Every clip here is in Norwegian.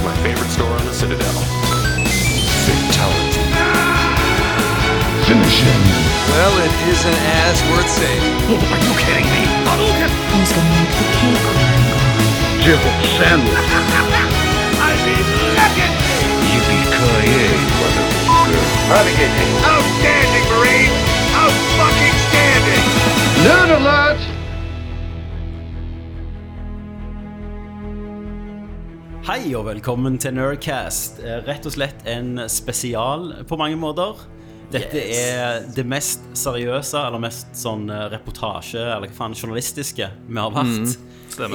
store on the Citadel. Fatality. Finish him. Well, it isn't as worth saving. Who's gonna make the cake? Jill Sandwich. Yippee-ki-yay, motherfucker. Outstanding, Marine! Out fucking standing! Noon alert! Hei og velkommen til Nerdcast. Eh, Rett og slett en spesial på mange måter. Dette er det mest seriøse, eller mest sånn eh, reportasje, eller hva faen, journalistiske vi har vært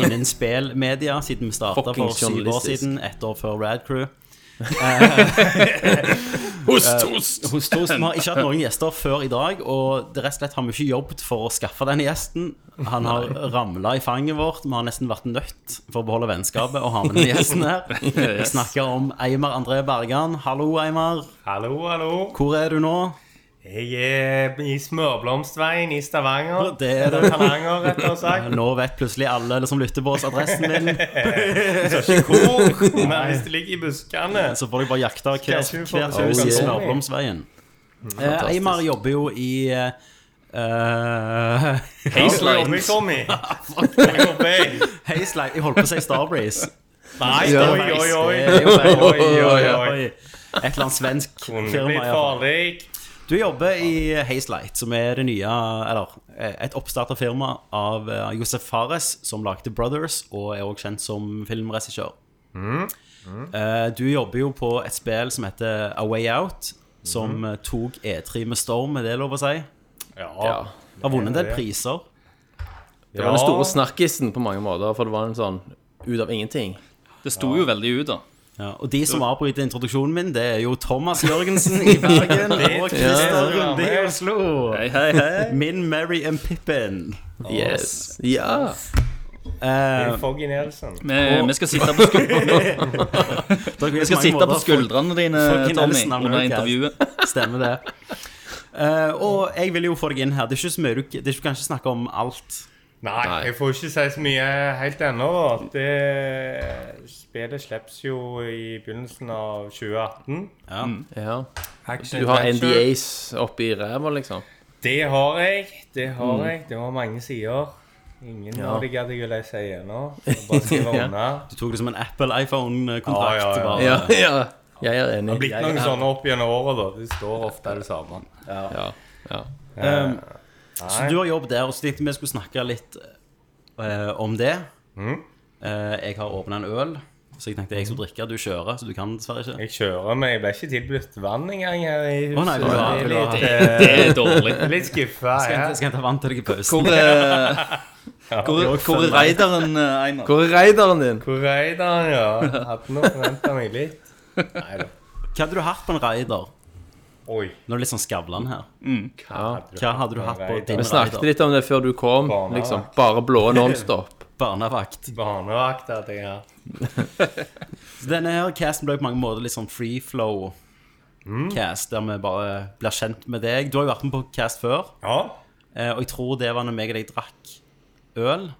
innen spillmedia siden vi starta for Fuckings syv år journalistisk. siden, ett år før Rad Crew. Host, host! Hos Tos, Vi har ikke hatt noen gjester før i dag, og det rett og slett har vi ikke jobbet for å skaffe denne gjesten. Han har ramla i fanget vårt. Vi har nesten vært nødt for å beholde vennskapet og ha med denne gjesten her. Vi snakker om Eimar André Bergan. Hallo, Eimar. Hallo, hallo. Hvor er du nå? Jeg er i Smørblomstveien i Stavanger. Det er Eller Tananger, rett og slett. Nå vet plutselig alle som lytter på oss, adressen min. Hvor? Men hvis det ligger i buskene Så får de bare jakte hvert Skal ikke få hvert det hus i til. Smørblomsveien. Eh, Eimar jobber jo i eh, eh, Hazelines. Tommy, Tommy. Tommy. Hazelight. Jeg holdt på å si Starbreeze. Nei, Ja. oi, oi, oi. Det er jo feil. Oi, oi, oi. Oi. Et eller annet svensk Kunne firma. i blitt hvert fall. farlig. Du jobber i Hazelight, som er det nye Eller eh, et oppstarta firma av eh, Josef Fares, som lagde Brothers, og er også kjent som filmregissør. Mm, Eh, Du jobber jo på et spill som heter A Way Out, som Mm. eh, tok E3 med storm, er det lov å si? Ja. Har vunnet en del priser. Det var den store snakkisen på mange måter, for det var en sånn ut av ingenting. Det sto jo veldig ut, da. Ja, og de som avbryter introduksjonen min, det er jo Thomas Jørgensen i Bergen og Christer Runde i Oslo. Hei, hei, hei. Min Mary and Pippin. Yes. Ja. Eh, Foggy Nelson. Vi, vi skal sitte på, skul vi vi skal sitte på skuldrene dine, Fucking Tommy, Nelson, han er under jo intervjuet. Stemmer det. Eh, og jeg vil jo få deg inn her. Det er ikke så mye du det er ikke, Du kan ikke snakke om alt. Nei, jeg får ikke si så mye helt ennå. da. Det Spillet slippes jo i begynnelsen av 2018. Ja. ja. Action Du har adventure. NDAs oppi ræva, liksom. Det har jeg. Det har jeg. Det var mange sider. Ingen Ja. av de gadd jeg å lese igjennom. Så Bare skrive Ja. unna. Du tok det som en Apple-iPhone-kontrakt. Ja, ja, ja. bare. Ja, ja. Jeg er Det enig. har blitt noen sånne opp gjennom året, da. De står ofte det samme. Ja. ja. Um, så Nei. du har jobb der, og så tenkte vi skulle snakke litt eh, om det. Mm. Eh, jeg har åpna en øl, så jeg tenkte jeg skulle drikke. Du kjører, så du kan dessverre ikke. Jeg kjører, men jeg ble ikke tilbudt vann engang her i huset. Å, nei, du har- Jeg er du har- Det litt, er dårlig. eh, litt skuffa. Skal Ja. jeg, skal jeg ta vann til deg i pausen? Hvor er, hvor, hvor er raideren, eh, Einar? Hvor er raideren din? Hvor er den, ja? Hadde nå forventa meg litt. Nei da. Hva hadde du hatt på en raider? Oi. Nå er det litt sånn Skavlan her. Ja. Hva hadde du hatt på din Vi snakket raider? litt om det før du kom. Barnevakt. Liksom, bare blå nonstop. Barnevakt. Barnevakt hadde jeg hatt. Så denne her casten ble på mange måter litt sånn free flow. Cast, Der vi bare blir kjent med deg. Du har jo vært med på cast før, Ja. eh, og jeg tror det var når meg og deg drakk øl.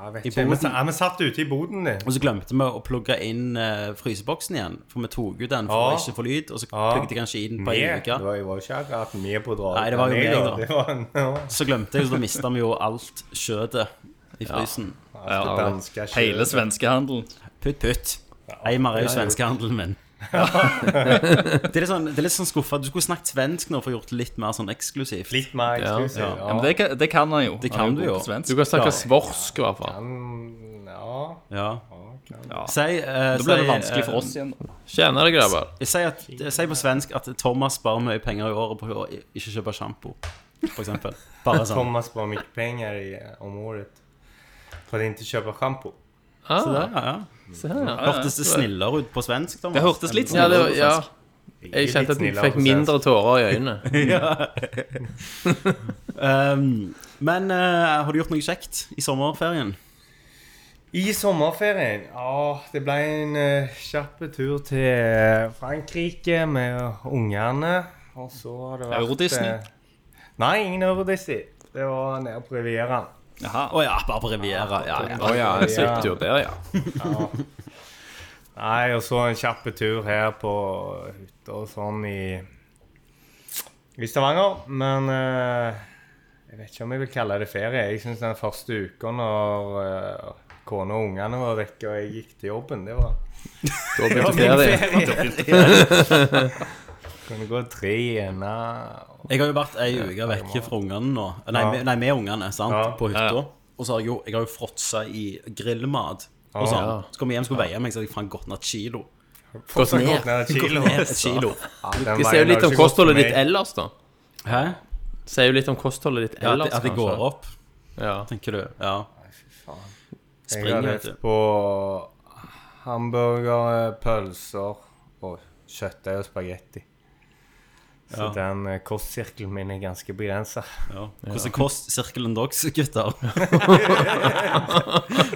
Ja, vet I ikke. boden. Vi sa- ja, Vi satt ute i boden din. Og så glemte vi å plugge inn eh, fryseboksen igjen, for vi tok ut den for Ja. å ikke få lyd. Og så Ja. plugget jeg kanskje i den på Med. en uke. Det var, jeg var ikke akkurat med på dragen. Nei, det var jo meg, da. Det var en ja. Så glemte jeg, så da mista vi jo alt kjøttet i frysen. Altså, danske kjø- Hele svenskehandelen. Putt, putt. Eimar er jo svenskehandelen min. det, er litt sånn, det er litt sånn skuffa. Du skulle snakket svensk nå for å gjort det litt mer sånn eksklusivt. Litt mer eksklusiv. Ja, Ja, men det, kan- det kan han jo. Det Han kan er du god jo. på svensk. Du kan snakke svorsk, i hvert fall. Mm, ja. Ja. Ja. Si, eh, Da blir det si, vanskelig eh, for oss igjen. da. Tjener det, grabber. Si, at, si på svensk at Thomas sparer mye penger i året på å i- ikke kjøpe sjampo, for eksempel. Bare sånn. Thomas sparar mycket pengar i, om året för att inte köpa shampoo. Ah. Så der, ja, ja. Se her, ja. Hørtes det snillere ut på svensk, Thomas? Det hørtes litt Ja, det, snillere ut. ja. på svensk. Jeg kjente at jeg Litt fikk snillere mindre tårer i øynene. Um, men eh, har du gjort noe kjekt i sommerferien? I sommerferien ja, det ble en uh, kjapp tur til Frankrike med ungene. Og så har det vært Euro-Disney? eh, nei, ingen Euro-Disney. Det var nede på Rivieraen. Jaha. Å ja, bare på Riviera. Ja, ja. Å ja, en sykt tur der, ja. Ja. Nei, og så en kjapp tur her på hytta og sånn i, i Stavanger. Men eh, jeg vet ikke om jeg vil kalle det ferie. Jeg syns den første uka når eh, kona og ungene var vekke og jeg gikk til jobben, det var Da begynte ferie. Kunne gå tre gjennom Jeg har jo vært ei uke vekk fra ungene nå. Nei, Ja. med, nei med ungene, sant, Ja. på hytta. Ja. Og så har jeg jo, jeg har jo fråtsa i grillmat. Og sånn. Ja. Så kom jeg hjem skulle veie meg, så hadde jeg faen gått ned et kilo. Gått ned. Nei, et kilo. Et kilo. Det Den sier veien jo litt om har ikke gått for kostholdet ditt meg. ellers, da. Hæ? Sier jo litt om kostholdet ditt Ja, at, ellers, at det går opp, Ja. tenker du. Ja. Jeg har Springer, vet levd du. på hamburgere, pølser og kjøttdeig og spagetti. Så Ja. den eh, kostsirkelen min er ganske begrensa. ja. Hvordan er kostsirkelen deres, gutter?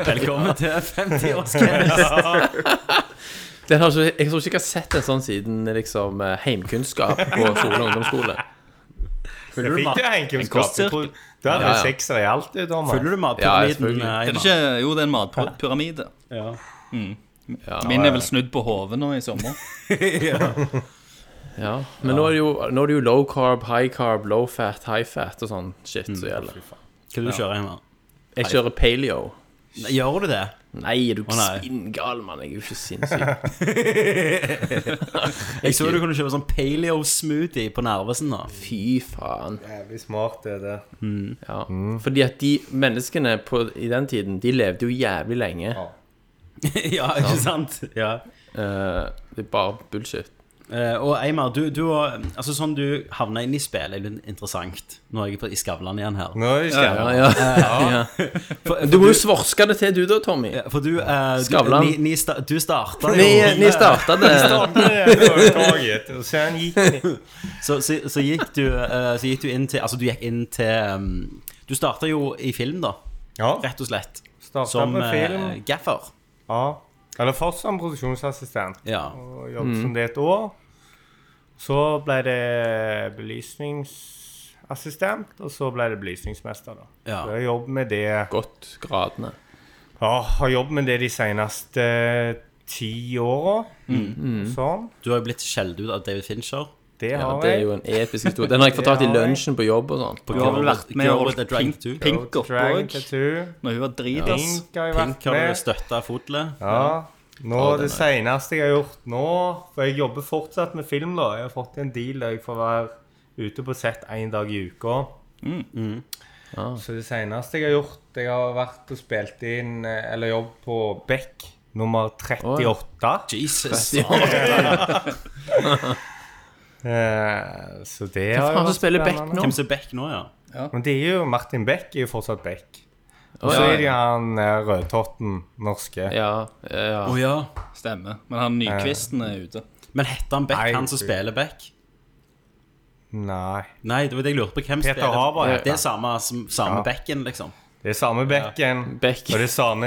Velkommen til 50-årskrets. Den har ikke, jeg tror ikke jeg har sett en sånn siden liksom eh, heimkunnskap på Sole ungdomsskole. Jeg fikk jo en heimkunnskap. kostsirkel. Jeg tror- Du hadde Ja, ja. sekser i alt, du, Thomas. Følger Ja, du jeg matpyramiden? selvfølgelig. eh, Er Einar? det ikke Jo, det er en matpyramide. Ja. Min er vel snudd på hodet nå i sommer. Ja. Men nå er, det jo, nå er det jo low carb, high carb, low fat, high fat og sånn shit Mm. som gjelder. Hva du kjører hjemme? Jeg kjører paleo. Nei, Gjør du det? Nei, er du nei. spinngal, mann? Jeg er jo ikke sinnssyk. Jeg så du kunne kjøpe sånn paleo-smoothie på Nervesen. da Fy faen. Jævlig smart, det der. Ja. Fordi at de menneskene på, i den tiden, de levde jo jævlig lenge. Ja, ikke sant? Ja. Eh, det er bare bullshit. Eh, og Eimar, du, du og, altså, sånn du havna inn i spillet, er litt interessant. Nå er jeg på, i Skavlan igjen her. Nå er vi ikke Ja, ja. ja. For, Du må jo svorske det til, du da, Tommy. for du, eh, du Skavlan. Ni, ni sta, du starta jo Ni, ni starta det. Og så han gikk ned. så, så, så, gikk du, eh, så gikk du inn til Altså, du gikk inn til um, Du starta jo i film, da. Ja, Rett og slett. starta Som med eh, film. gaffer. Ja. Eller først som produksjonsassistent. Ja. og jobbet Mm. som det et år. Så ble det belysningsassistent, og så ble det belysningsmester. da. Ja. Så jeg har jobbet med det, Godt gradene. ja, har jobbet med det de seneste ti åra. Sånn. Du har jo blitt skjelt ut av David Fincher. Det Mm. Ja, har det er jeg. jo en episk historie. Den har jeg fortalt i Ja. lunsjen på jobb og sånn. På Du har vel Girl- vært med Girl og with a Dragon holdt Too. pink Go to Dragon opp òg, Tattoo. når hun var dritas. Pink har jeg Pink vært har du med. støtta fotlet. Ja. Nå, det seneste jeg har gjort nå For jeg jobber fortsatt med film, da. Jeg har fått en deal der jeg får være ute på sett én dag i uka. Mm, Ah. Så det seneste jeg har gjort Jeg har vært og spilt inn eh, Eller jobbet på Beck nummer 38. Jesus. Eh, så det Hvem har faen jo som vært spiller Beck spennende. nå? Hvem som er back nå, ja? Men det er jo Martin Beck er jo fortsatt Beck. Og Å, så ja, er det han eh, rødtotten norske. Ja, ja. Å ja. Stemmer. Men han nykvisten er ute. Men heter han Beck, Nei, han som fy. spiller Beck? Nei. Nei, det var det jeg lurte på. Hvem Peter spiller Haber heter Det er samme, som- samme Ja. Becken, liksom. Det er samme Becken. Beck. Og det er samme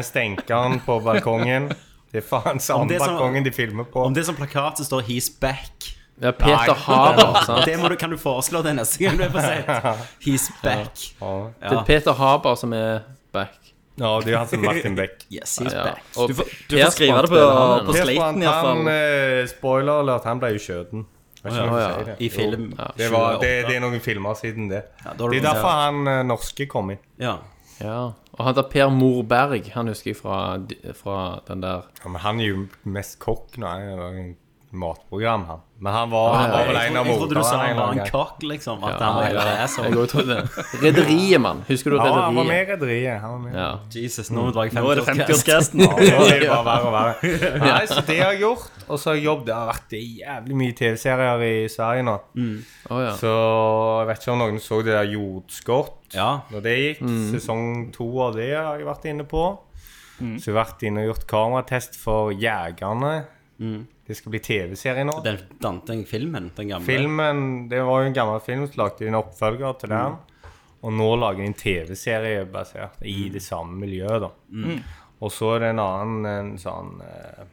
stenkeren på balkongen. Det er faen samme det er samme- balkongen de filmer på. Om det er sånn plakat, så står 'He's Back'. ja Peter Haber, sant. Det må du, kan du foreslå det neste gang du er på sett. He's back. Ja. Det er Peter Haber som er Beck. ja, det er jo han som er Martin Beck. Yes, he's Ja. back. Og Du får, du Per får skrive Sprant det på, spiller han ennå. på Per sliten, Sprant, han, iallfall. eh, spoiler alert, han ble jo skjøten. Det er ikke noe å ja. si det. I film Ja. Det, var, det, det er noen filmer siden det. Ja, da har Det du- er derfor han eh, norske kom inn. Ja. Ja. Og han der Per Morberg, han husker jeg fra, fra den der Ja, men han er jo mest kokk nå. Han er jo en matprogram, han. Men han var, han var vel Jeg en av trodde du sa han var en morderne. kokk, liksom. At han var ja, en Jeg asshole. går ut det. Rederiet, mann. Husker du Ja, han var med Rederiet? i Rederiet. han var med. Ja. Jesus, nå drar jeg Nå er det 50-årskrest. 50-årsgresten. Ja, det er bare verre og verre. Nei, så det har jeg gjort. Og så har jeg jobbet. Det har vært jævlig mye TV-serier i Sverige nå. Å ja. Så jeg vet ikke om noen så det der Jordskott Ja. når det gikk. Sesong to av det har jeg vært inne på. Så jeg har vært inne og gjort kameratest for Jegerne. Det skal bli TV-serie nå. Den, den, den filmen, den gamle. Filmen, Det var jo en gammel film, så lagde de en oppfølger til den. Og nå lager de en TV-serie basert i det samme miljøet, da. Og så er det en annen en sånn eh,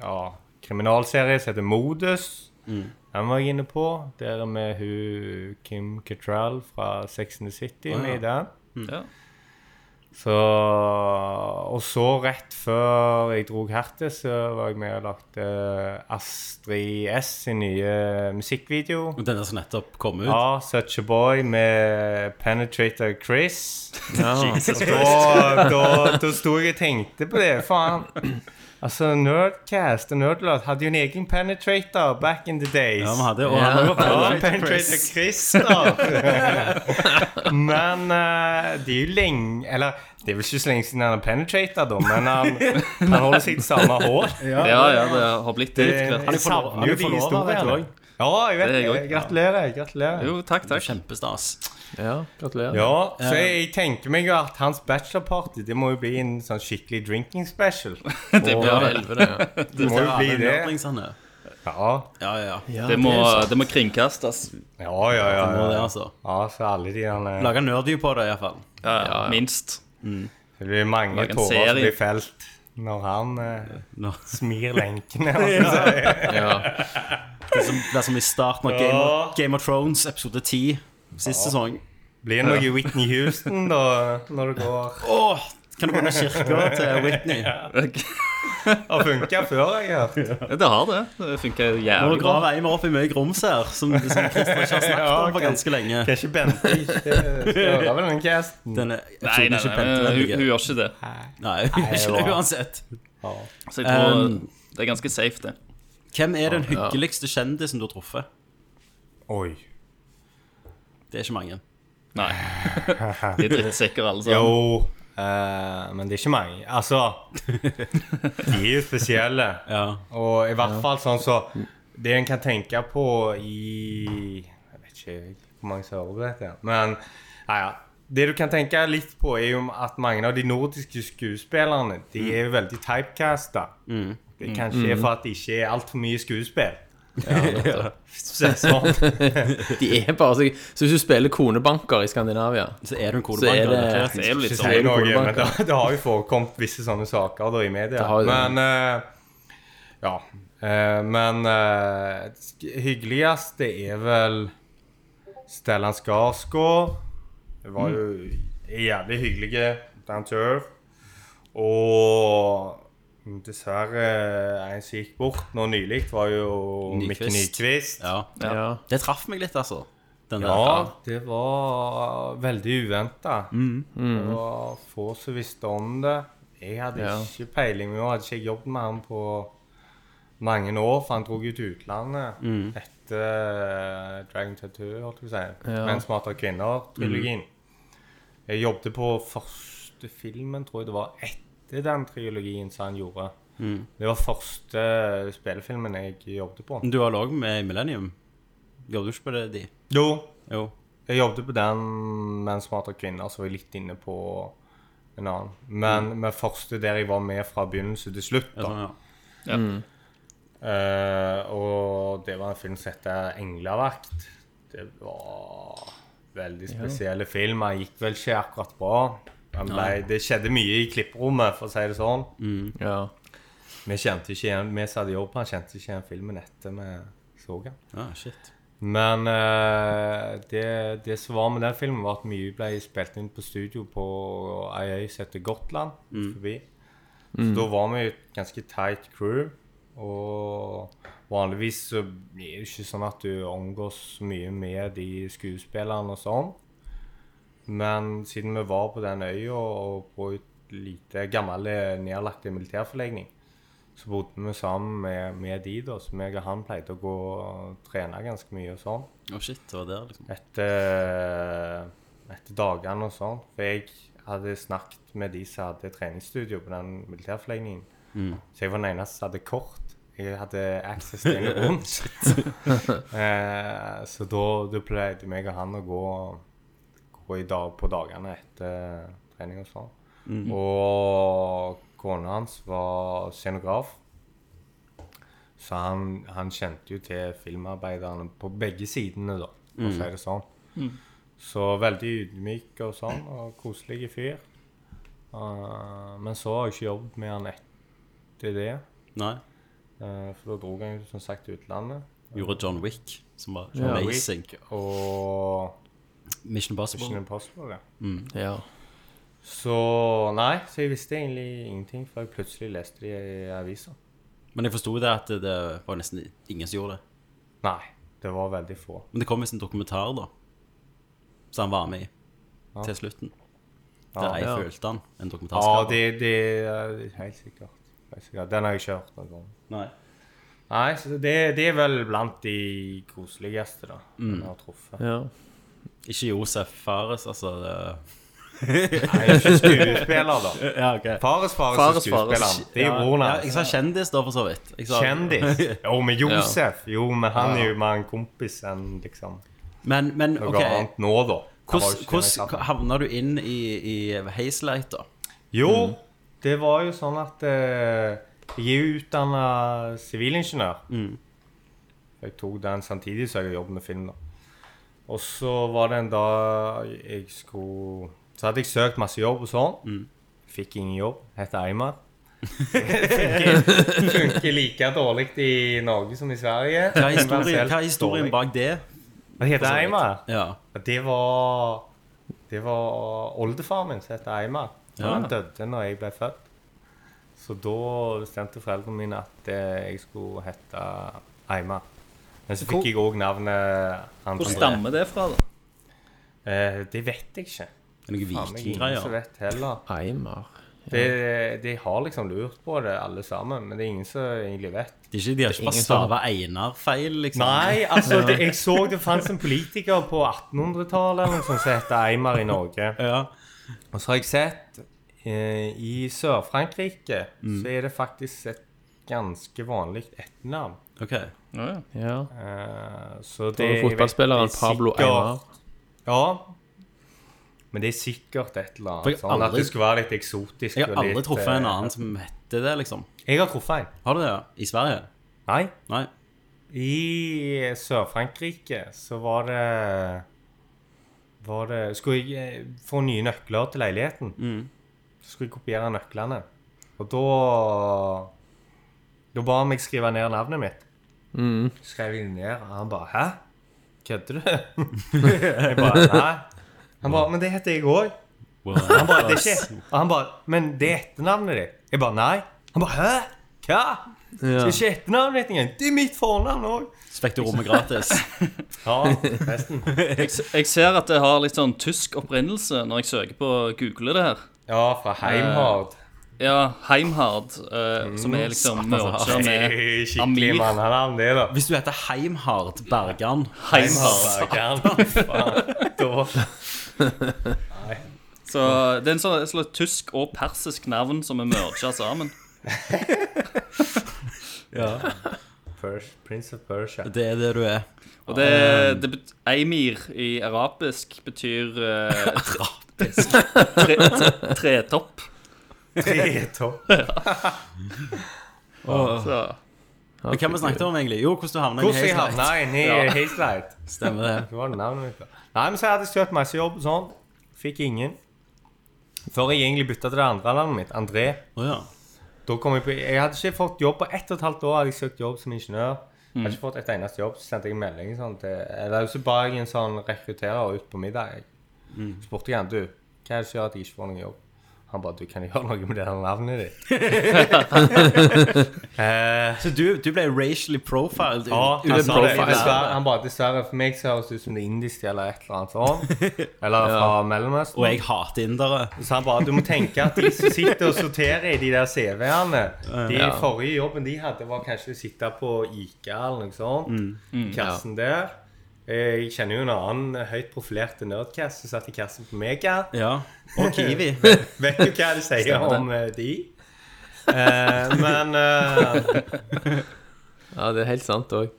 ja, kriminalserie som heter Modus. Den var jeg inne på. Der er med Hm. hun Kim Cattrall fra Sex and the City med i den. Ja. Så, og så rett før jeg dro hertil, så var jeg med og lagde eh, Astrid S sin nye musikkvideo. Og Denne som nettopp kom ut. Ja, Ah, Such a Boy med Penetrator Chris. Ja. Da, da, da sto jeg og tenkte på det, faen. Altså, Nerdcast og Nerdlot hadde jo en egen penetrator back in the days. Ja, vi hadde, og Ja. han var Ja, på Penetrator Chris, da. men eh, det er jo lenge Eller det er vel ikke så lenge siden han har penetrator, da, men han, han holder sitt samme hår. Ja, ja, det har blitt det. etter hvert. Jeg savner han er jo jo de forlovet, vet du historiene. også. Ja, jeg vet Det er jeg det. også. Gratulerer. gratulerer. Jo, takk, takk. Kjempestas. ja, gratulerer. Ja, så Eh. jeg tenker meg jo at hans bachelorparty Det må jo bli en sånn skikkelig drinking special. Det, blir, Ja, vel- helvete, ja. Det må jo liksom, Ja, bli men det. nerdlingsene. Ja, Ja, ja, ja. Ja, det, må, er sant. det må kringkastes. ja, ja. ja, Det må det, ja. altså. ja så alle de eh, der Lage nerdview på det, iallfall. Ja, ja, ja. minst. Det blir mange Lag en tårer som serie. blir felt når han eh, Når- smir lenkene. Altså. Ja. Det er som, det er som i starten av Game of, Game of Thrones, episode 10, sist sesong. Blir det noe Whitney Houston da, når det går Åh, kan du gå ned kirka til Whitney? Det Har funka før, jeg har hørt. har det. Det funker Nå jævlig bra. graver jeg meg opp i mye grums her, som, som Christer ikke har snakket om på ganske lenge. Det er ikke Bente ikke skal høre vel den casten. Denne Nei, episoden nei, er ikke nei, hun, hun pentelvendig. gjør ikke det. Nei, hun gjør ikke det bra. uansett. Så jeg tror Um, det er ganske safe, det. Hvem er den hyggeligste kjendisen du har truffet? Oi. Det er ikke mange. Nei. De er drittsekker, alle sammen. Jo. eh, men det er ikke mange. Altså De er jo spesielle. Ja. Og i hvert fall sånn så Det en kan tenke på i Jeg vet ikke hvor mange som hører på dette, men ja, ja. Det du kan tenke litt på, er jo at mange av de nordiske skuespillerne De er jo veldig typecasta. Det kanskje er for at det ikke er altfor mye skuespill. Så- sånn. De er bare så, så hvis du spiller konebanker i Skandinavia Så er du en Så er kodebanker. det- Det... er Det er klart. jo litt Ikke sånn. si noe, Kolebanker. men det, det har jo forekommet visse sånne saker da, i media. har jo det. Men eh, Ja. eh, men eh, sk- hyggeligst det er vel Stellan Skarsgård. Det var jo jævlig hyggelig dansør. Og dessverre en som gikk bort nå nylig, var jo Mikke Nyquist. Nyquist. Ja. Ja. Det traff meg litt, altså. Den der. Ja, Mm. det var veldig uventa. Mm. Det var få som visste om det. Jeg hadde Ja. ikke peiling med hadde ikke jobbet med han på mange år, for han dro jo til utlandet Mm. etter eh, Dragon Tattoo, holdt jeg på å si. Ja. Mm. Menn smartere kvinner-trilogien. Jeg jobbet på første filmen, tror jeg det var, etter den trilogien som han gjorde. Mm. Det var første spillefilmen jeg jobbet på. Du har logg med i Millennium. Gjør du ikke på det, de? Jo, Jo. Jeg jobbet på den med en smartere kvinne, så var jeg litt inne på en annen. Men med første der jeg var med fra begynnelse til slutt, Ja, da. sånn, ja. Eh, og det var en film som heter 'Englavakt'. Det var veldig spesielle film. Den gikk vel ikke akkurat bra. Den ble, det skjedde mye i klipperommet, for å si det sånn. Ja. Vi kjente ikke igjen, vi som hadde jobb på den, kjente ikke igjen filmen etter vi så den. Ja, shit. Men eh, det, det som var med den filmen, var at mye ble spilt inn på studio på ei øy som heter Gotland. forbi. Så da var vi jo et ganske tight crew. Og vanligvis så blir det jo ikke sånn at du omgås så mye med de skuespillerne og sånn. Men siden vi var på den øya og på et lite gammel eh, nedlagt militærforlegning, så bodde vi sammen med, med de, da. Så meg og han pleide å gå og trene ganske mye og sånn. Å, shit, det var der, liksom. Etter, eh, etter dagene og sånn. For jeg hadde snakket med de som hadde treningsstudio på den militærforlegningen. Så jeg var den eneste som hadde kort. Jeg hadde access til en rom. eh, så da, da pleide meg og han å gå, gå i dag, på dagene etter trening og sånn. Og kona hans var scenograf. Så han, han kjente jo til filmarbeiderne på begge sidene, da, for å si det sånn. Så veldig ydmyk og sånn, og koselig fyr. Eh, men så har jeg ikke jobbet med han etter det. Nei. eh, for da dro han jo som sagt til utlandet. Gjorde John Wick, som var Ja. amazing. Og Mission Impossible. Mission Impossible, ja. ja. Så nei, så jeg visste egentlig ingenting før jeg plutselig leste det i avisa. Men jeg forsto det at det var nesten ingen som gjorde det. Nei, det var veldig få. Men det kom visst en dokumentar, da. Som han var med i til slutten. Der jeg Ja. følte han. En Ja, dokumentarskap. det, det er helt sikkert. Helt sikkert. Den har jeg ikke hørt noen gang. Nei. Nei, så det, det er vel blant de koseligste da, Mm. jeg har truffet. Ja. Ikke Josef Fares, altså. Det... Nei, jeg er ikke skuespiller, da. Ja, ok. Fares Fares, Fares, er skuespilleren. Fares. Det er broren Ja, jeg hans. sa kjendis, da, for så vidt. Jeg sa- Kjendis. Jo, men Josef. Jo, men han er jo mer en kompis enn liksom Men, men noe OK. annet nå, da. Han var jo ikke kjendis, Hvordan han. havna du inn i, i Hazelight, da? Jo, Mm. det var jo sånn at eh, jeg er utdanna sivilingeniør. Mm. Jeg tok den samtidig som jeg jobbet med film. da. Og så var det en dag jeg skulle Så hadde jeg søkt masse jobb og sånn. Mm. Fikk ingen jobb. Heter Eimar. funker, funker like dårlig i Norge som i Sverige. Hva er historien, hva er historien Dårlig. bak det? Hva heter Eimar? Ja. Det var Det var oldefaren min som het Eimar. Han døde når jeg ble født. Så da bestemte foreldrene mine at eh, jeg skulle hete Eimar. Men så fikk jeg òg navnet Hvor André. stammer det fra, da? Eh, det vet jeg ikke. Det er Noen Faen, jeg er ingen som vikinggreier. vet heller. Eimer. Det, de har liksom lurt på det, alle sammen, men det er ingen som egentlig vet. Det er ikke- De har ikke bare ingen stava Einar feil, liksom? Nei, altså, det, jeg så det fantes en politiker på 1800-tallet eller noe sånt som het Eimar i Norge. Ja. Og så har jeg sett eh, i Sør-Frankrike Mm. så er det faktisk et ganske vanlig etternavn. OK. Ja, ja. Ja. Eh, så Det var fotballspilleren Pablo Eimer. Ja. Men det er sikkert et eller For jeg annet. har Sånn at aldri- det skulle være litt eksotisk. Jeg har og litt, aldri truffet en eh, annen som heter det, liksom. Jeg har truffet en. Har du det? ja? I Sverige? Nei. Nei? I Sør-Frankrike så var det var det, Skulle jeg eh, få nye nøkler til leiligheten, så skulle jeg kopiere nøklene. Og da Da ba han meg skrive ned navnet mitt. Skrev jeg ned, og han bare 'Hæ? Kødder du?' jeg bare 'Nei'. Han bare 'Men det heter jeg òg'. Han bare, det er ikke Og han bare, men det er etternavnet ditt. Jeg bare, nei. Han bare, hæ? Hva? Det er ikke etternavnet ditt engang. Det er mitt fornavn òg. Så fikk du rommet gratis. Ja, nesten. Jeg, s- jeg ser at det har litt sånn tysk opprinnelse når jeg søker på å google det her. Ja, fra Heimhard. Ja, Heimhard, eh, som er liksom merger med Skikkelig Amir. mannenavn, det, da. Hvis du heter Heimhard Bergan Heimhard. Satan, faen. Da- Så det er en sånn, et slags tysk og persisk navn som er merga sammen. Pers- Prince of Persia. Det er det du er. Og det, det bet- Eimir i arabisk betyr eh, tre, tre, tre, tretopp. Tretopp. Så Men hvem vi snakket om, egentlig? Jo, hvordan du havna i Hvordan jeg Hazelight. havna inn i Hazelight? Stemmer det. Hva var det navnet mitt da? Nei, men så hadde jeg søkt masse jobb og sånn. Fikk ingen. Før jeg egentlig bytta til det andre navnet mitt, André. Å ja. Da kom jeg på Jeg hadde ikke fått jobb på ett og et halvt år. Hadde jeg søkt jobb som ingeniør. Hadde ikke fått et eneste jobb. Så sendte jeg en melding sånn til Eller så ba jeg en sånn rekrutterer ut på middag. Så spurte jeg han, du, hva er det som gjør at jeg ikke får noen jobb? Han bare, du kan jeg gjøre noe med det der navnet ditt. eh, Så du, du ble racially profiled? ja, ut- han ut- sa det. profiled. Dessverre, han bare, dessverre, for meg så høres det ut som det er indisk eller et eller annet sånn. Eller fra Mellomøsten. Og jeg hater indere. Så han bare, du må tenke at de som sitter og sorterer i de der CV-ene De forrige jobben de hadde var kanskje å sitte på Ica eller noe sånt I kassen der Eh, Jeg kjenner jo en annen høyt profilert nerdcast Som satt i kassen på Mega Ja. Og Kiwi. Vet du hva det sier om eh, de? Eh, men eh, Ja, det er helt sant òg.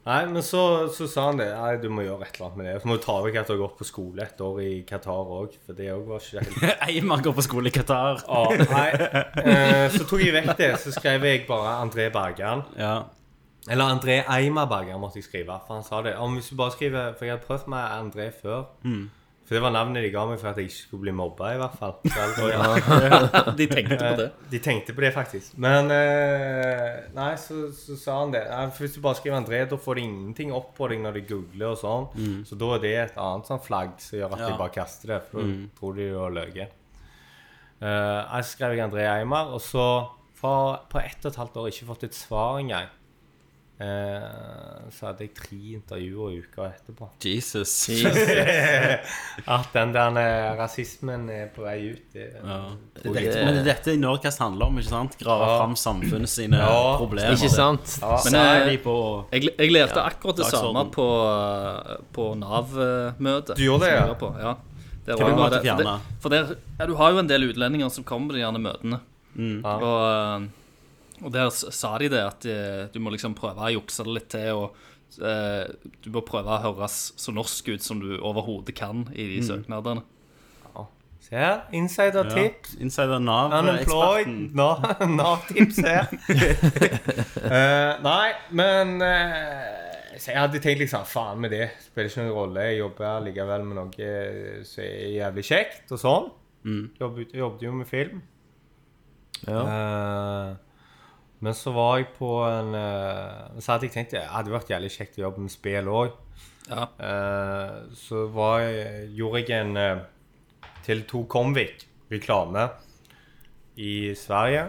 Nei, men så, så sa han det Nei, du må gjøre et eller annet med det Så må du ta vekk at du har gått på skole et år i Qatar også For det også var ikke helt Eimar går på skole i Qatar. Ja, nei. Eh, så tok jeg vekk det, så skrev jeg bare André Bergan. Ja. Eller André Eimar Bergan måtte jeg skrive, for han sa det. Om hvis du bare skriver, For jeg hadde prøvd med André før. Mm. For det var navnet de ga meg for at jeg ikke skulle bli mobba, i hvert fall. Så jeg tror jeg- de tenkte på det. Eh, de tenkte på det, faktisk. Men eh, Nei, så, så sa han det. Nei, for hvis du bare skriver André, da får de ingenting opp på deg når de googler og sånn. Mm. Så da er det et annet sånn flagg som gjør at Ja. Mm. de bare kaster det, for da tror de du har løyet. Eh, jeg skrev jeg André Eimer, og så for, på ett og et halvt år ikke fått et svar engang. Eh, så hadde jeg tre intervjuer i uka etterpå. Jesus. At den der eh, rasismen er på vei ut. Det, Det, er dette- men det er dette Nerdcast handler om. ikke sant? Grave Ja. fram samfunnet sine Ja, problemer. Ikke sant? Ja, Men, Så er eh, de på Jeg, jeg lærte akkurat det dagsorden. samme på, eh, på Nav-møtet. Du gjorde det, ja? På, ja. Der Hva var måtte det- fjerne? det- For der, ja, du har jo en del utlendinger som kommer på de gjerne møtene. Mm. Ja. Og, eh, og der s- sa de det at eh, du må liksom prøve å jukse det litt til, og eh, du må prøve å høres så norsk ut som du overhodet kan i Mm. de søknadene. Se her. Insider ja. tips. Insider eh, Nav-eksperten. Unemployed. Na- Nav-tips her. Eh, nei, men eh, så Jeg hadde tenkt liksom Faen med det. Spiller ikke noen rolle. Jeg jobber likevel med noe eh, som er jævlig kjekt, og sånn. Jobbet, jobbet jo med film. Eh, men så var jeg på en eh, Så hadde jeg tenkt Det hadde vært jævlig kjekt å jobbe med spill òg. Ja. Eh, så var jeg, gjorde jeg en eh, til to Comvik-reklame i Sverige.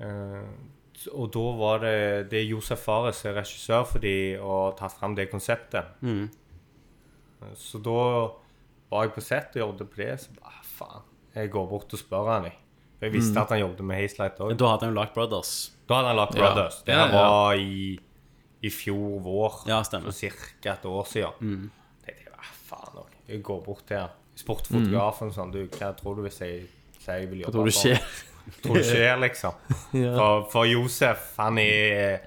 Eh, s- og da var det Det er Josef Fares som er regissør for de og tatt fram det konseptet. Eh, Så da var jeg på sett og jobbet på det. Så bare, "Ah, faen. Jeg går bort og spør han, jeg. For Jeg visste at han jobbet med Hazelight òg. Da hadde han jo lagt Brothers. Da hadde han lagt Ja. Brothers. Det Ja, her ja. var i, i fjor vår. Ja, stemmer. Så ca. et år siden. Tenkte jeg, hva faen ok. Jeg går bort til han. sportfotografen sånn, du, hva tror du hvis jeg sier jeg vil jobbe Tror du skjer? Tror du skjer, liksom. for, for Josef, han er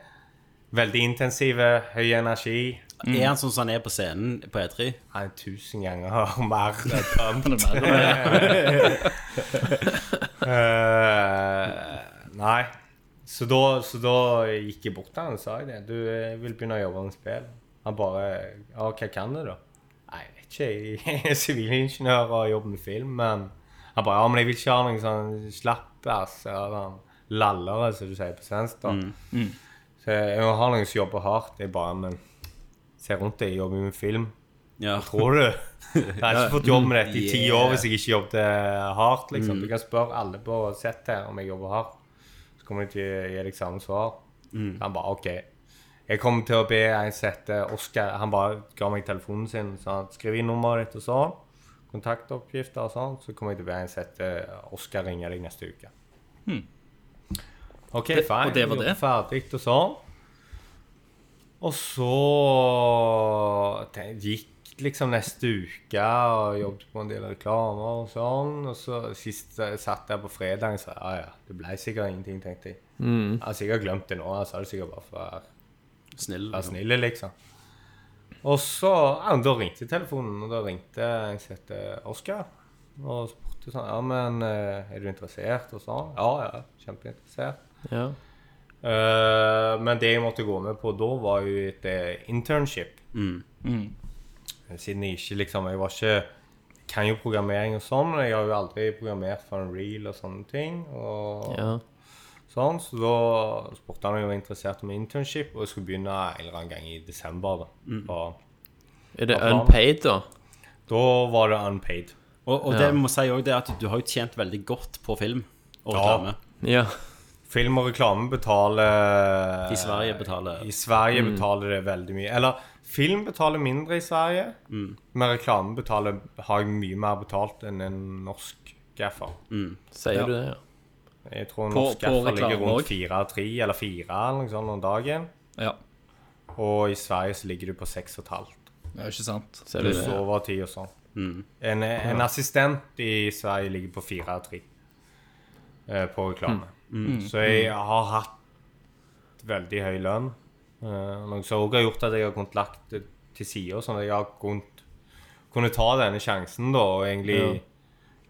veldig intensiv, høy energi. Er han sånn som han er på scenen på E3? Han er tusen ganger mer pump. Men det er mer og mer. Eh, nei. Så da, så da gikk jeg bort til han og sa jeg det. Du jeg vil begynne å jobbe med spill. Han bare Ja, hva kan du, da? Nei, jeg vet ikke. Jeg er sivilingeniør og jobber med film, men Han bare Ja, men jeg vil ikke ha noen sånn slappass eller sånn lallere, som du sier på svensk. da. Så jeg må ha noen som jobber hardt. Jeg bare Men se rundt deg, jeg jobber med film. Ja. Tror du? Jeg har ikke fått jobb med dette i ti år hvis jeg ikke jobbet hardt. liksom. Du kan spørre alle på sett her om jeg jobber hardt. Så kommer jeg til å gi deg samme svar. Han bare OK. Jeg kommer til å be en sette Oskar Han bare ga meg telefonen sin. Så han skriv inn nummeret ditt og sånn. Kontaktoppgifter og sånn. Så kommer jeg til å be en sette Oskar ringe deg neste uke. OK, Hmm. Det- fine. Jeg og det var det? jobber Ferdig og sånn. Og så te- gikk liksom neste uke og jobbet på en del reklamer og sånn. Og så sist jeg satt der på fredagen og sa ja, ja, det ble sikkert ingenting, tenkte jeg. Jeg har sikkert glemt det nå. altså. Jeg sa det sikkert bare for å være- Snill. være snill, liksom. Og så ja, da ringte telefonen, og da ringte jeg som heter Oskar. Og spurte sånn Ja, men eh, er du interessert? Og sånn. Ja, ja, kjempeinteressert. Ja. Eh, men det jeg måtte gå med på da, var jo et eh, internship. Siden jeg ikke liksom Jeg var ikke kan jo programmering og sånn, men jeg har jo aldri programmert for en reel og sånne ting. Og ja. sånn, Så da spurte han om jeg var interessert om internship, og jeg skulle begynne en eller annen gang i desember. Da, Mm. og Er det unpaid, da? da var det unpaid. Og, og det vi må si også, det er at du har jo tjent veldig godt på film og reklame. Ja. Film og reklame betaler I Sverige betaler- I Sverige Mm. betaler det veldig mye. Eller film betaler mindre i Sverige, Mm. men reklame betaler, har jeg mye mer betalt enn en norsk gaffer. Sier du det, ja? Jeg tror en På- norsk på gaffer reklame ligger rundt også? 4-3 eller 4 eller noe sånt om dagen. Ja. Og i Sverige så ligger du på 6,5. Det er jo ikke sant. Sier du Pluss det? ja? overtid og sånn. En, en assistent i Sverige ligger på 4-3 eh, på reklame. Så jeg har hatt veldig høy lønn. Eh, noe som også har gjort at jeg har kunnet lagt det til side, sånn at jeg har kunnet kunne ta denne sjansen da, og egentlig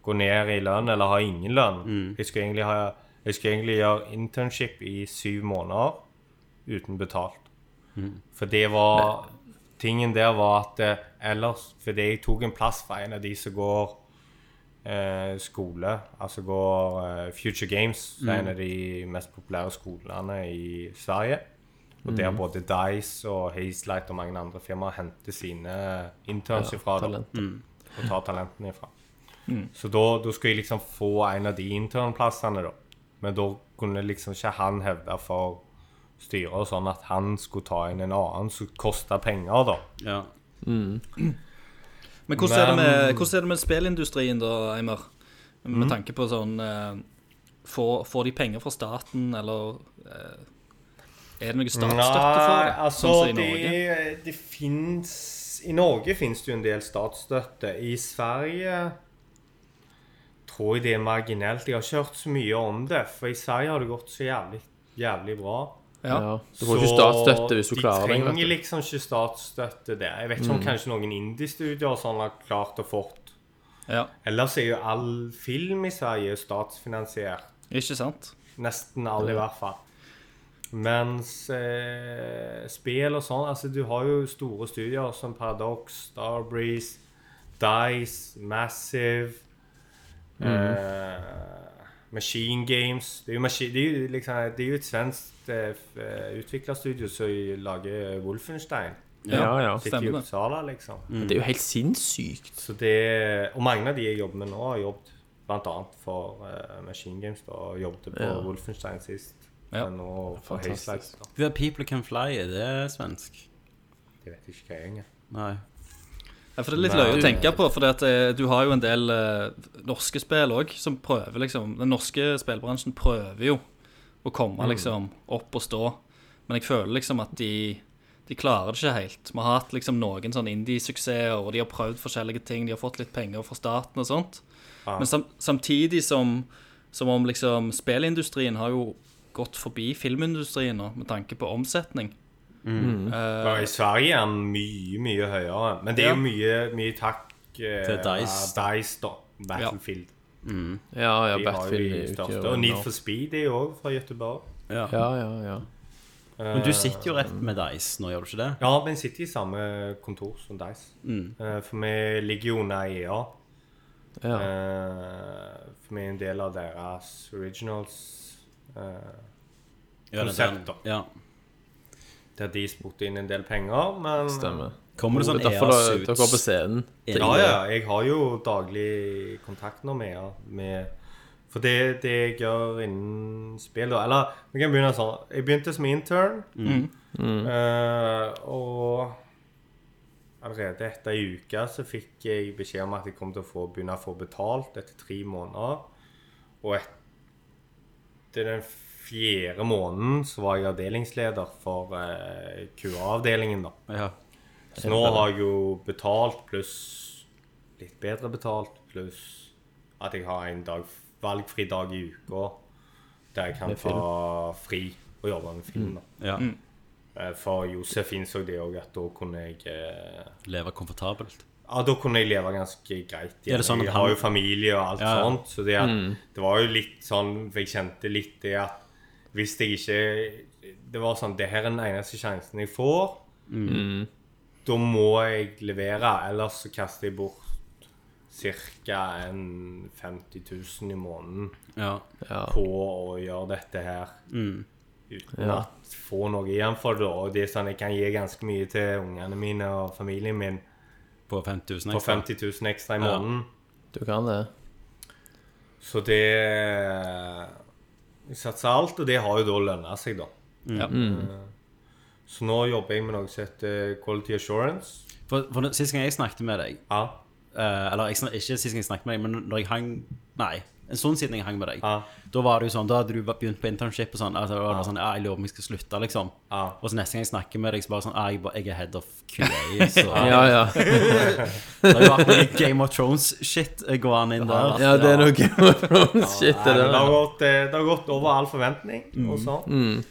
gå ned i lønn, eller ha ingen lønn. Jeg, skulle egentlig ha, jeg skulle egentlig gjøre internship i syv måneder uten betalt. For det var Tingen der var at eh, ellers Fordi jeg tok en plass for en av de som går eh, skole, altså går eh, Future Games, som er en av de mest populære skolene i Sverige. Og der både Dice og Hazelight og mange andre firmaer henter sine interns ifra. Da, talent. og tar talentene ifra. Så da, da skulle jeg liksom få en av de internplassene, da. Men da kunne liksom ikke han hevde for styret og sånn at han skulle ta inn en annen som kosta penger, da. Ja. Men hvordan, Er Men- det med, hvordan er det med spillindustrien, da, Eimer? Mm. Med tanke på sånn eh, får, får de penger fra staten, eller eh, Er det noe statsstøtte for det? Nei, altså sånn som i det, Norge? det fins I Norge fins det jo en del statsstøtte. I Sverige tror jeg det er marginelt. Jeg har ikke hørt så mye om det, for i Sverige har det gått så jævlig, jævlig bra. Ja. Ja. Du får ikke statsstøtte hvis du klarer det. det. De vet trenger du. Mm. liksom ikke statsstøtte der. Jeg vet ikke om kanskje noen indie-studier og sånn har klart å fått ja. Ellers er jo all film i Sverige statsfinansiert. Ikke sant? Nesten alle, i hvert fall. Mens eh, spill og sånn Altså, du har jo store studier som Paradox, Starbreeze, Dice, Massive Mm. eh, Machine Games det er, jo maski det, er jo liksom, det er jo et svensk eh, utviklerstudio som lager Wolfenstein. Ja, ja. Sitter i Stemmer det. Uppsala, liksom. Det er jo helt sinnssykt. Så det, og mange av de jeg jobber med nå, har jobbet bl.a. for eh, Machine Games. da, og Jobbet på Ja. Wolfenstein sist. Ja. Men nå for Fantastisk. Hayslide, da. The People Can Fly, er det svensk? Jeg vet ikke hva jeg er. Nei. Ja, for Det er litt løye å tenke på, for det at, eh, du har jo en del eh, norske spill òg som prøver liksom Den norske spillbransjen prøver jo å komme Mm. liksom opp og stå, men jeg føler liksom at de de klarer det ikke helt. Vi har hatt liksom noen sånn indie-suksesser, og de har prøvd forskjellige ting. De har fått litt penger fra staten og sånt. Men sam samtidig som, som om liksom spillindustrien har jo gått forbi filmindustrien nå, med tanke på omsetning. Eh. Ja, I Sverige er den mye, mye høyere. Men det er Ja. jo mye, mye takk eh, Til Dice. av Dice, da. Battlefield. Ja, ja, De har jo Battlefield de er jo største. ikke Og Need for Speed er jo òg fra Göteborg. Ja. Ja, ja, ja. Men du sitter jo rett med Dice nå, gjør du ikke det? Ja, men sitter i samme kontor som Dice. Mm. Eh, for vi ligger jo under E EA. ja. Eh, for vi er en del av deres originals. eh, Ja, det er Konsept, den. da. Ja. der de spurte inn en del penger, men Stemmer. Kommer det sånn det er derfor dere EA-suits? dere går på scenen. Ja, ja. Jeg har jo daglig kontakt nå med, med For det, det jeg gjør innen spill da, Eller vi kan begynne sånn. Jeg begynte som intern, eh, og allerede etter ei uke så fikk jeg beskjed om at jeg kom til å få, begynne å få betalt etter tre måneder. Og etter den fjerde måneden så var jeg avdelingsleder for eh, QA-avdelingen, da. Ja. Så nå har jeg jo betalt pluss litt bedre betalt, pluss at jeg har en dag, valgfri dag i uka der jeg kan Med film. ta fri og jobbe med film. da. ja. Eh, For Josef innså det òg, at da kunne jeg eh, Leve komfortabelt. Ja, da kunne jeg leve ganske greit. Er Igjen. det sånn at jeg han- har jo familie og alt Ja, ja. sånt, så det, at- det var jo litt sånn for Jeg kjente litt det at hvis jeg ikke Det var sånn Det her er den eneste sjansen jeg får. Mm. Da må jeg levere, ellers så kaster jeg bort ca. 50 000 i måneden Ja. Ja. på å gjøre dette her. Uten å få noe igjen for det. Og det er sånn, jeg kan gi ganske mye til ungene mine og familien min På 5000 på ekstra. 50 000 ekstra i måneden. Du kan det. Så det Jeg satser alt, og det har jo da lønna seg, da. Eh, Ja. Så nå jobber jeg med noe som heter eh, Quality Assurance. For, for når- Sist gang jeg snakket med deg Ja. eh, Eller jeg, snak- ikke sist gang jeg snakket med deg, men når jeg hang Nei, en stund siden jeg hang med Ah. deg. Ja. Da var det jo sånn, da hadde du begynt på internship og sånn. Altså, det var bare sånn, ja, jeg lurer på om jeg skal slutte, liksom. Ah. Ja. Og så neste gang jeg snakker med deg, så bare sånn, ja, jeg, bare, jeg er head of QA. Så Ja, ja. det har jo vært mye Game of Thrones-shit gående inn der. ja det er noe Game of Thrones-shit. Nei, det Mm. men det, der. har gått, eh, det har gått over all forventning og sånn.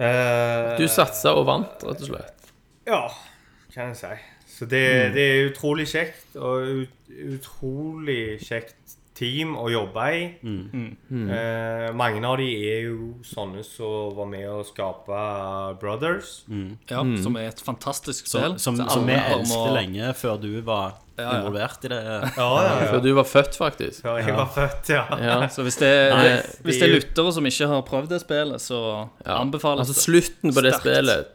Eh, Du satsa og vant, rett og slett. Ja, kan jeg si. Så det, Mm. det er utrolig kjekt, og ut, utrolig kjekt team å jobbe i. Mm. Eh, mange av de er jo sånne som var med å skape Brothers. Mm. Ja, som er et fantastisk Mm. Som, spill. som, Så som vi alle bare må- elsket lenge før du var ja. involvert i det. Ja, ja, ja. Før du var født, faktisk. Før jeg var født, ja. Ja. Så hvis det, Nei, det, hvis det er det- lyttere som ikke har prøvd det spillet, så Ja. anbefales Altså, slutten på det Sterkt.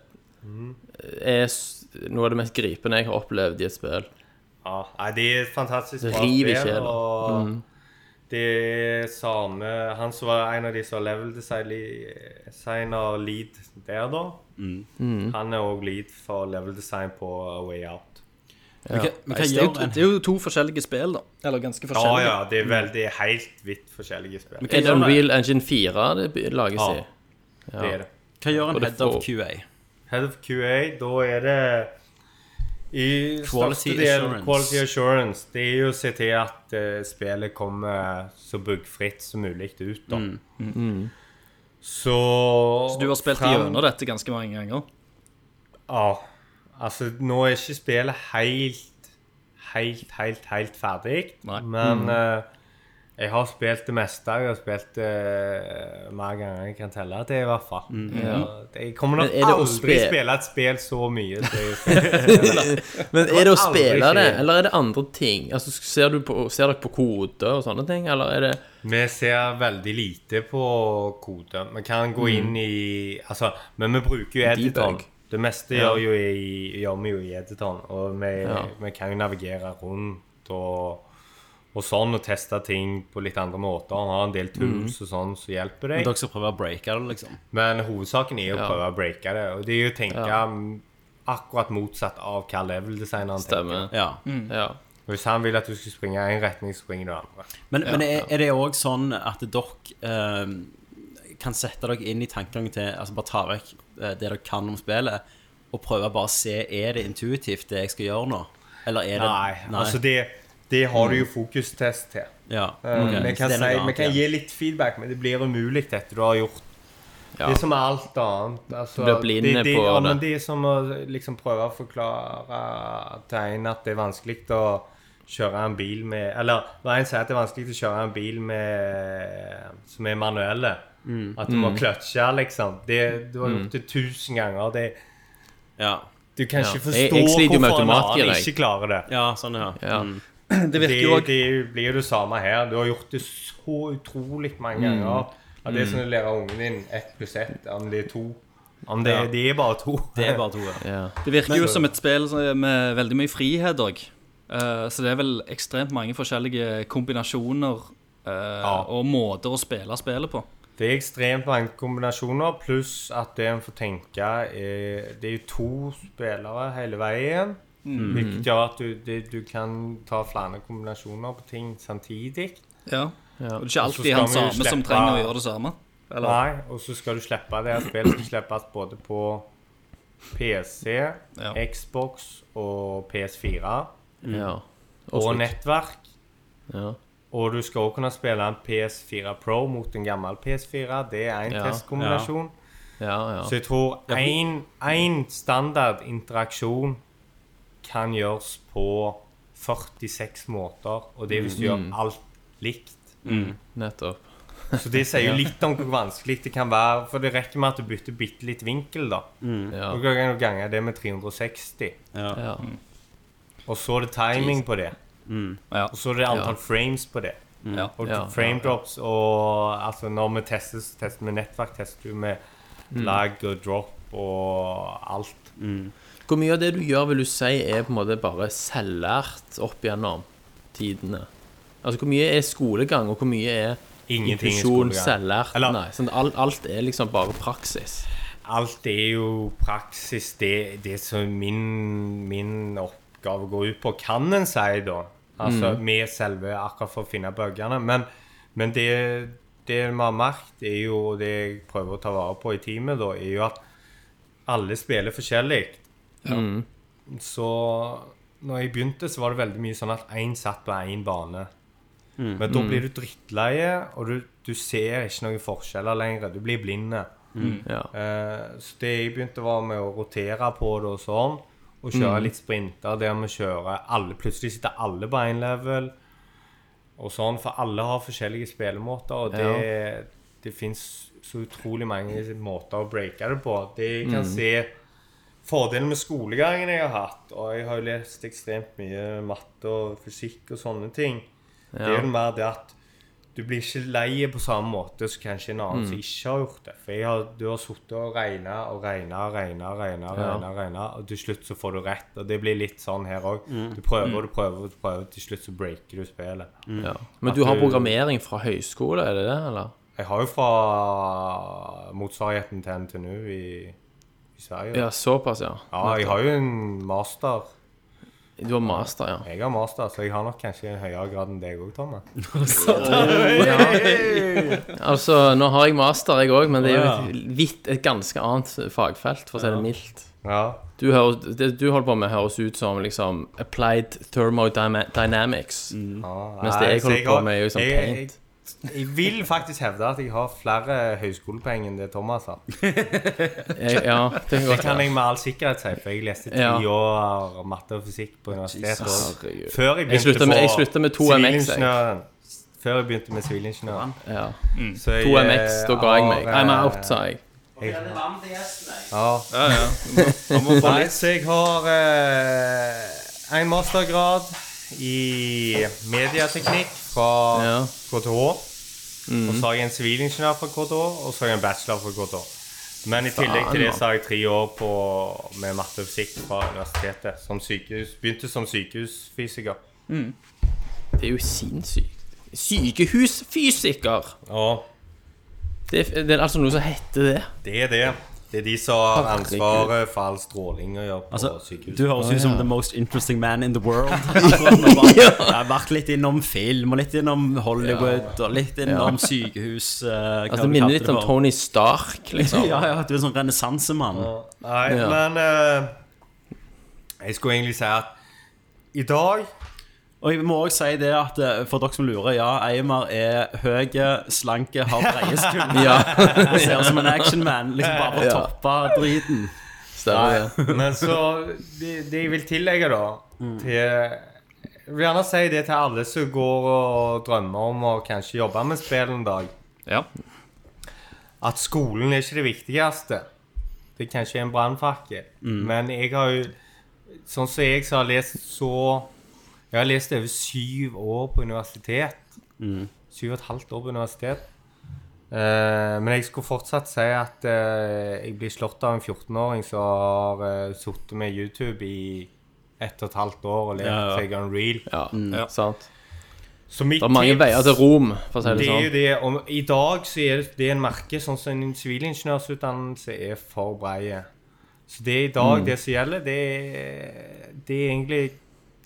spillet er s- noe av det mest gripende jeg har opplevd i et spill. Ja, nei, de er et fantastisk Det bra river Mm. i spill, sjela. og det er samme Han som var en av de som var level designer lead der, da. Mm. Han er òg lead for level design på A Way Out. Men hva- Men hva Det er, jo, gjør en det er jo to forskjellige spill, da. Eller ganske Ja, forskjellige. ja, det er veldig helt vidt forskjellige spill. Er det Unreal Engine 4 det by- lages Ja. i? Det er det. Hva gjør en Både head of for- QA? Head of QA, da er det i Quality største del assurance. quality assurance. Det er jo å se til at eh, spillet kommer så buggfritt som mulig ut. da. Så, Mm. Så du har spilt frem- gjennom dette ganske mange ganger. Ja. Altså, nå er ikke spillet helt, helt, helt, helt ferdig. Nei. Men eh, jeg har spilt det meste. Jeg har spilt det mer ganger jeg kan telle til, i hvert fall. Ja, Jeg kommer nok Mm. Men er det å aldri spe- spille et spill så mye. som jeg spiller. Men er det å aldri spille skje. det, eller er det andre ting? Altså, ser, du på, ser dere på kode og sånne ting, eller er det Vi ser veldig lite på kode. Vi kan gå inn i Altså, men vi bruker jo editoren. Debug. Det meste gjør, jo i, gjør vi jo i editoren, og vi, Ja. vi kan jo navigere rundt og, og sånn, og teste ting på litt andre måter. Han har en del tools og sånn som hjelper Men deg. dere skal prøve å breake det, liksom? Men hovedsaken er jo å prøve å breake det, og det er jo å tenke mm, akkurat motsatt av hva level-designeren tenker. stemmer? Ja. Mm. Ja. Hvis han vil at du skal springe i én retning, så springer du i andre. Men, men er, er det òg sånn at dere eh, kan sette dere inn i tankegangen til Altså bare ta vekk eh, det dere kan om spillet, og prøve bare å se Er det intuitivt, det jeg skal gjøre nå? Eller er det Nei, altså det, det har du jo fokustest til. ja, Eh, ok. Vi Så kan, det er noe si, vi annet kan igjen. gi litt feedback, men det blir umulig etter du har gjort Ja. Det er som med alt annet. Altså, Du blir blinde det, det, på ja, det. Men det er som å liksom prøve å forklare til en at det er vanskelig å kjøre en bil med Eller når en sier at det er vanskelig å kjøre en bil med som er manuelle, Mm. at du må Mm. kløtsje, liksom det, Du har gjort det tusen ganger. Det, ja. du kan Jeg- ikke jeg forstå sliter jo med hvorfor en automatgir, annen jeg. ikke klarer det. ja, sånn, ja. Ja. Mm. Det Det, virker jo også- det blir jo det samme her. Du har gjort det så utrolig mange ganger. Ja, det er som å lære ungen din ett pluss ett, om det er to. Om det, det er bare to. Det er bare to. Ja. ja. Det virker jo som et spill som- med veldig mye frihet òg. så det er vel ekstremt mange forskjellige kombinasjoner eh, og måter å spille spillet på. Det er ekstremt mange kombinasjoner, pluss at det en får tenke er, Det er jo to spillere hele veien. Mm. Hvilket gjør at du, det, du kan ta flere kombinasjoner på ting samtidig. Ja. Og det er ikke Og så alltid han skal vi jo samme som slippe- trenger å gjøre det samme. Eller? Nei, og så skal du slippe det her spillet. Skal slippes både på PC, Ja. Xbox og PS4. ja. og Switch. nettverk. Ja. Og du skal også kunne spille en PS4 Pro mot en gammel PS4. Det er en Ja, testkombinasjon. Ja, ja. Så jeg tror én standard interaksjon kan gjøres på 46 måter, og det er hvis du Mm. gjør alt likt. Nettopp. Så det sier jo litt om hvor vanskelig det kan være. For det rekker med at du bytter bitte litt vinkel, da. Mm. Ja. Og kan du gange det med 360. ja. Og så er det timing på det. Mm. Ja. Mm. Og så er det antall frames på det. Ja. Og Ja, frame drops og altså når vi tester, så tester vi nettverk, tester du med Mm. lag og drop og alt. Hvor mye av det du gjør, vil du si er på en måte bare selvlært opp gjennom tidene? Altså, hvor mye er skolegang, og hvor mye er Ingenting i inklusjon, skolegang. selvlært? Eller- Nei, sånn, alt, alt er liksom bare praksis. Alt er jo praksis, det, det som min, min oppgave går ut på, kan en si, da. Altså med selve akkurat for å finne bøkene. Men, men det, det vi har merket, er jo, og det jeg prøver å ta vare på i teamet, da, er jo at alle spiller forskjellig. Så når jeg begynte, så var det veldig mye sånn at én satt på én bane. Men da blir du drittleie, og du, du ser ikke noen forskjeller lenger. Du blir blinde. Ja. Eh, så det jeg begynte var med å rotere på det og sånn, og kjøre litt sprinter der vi kjører alle Plutselig sitter alle på én level og sånn, for alle har forskjellige spillemåter, og det, det fins så utrolig mange måter å breake det på. Det jeg kan se Fordelen med skolegangen jeg har hatt, og jeg har jo lest ekstremt mye matte og fysikk og sånne ting, det er jo mer det at Du blir ikke lei på samme måte som kanskje en annen som ikke har gjort det. For jeg har, du har sittet og regna og regna og regna, regna, regna, regna, og til slutt så får du rett. Og det blir litt sånn her òg. Du prøver og du prøver, og du prøver, til slutt så breaker du spillet. Ja. Men Mm. At du har du- programmering fra høyskole, er det det, eller? Jeg har jo fra motsvarigheten til NTNU i, i Sverige. Ja, såpass, ja. Ja, jeg har jo en master. Du har master, ja. Jeg har master, så jeg har nok kanskje en høyere grad enn deg òg, Tomme. Mm. Altså, nå har jeg master, jeg òg, men det er jo et, vidt, et ganske annet fagfelt, for å si det mildt. Ja. Du hører, det du holder på med, høres ut som liksom applied thermodynamics. Ja, Mm. Mens det Mm. nei, jeg så holder på har- med, er jo sånn jeg- jeg- paint. Jeg vil faktisk hevde at jeg har flere høyskolepoeng enn det Thomas har. Jeg, ja, det kan Det godt kan være. jeg med all sikkerhet si, for jeg leste ti Ja. år matte og fysikk på universitetet. også. Herregud. Før jeg Jeg begynte slutta med, jeg på slutta med 2MX. jeg. sivilingeniøren. Før jeg begynte med sivilingeniøren. Ja. Så jeg, 2MX, da ga jeg har, meg. I'm eh, out, sa jeg. Ja. Ja, ja. Man må få Nei, litt så jeg har eh, en mastergrad i medieteknikk fra Ja. KTH. Mm. Og så har jeg en sivilingeniør fra KTH, og så har jeg en bachelor fra KTH. Men i tillegg til det så har jeg tre år på, med matte og fysikk fra universitetet. Som sykehus, begynte som sykehusfysiker. Det er jo sinnssykt. Sykehusfysiker! Ja, Det er, det er altså noe som heter det. det er det. Det er de som har ansvaret for all stråling å gjøre på Altså, sykehus. du høres ut som the most interesting man in the world. Akkurat nå bare. Jeg har vært litt innom film, og litt innom Hollywood, og litt innom sykehus. eh, hva Altså, Det du minner kalte litt om for. Tony Stark, liksom. Ja, ja, du er en sånn renessansemann. Nei, Ja. men eh, Jeg skulle egentlig si at i dag Og jeg må også si det at eh, for dere som lurer, ja, Eimar er høy, slanke, har breie skuldre. Ja, og Ser ut som en actionman, liksom bare for å Ja. toppe driten. stemmer det. Men så Det, det jeg vil tillegge, da til, Jeg vil gjerne si det til alle som går og drømmer om å kanskje jobbe med spill en dag, Ja. at skolen er ikke det viktigste. Det er kanskje en brannfakkel, men jeg har jo Sånn som jeg som har lest så Jeg har lest over syv år på universitet. Syv og et halvt år på universitet. Eh, men jeg skulle fortsatt si at eh, jeg blir slått av en 14-åring som har uh, sittet med YouTube i ett og et halvt år og lekt Ja, ja. seg Unreal. Ja, Mm. Ja. sant. Så mitt Det er mange tips- veier til Rom, for å si det det er jo sånn. det, og I dag så er det en merke sånn som en sivilingeniørsutdannelse er for breie. Så det er i dag Mm. det som gjelder. Det er, det er egentlig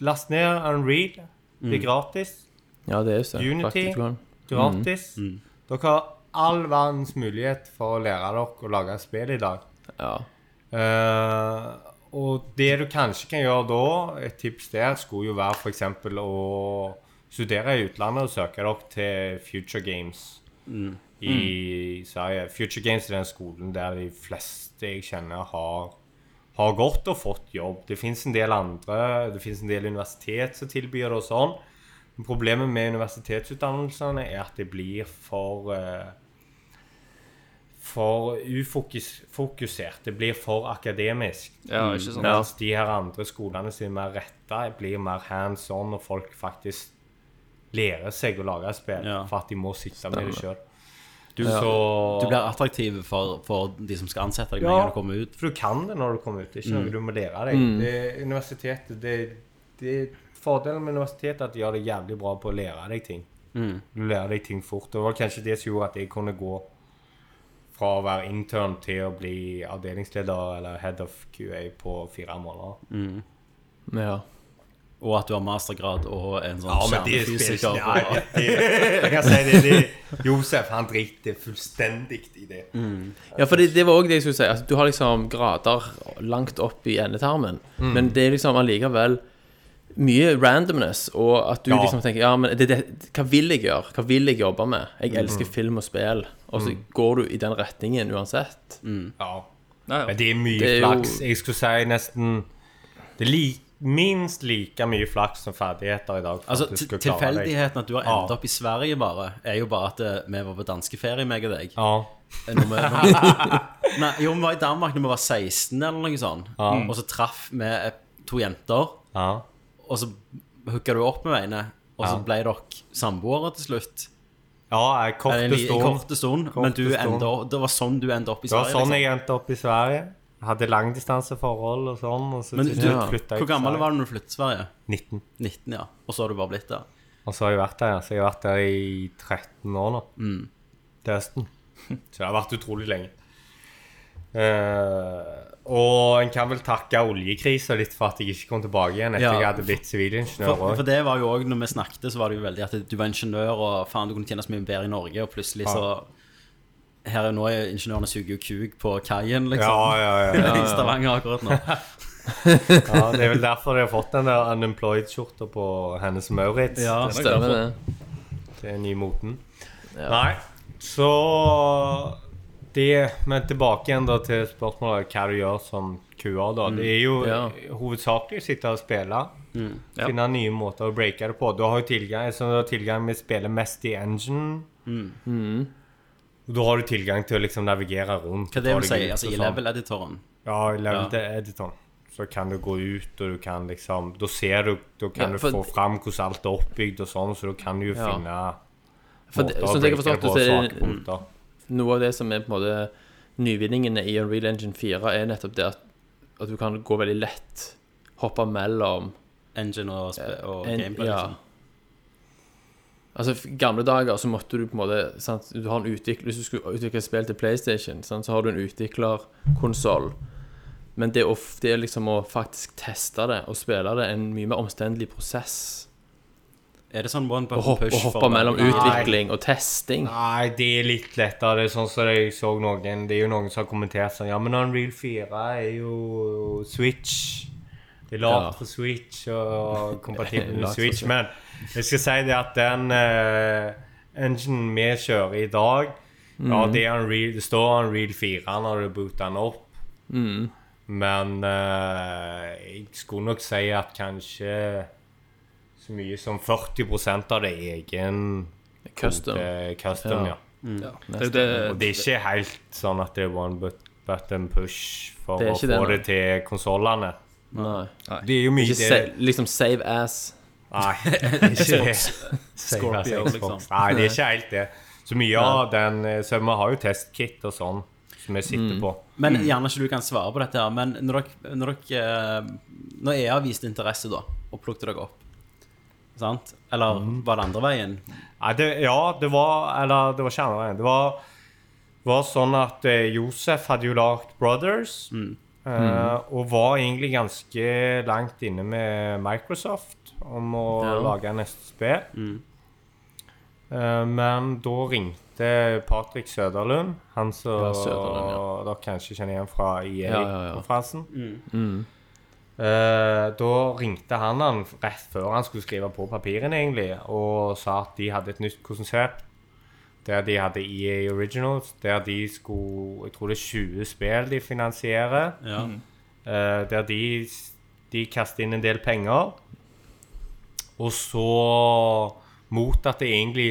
Last ned Unreal. Det Mm. er gratis. Ja, det er jo det. Unity. Faktisk, Ron. Gratis. Dere har all verdens mulighet for å lære dere å lage spill i dag. Ja. Eh, og det du kanskje kan gjøre da, et tips der, skulle jo være f.eks. å studere i utlandet og søke dere til Future Games i Sverige. Future Games er den skolen der de fleste jeg kjenner, har, har gått og fått jobb. Det fins en del andre, det fins en del universitet som tilbyr det og sånn. Men Problemet med universitetsutdannelsene er at det blir for eh, for ufokusert. Det blir for akademisk. Ja, ikke sant? Mens de her andre skolene som er mer retta, blir mer hands on, og folk faktisk lærer seg å lage spill Ja. for at de må sitte med det sjøl. Ja. Så Du blir attraktiv for, for de som skal ansette deg med en Ja. gang du kommer ut. For du kan det når du kommer ut. Det er ikke Mm. noe du må lære deg. Det, universitetet, det, det Fordelen med universitetet er at de gjør det jævlig bra på å lære deg ting. Mm. Du lærer deg ting fort. Det var kanskje det som gjorde at jeg kunne gå fra å være intern til å bli avdelingsleder eller head of QA på fire måneder. ja. Og at du har mastergrad og en sånn Ja, men det spiller ikke kjernefysiker. Nei, på- det, Jeg kan si det, det Josef, han driter fullstendig i det. Mm. ja for det, det var òg det jeg skulle si. Altså, du har liksom grader langt opp i endetarmen, Mm. men det er liksom allikevel mye randomness, og at du Ja. liksom tenker Ja, men det, det, hva vil jeg gjøre? Hva vil jeg jobbe med? Mm. Jeg elsker film og spill, og så går du i den retningen uansett. Ja. Ja, ja. Men det er mye Det er jo- flaks. Jeg skulle si nesten Det er li, minst like mye flaks som ferdigheter i dag. for Altså, at du til- skal klare deg. Tilfeldigheten at du har Ja. endt opp i Sverige, bare, er jo bare at eh, vi var på danskeferie, meg og deg. Eh, Ja. Når vi, når vi, nei, jo, vi var i Danmark da vi var 16 eller noe sånt. Og så traff vi eh, to jenter, ja. og så hooka du opp med henne. Og så ble dere samboere til slutt. Ja, jeg Eller en korte li- en stål. kort stund, Kort men du stund. enda, det var sånn du endte opp i Det var Sverige. sånn liksom. jeg endte opp i Sverige. Jeg hadde langdistanseforhold og sånn. Og så Men til du, slutt flyttet hvor jeg til gammel Sverige. var du når du flyttet til Sverige? 19. 19, ja. Og så har du bare blitt der. Og så har jeg vært der, ja. så jeg har vært der i 13 år nå. Mm. Til høsten. Så jeg har vært utrolig lenge. Eh, og en kan vel takke oljekrisa litt for at jeg ikke kom tilbake igjen etter Ja. jeg hadde blitt sivilingeniør. For, også. for det var jo også, når vi snakket, så var det jo veldig at du var ingeniør, og faen, du kunne tjene så mye bedre i Norge, og plutselig så Her er nå er ingeniørene suger jo kuk på kaien, Ja, liksom. ja, ja. I Stavanger akkurat nå. ja, det er vel derfor jeg har fått den der unemployed-skjorta på Hennes Maurits. Ja, Stemmer det. Det er ny moten. Nei, så det, Men tilbake igjen da til spørsmålet hva du gjør som QA. Mm. da. Det er jo Ja. hovedsakelig å sitte og spille. Finne nye måter å breake det på. Du har jo tilgang så du har tilgang med å spille mest i engine. Mm. Og Da har du tilgang til å liksom navigere rundt. Hva det ta vil deg si? ut Altså, og I sånn. level-editoren. Ja, i level Ja. til editoren. Så kan du gå ut, og du kan liksom Da ser du Da kan Ja, du for- få fram hvordan alt er oppbygd og sånn, så du kan jo Ja. finne For det- sånn som jeg har forstått det, så er det- det Noe av det som er på en måte nyvinningene i Unreal Engine 4, er nettopp det at, at du kan gå veldig lett, hoppe mellom Engine og, sp- og en- gameplay. ja. Liksom. Altså, f- gamle dager så måtte du på en måte sant? Du har en utvikler, Hvis du skulle utvikle et spill til PlayStation, sant? så har du en utviklerkonsoll. Men det å, f- det liksom å faktisk teste det og spille det er en mye mer omstendelig prosess. Er det sånn one Å button hoppe, push? å for- hoppe mellom utvikling og testing. Nei, det er litt lettere. Det er sånn som jeg så noen Det er jo noen som har kommentert sånn Ja, men Unreal 4 er jo Switch. Det er Ja. lagd for Switch og kompatibelt med Lagd for Switch. Switch. Men jeg skal si det at den uh, enginen vi kjører i dag Ja, Mhm. det, er Unreal, det står Unreal 4 når du booter den opp. Mhm. Men eh, jeg skulle nok si at kanskje så mye som 40 av det er egen Custom. kvote- custom ja. Ja. Ja. Det, er jo det, Og det er ikke helt sånn at det er one but- button push for Det er å ikke få det, det, nei. til konsollene. Nei. Det er jo mye Ikke det sa, liksom save ass. Nei, ikke det. Scorpio, liksom. Nei, det er ikke helt det. Så mye av den eh, Så vi har jo testkit og sånn som vi sitter Mm. på. Men gjerne ikke du kan svare på dette, her, men når dere, når dere eh, Når EA viste interesse, da, og plukket dere opp, sant? Eller Mm. var det andre veien? Nei, det, ja, det var Eller det var ikke andre veien. Det var, var sånn at eh, Josef hadde jo lagd Brothers. Mm. eh, Og var egentlig ganske langt inne med Microsoft om å Ja. Mm. lage neste spill. Eh, men da ringte Patrick Søderlund, han som Ja, Søderlund, ja. dere kanskje kjenner igjen fra Ja, ja, Mm. ja. EA-konferansen. Eh, da ringte han han rett før han skulle skrive på papirene, egentlig, og sa at de hadde et nytt konsept der de hadde EA Originals, der de skulle Jeg tror det er 20 spill de finansierer. Ja. eh, der de, de kaster inn en del penger. Og så mot at det egentlig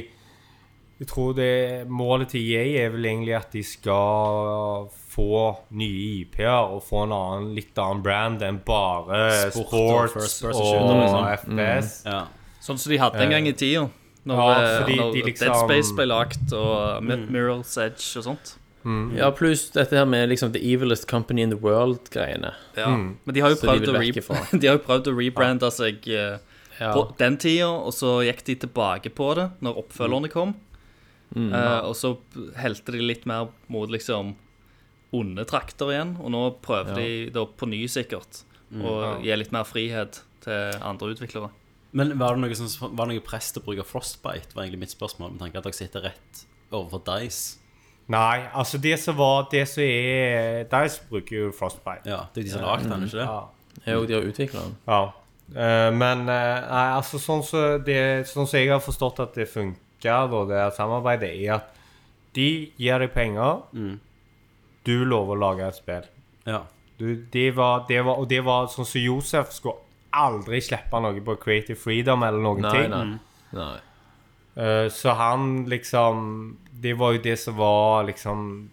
Jeg tror det målet til EA er vel egentlig at de skal få nye IP-er og få en annen, litt annen brand enn bare Sport og sports first og, person shooter, liksom. FPS. ja. sånn som de hadde en gang i tida. Når, Eh, Ja, eh, fordi når de liksom- Dead Space ble lagt, og mm. Mirror's Edge og sånt. Ja, pluss dette her med liksom The Evilest Company in the World-greiene. Ja. Mm. Men de har jo Så de prøvd vil å, vekk re ifra. de har jo prøvd å rebrande seg eh, Ja. på den tida, og så gikk de tilbake på det når oppfølgerne kom. Eh, og så helte de litt mer mot liksom onde trakter igjen, og nå prøver de da på ny sikkert å gi litt mer frihet til andre utviklere. Men var det, noe som, var det noe press til å bruke frostbite, var egentlig mitt spørsmål, med tanke at dere sitter rett overfor Dice. Nei, altså det som var Det som er Dice bruker jo Frostbite. Ja, det er jo de som har lagd den, ikke det? Jo, de har utvikla den. Ja. Eh, men eh, nei, altså sånn som det- sånn som jeg har forstått at det funker, da, det her samarbeidet, er at de gir deg penger, Mm. du lover å lage et spill. Ja. Du, det var, det var, og det var sånn som Josef skulle aldri slippe noe på Creative Freedom eller noen Nei, ting. nei. nei. Eh, så han liksom Det var jo det som var liksom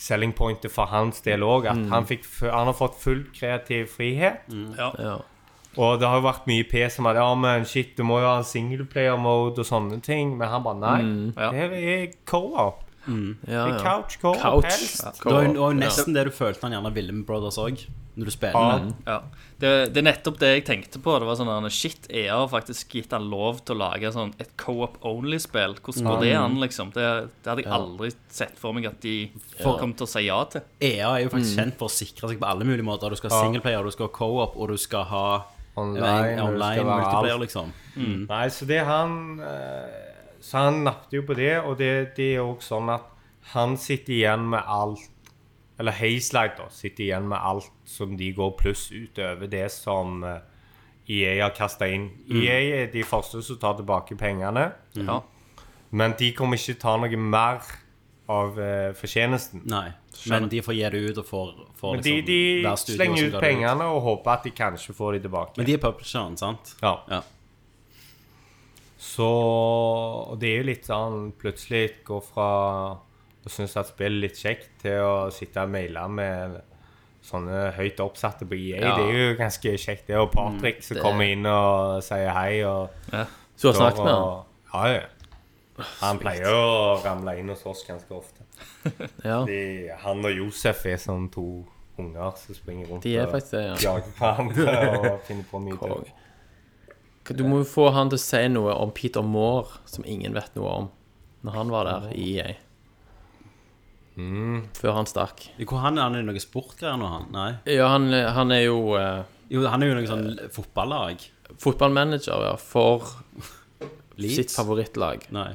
selling Mm. pointet for hans del òg, at han, fikk, fu- han har fått full kreativ frihet. Ja. Ja. Og det har jo vært mye pes om at ja, men shit, du må jo ha singleplayer-mode og sånne ting. Men han bare nei. ja. Det er co-op. Mm. Ja, Det ja. er couch co-op. helst. Couch. Det var jo det var jo nesten det du følte han gjerne ville med Brothers òg, når du spiller Ja. med den. Ja. Det, det er nettopp det jeg tenkte på. Det var sånn der, Shit, EA har faktisk gitt han lov til å lage sånn et co-op only-spill. Hvordan går det an, liksom? Det, det hadde jeg aldri sett for meg at de kom til å si ja til. EA E er jo faktisk Mm. kjent for å sikre seg på alle mulige måter. Du skal ha singleplayer, du skal ha co-op, og du skal ha Online, og det online, skal online være alt. multiplayer, liksom. Nei, så det han eh, Så han nappet jo på det, og det, det er òg sånn at han sitter igjen med alt Eller Hazelight da, sitter igjen med alt som de går pluss utover det som eh, EA har kasta inn. EA er de første som tar tilbake pengene, Ja. men de kommer ikke ta noe mer av eh, fortjenesten. Nei. Men de får gi det ut og får, får Men de, liksom, de hver studio som slenger ut ga det pengene og håper at de kanskje får de tilbake. Men de er publisheren, sant? ja. Ja. Så og det er jo litt sånn plutselig gå fra å synes at spill er litt kjekt, til å sitte og maile med sånne høyt oppsatte på EA. Ja. Mm, Det er jo ganske kjekt. Det er jo Patrick som det- kommer inn og sier hei. og Så du har snakket med han? og- Ja, ja. Han pleier å ramle inn hos oss ganske ofte. Ja. De, han og Josef er som to unger som springer rundt De er og faktisk det, ja. jager på hverandre og finner på mye tull. Kong. Du må jo få han til å si noe om Peter Moore, som ingen vet noe om, når han var der i EA. Før han stakk. Hvor han er han i noe sportgreier nå, han? Nei. Ja, han, han er jo eh, Jo, han er jo noe sånn fotballag. fotballmanager ja, for sitt Leeds? favorittlag. Nei.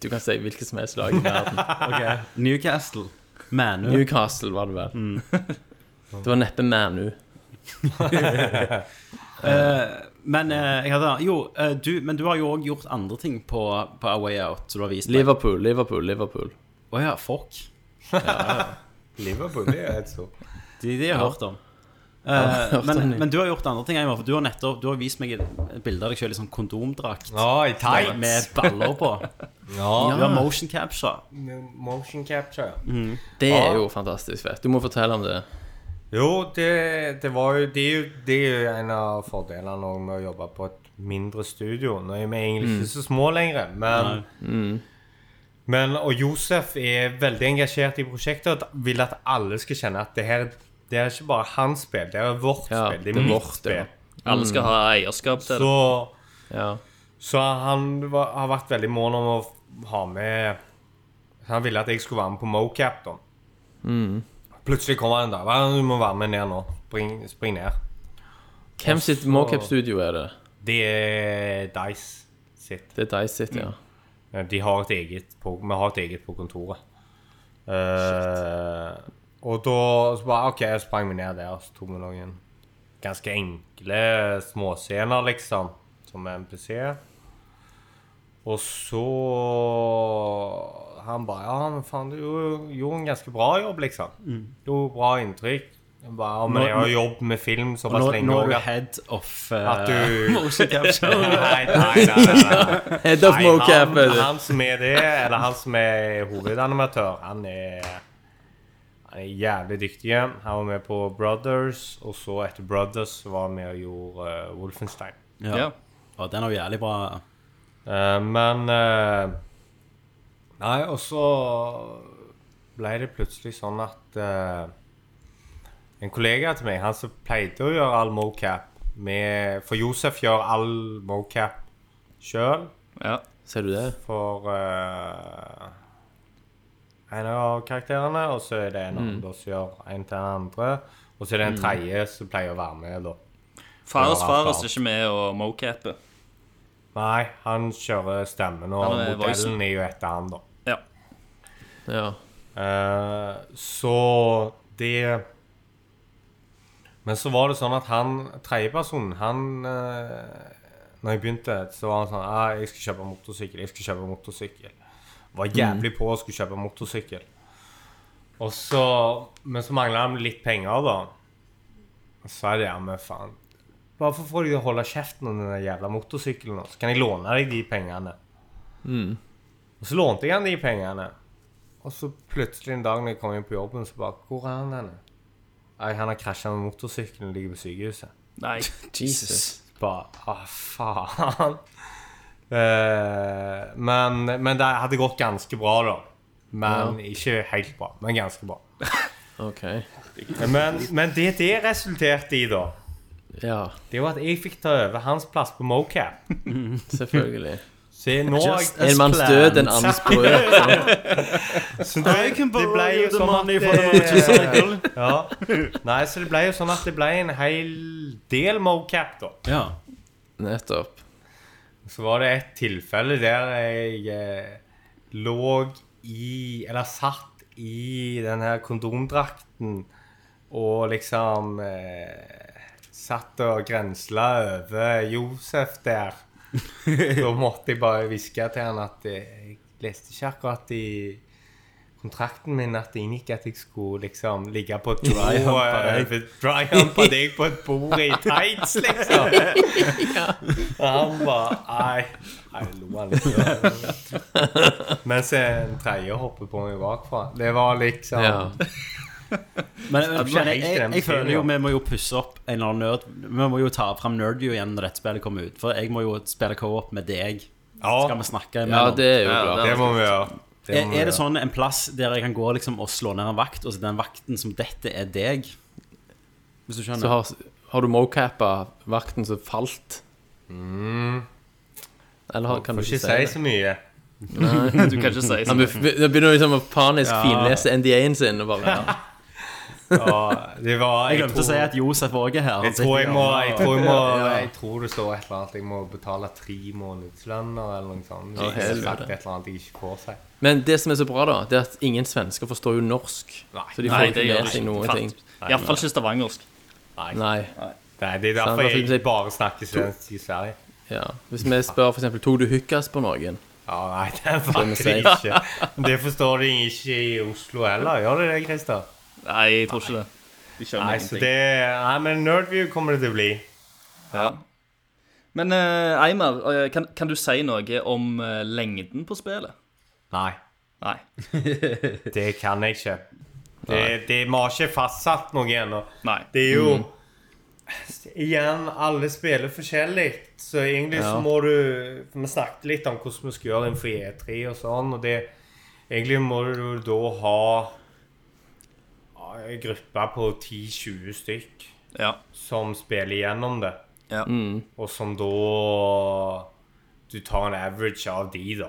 Du kan si hvilket som helst lag i verden. Newcastle. Manu. Newcastle var det vel. Mm. Det var neppe Manu. Men eh, jeg hadde Jo, eh, du, men du har jo òg gjort andre ting på, på A Way Out, som du har vist meg. Liverpool, Liverpool, Liverpool. Å ja, fuck. Liverpool det er et stort De, de har jeg hørt om. Eh, har hørt om men, de. men du har gjort andre ting, Einar. For du har nettopp Du har vist meg et bilde av deg sjøl i sånn kondomdrakt Oi, med baller på. Du har motion capture. Motion capture. Det er jo fantastisk fett. Du må fortelle om det. Jo, det, det var jo det, er jo- det er jo en av fordelene også med å jobbe på et mindre studio. Nå er vi egentlig Mm. ikke så små lenger, men, Mm. men Og Josef er veldig engasjert i prosjektet og vil at alle skal kjenne at det her det er ikke bare hans spill, det er vårt Ja, spill. Det det er er mitt vårt, ja. spill. Alle skal ha eierskap til det. Så Ja. Så han var, har vært veldig mål om å ha med Han ville at jeg skulle være med på mocap, da. Plutselig kommer han en dag. «Hva, Du må være med ned nå. Spring, spring ned. Hvem sitt mocap-studio er det? Det er Dice sitt. Det er Dice sitt, ja. Eh, De har et eget på, vi har et eget på kontoret. Eh, og da så bare, OK, jeg sprang vi ned der, så tok vi noen ganske enkle småscener, liksom, som MPC. Og så Han bare Ja, men faen, du gjorde- gjorde en ganske bra jobb, liksom. Mm. Gjorde bra inntrykk. Jeg Bare, ja, men jeg har jobb med film Og nå, såpass lenge nå er også du at- head of eh, at du motion capture. Nei, nei, nei. nei, nei. Head of Nei, mocap. han, han som er det, eller han som er hovedanimatør, han er, han er jævlig dyktig. Han var med på Brothers, og så etter Brothers så var han med og gjorde eh, Wolfenstein. Ja. Ja. Og den er jo jævlig bra. Eh, men eh, Nei, og så ble det plutselig sånn at eh, En kollega til meg, han som pleide å gjøre all mocap med For Josef gjør all mocap sjøl. Ja. Ser du det? for eh, en av karakterene, og så er det en annen da som gjør en til den andre. Og så er det en tredje som pleier å være med, da. Fares Ja, Fares faen. er ikke med og mocaper. Nei, han kjører stemmen, og Han er modellen voicen. er jo etter han, da. Ja. Ja. Eh, så det Men så var det sånn at han tredjepersonen, han eh, Når jeg begynte, så var han sånn ah, 'Jeg skal kjøpe motorsykkel, jeg skal kjøpe motorsykkel'. Var jævlig på å skulle kjøpe motorsykkel. Og så Men så mangla han litt penger, da. Og så er det ja, men faen Hvorfor får du å holde kjeften om den der jævla motorsykkelen, nå? så kan jeg låne deg de pengene. Og så lånte jeg han de pengene. Og så plutselig en dag når jeg kom inn på jobben, så bare Hvor er han henne? Nei, han har krasja med motorsykkelen og ligger på sykehuset. Nei. Jesus. Bare Ah, faen. Eh, men, men det hadde gått ganske bra, da. Men ikke helt bra, men ganske bra. OK. Men, men det det resulterte i, da, Ja, det var at jeg fikk ta over hans plass på mocap. selvfølgelig. Så jeg- nå Just En manns død, en annens brød. Så det, det ble jo sånn at det, ja. Nei, så det ble jo sånn at det ble en hel del mocap, da. Ja. Nettopp. Så var det et tilfelle der jeg eh, lå i Eller satt i den her kondomdrakten og liksom eh, Satt og grensla over Josef der. Da måtte jeg bare hviske til han at eh, jeg leste ikke akkurat i kontrakten min at det inngikk at jeg skulle liksom ligge på et bord over- dryhumpa deg på et bord i tights, liksom. Og han bare Nei, jeg lo han litt. Mens en tredje hopper på meg bakfra. Det var liksom Ja. Men men, det var kjenner jeg, helt jeg, jeg glemt føler til, jo ja. vi må jo pusse opp en eller annen nerd. Vi må jo ta fram Nerdview igjen når dette spillet kommer ut. For jeg må jo spille co-op med deg. Skal Ja, vi snakke ja, imellom? det er jo Ja, bra. det må vi gjøre. Det Er, må vi er det gjøre. sånn en plass der jeg kan gå liksom og slå ned en vakt, og så den vakten som dette er deg? Hvis du Så skjønner? har, har du mocappa vakten som falt? Eller har, kan du Får ikke ikke si si det? så mye. Du kan ikke si Han sånn. be- be- begynner liksom å panisk finlese NDA-en sin og bare ja. Ja, det var Jeg glemte å si at Josef òg er her. jeg tror jeg må, jeg tror, jeg må jeg tror det står et eller annet. Jeg må betale tre månedslønner eller noe sånt. Jeg har sagt et eller annet jeg ikke får si. Men det som er så bra, da, det er at ingen svensker forstår jo norsk. Så de får Nei, ikke det gjør med det seg noen ting. ikke. Iallfall ikke stavangersk. Nei. Nei, det er Sant, derfor derfor jeg jeg- bare snakker svensk i Sverige. Ja. Hvis vi spør f.eks.: Tok du hookas på noen? Ja, nei, det er faktisk sier. ikke. Det forstår de ikke i Oslo heller. Gjør de det, Christer? Nei, jeg tror ikke det. De skjønner Nei, så ingenting. det, nei, men Nerdview kommer det til å bli. Ja. Men eh, Eimer, eh, kan, kan du si noe om eh, lengden på spillet? Nei, Nei. det kan jeg ikke. Det, det, vi har ikke fastsatt noe ennå. Nei. Det er jo Igjen, alle spiller forskjellig. Så egentlig så Ja. må du for Vi snakket litt om hvordan vi skal gjøre innenfor E3 og sånn, og det Egentlig må du da ha ja, en gruppe på 10-20 stykk Ja. som spiller igjennom det. Ja. Og som da Du tar en average av de, da.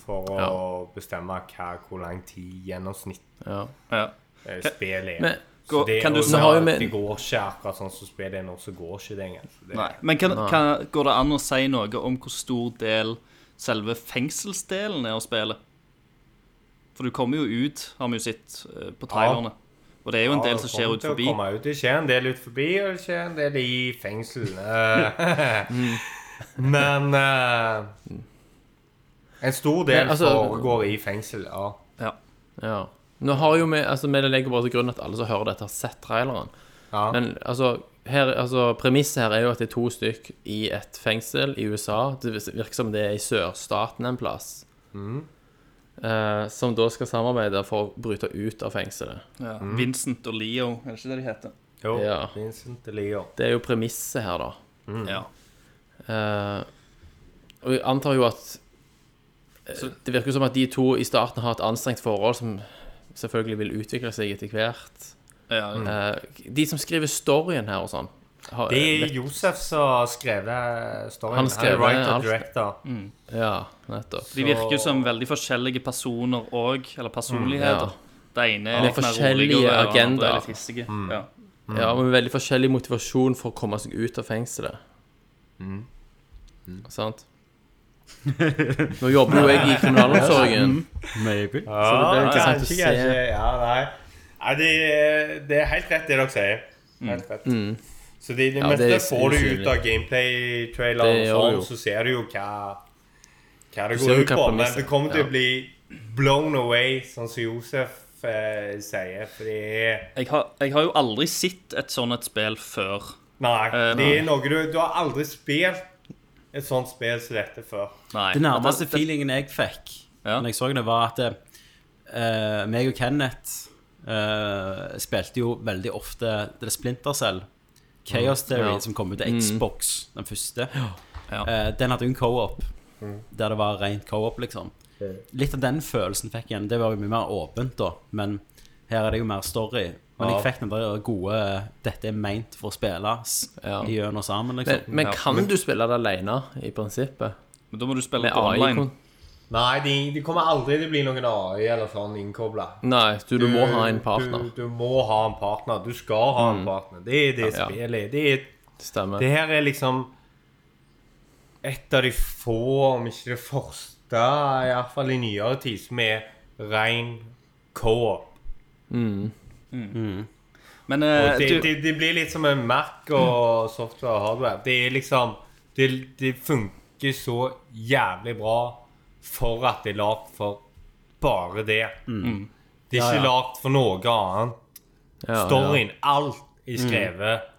For å bestemme hva, hvor lang tid gjennomsnitt Ja. ja. eh, spillet er. Men Så det, kan du og si- det- Har jo med- det går ikke akkurat sånn som spillet er nå, så går ikke det engang. Så det- Nei. Men kan, kan, går det an å si noe om hvor stor del selve fengselsdelen er av spillet? For du kommer jo ut, har vi jo sett eh, på trailerne. Og det er jo en Ja, del som skjer kommer ut til å forbi. komme Ut. Det skjer en del ut forbi, og det skjer en del i fengsel. Eh, Men eh, En stor del Men, altså- foregår i fengsel, ja. Ja. ja. Nå har jo vi altså, Vi legger bare til grunn at alle som hører dette, har sett traileren. ja. Men altså, her, altså premisset her er jo at det er to stykk i et fengsel i USA. Det virker som det er i sørstaten en plass. Mm. Eh, som da skal samarbeide for å bryte ut av fengselet. ja. Mm. Vincent og Leo, er det ikke det de heter? jo, ja. Vincent de Leo. Det er jo premisset her, da. Mm. Ja. Eh, og jeg antar jo at eh, Det virker jo som at de to i starten har et anstrengt forhold som selvfølgelig vil utvikle seg etter hvert. ja. Mm. Eh, de som skriver storyen her og sånn har, Det er Josef som har skrevet storyen. Han Han skrev er writer alt. director. Ja, nettopp. De virker jo som veldig forskjellige personer òg, eller personligheter. Mm, Ja. Det ene er Med litt mer forskjellige rolig, og det andre agendaer. Mm. er litt hissige. Ja. Ja, men veldig forskjellig motivasjon for å komme seg ut av fengselet. Sant? Nå jobber jo jeg i kriminalomsorgen. Maybe. Ja, det blir interessant å kanskje, se. kanskje. Ja, nei. Nei, det, det er helt rett det dere sier. Helt rett. Så det, det Mm. Ja, meste det er får du usynlig. ut av gameplay-traileren, Det og gjør sånn, du jo. så ser du jo hva, hva det Du ser går jo ut hva på. Men premisset- det kommer til ja. å bli blown away, sånn som Josef eh, sier. For det er Jeg, har, jeg har jo aldri sett et sånn et spill før. Nei, Eh, det er noe du Du har aldri spilt et sånt spill som dette før. Nei. Det nærmeste feelingen jeg fikk Ja. Når jeg så det, var at eh, meg og Kenneth eh, spilte jo veldig ofte The Splinter Cell Chaos Theory, Ja. som kom ut til Xbox, den første. Ja. Eh, den hadde jo en co-op, der det var rent co-op, liksom. Litt av den følelsen fikk jeg igjen. Det var jo mye mer åpent, da. Men her er det jo mer story. Men jeg fikk den der gode 'dette er meint for å spilles' Ja. gjennom sammen, Men, liksom. men kan du spille det alene, i prinsippet? Men da må du spille Med det online. AI-kon? Nei, de, de kommer aldri til å bli noen AI eller sånn innkobla. Nei, du, du må ha en partner. Mm. Du, du må ha en partner. Du skal ha en partner. Det er det Ja. spillet. Det, er, Stemmer. det her er liksom et av de få, om ikke det første, iallfall i nyere tid, som er rein co-op. Men eh, Og Det, du, det, det blir litt som en Mac og software og hardware. Det er liksom Det, det funker så jævlig bra for at det er lagd for bare det. Mm. Det er ikke lagd for noe annet. Ja, ja. Mm. Storyen, alt, er skrevet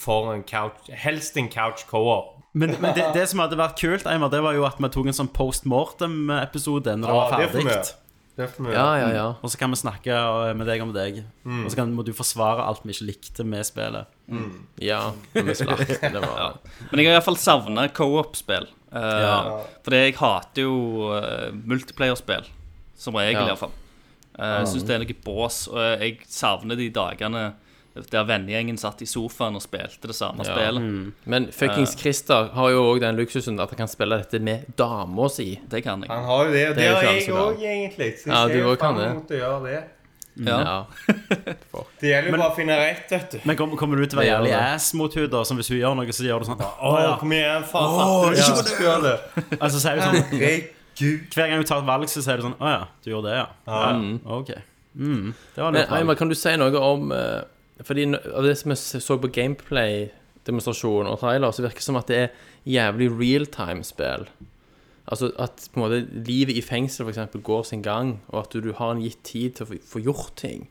for en couch Helst en couch co-op. Men, men det, det som hadde vært kult, Eimer, det var jo at vi tok en sånn post mortem-episode når det var det er for ferdig. mye. Det er for mye. Ja, ja, ja. Og så kan vi snakke eh, med deg om deg. Mm. Og så kan, må du forsvare alt vi ikke likte med spillet. Ja, men vi slapp. Det var men jeg har iallfall savna co-op-spill. Uh, Ja. Fordi jeg hater jo eh, multiplayer-spill. Som regel, Ja. iallfall. Eh, Jeg syns det er noe bås, og jeg savner de dagene der vennegjengen satt i sofaen og spilte det samme Ja. spillet. Mm. Men fuckings Christer har jo òg den luksusen at han kan spille dette med dama si. Det kan jeg. Han har jo det, og Det det er jo har ikke alle jeg som òg, egentlig. Så Ja, jeg du ser også kan frem det. mot å gjøre det. Ja. Ja. Det gjelder jo bare å finne rett, vet du. Men kom, kommer du til å være Det gjør jævlig det. ass mot henne, da? Som hvis hun gjør noe, så gjør du sånn Å, kom igjen, faen. fatter du ikke skal gjøre det? Altså, så er du sånn Herregud. Hver gang du tar et valg, så sier du sånn Å ja, du gjorde det, ja. ja. Ok. Mm. Det var Men lurt. Aymar, valg. Eh, kan du si noe om eh, Fordi n- av det som jeg s- så på gameplay-demonstrasjonen og trailer, så virker det som at det er jævlig realtime-spill. Altså at på en måte livet i fengsel for eksempel går sin gang, og at du, du har en gitt tid til å få- få gjort ting.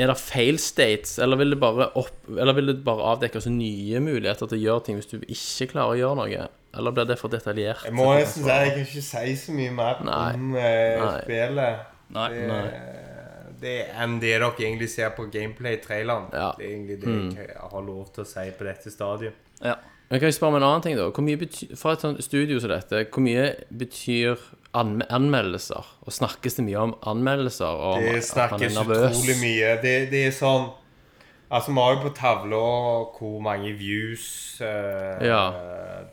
Er det fail states, eller vil det bare, opp, eller vil det bare avdekkes nye muligheter til å gjøre ting hvis du ikke klarer å gjøre noe? Eller blir det for detaljert? Jeg må nesten si jeg kan ikke si så mye mer Nei. om eh, Nei. spillet. Nei. Det, eh, det er enn det dere egentlig ser på gameplay-traileren. Ja. Mm. Det er egentlig det jeg har lov til å si på dette stadiet. Ja. Men kan jeg spørre om en annen ting, da? Hvor mye betyr, fra et sånt studio som dette, hvor mye betyr anme anmeldelser? Og snakkes det mye om anmeldelser? Og om Det at han er snakkes nervøs? utrolig mye. Det, det er sånn Altså, vi har jo på tavla hvor mange views eh, Ja.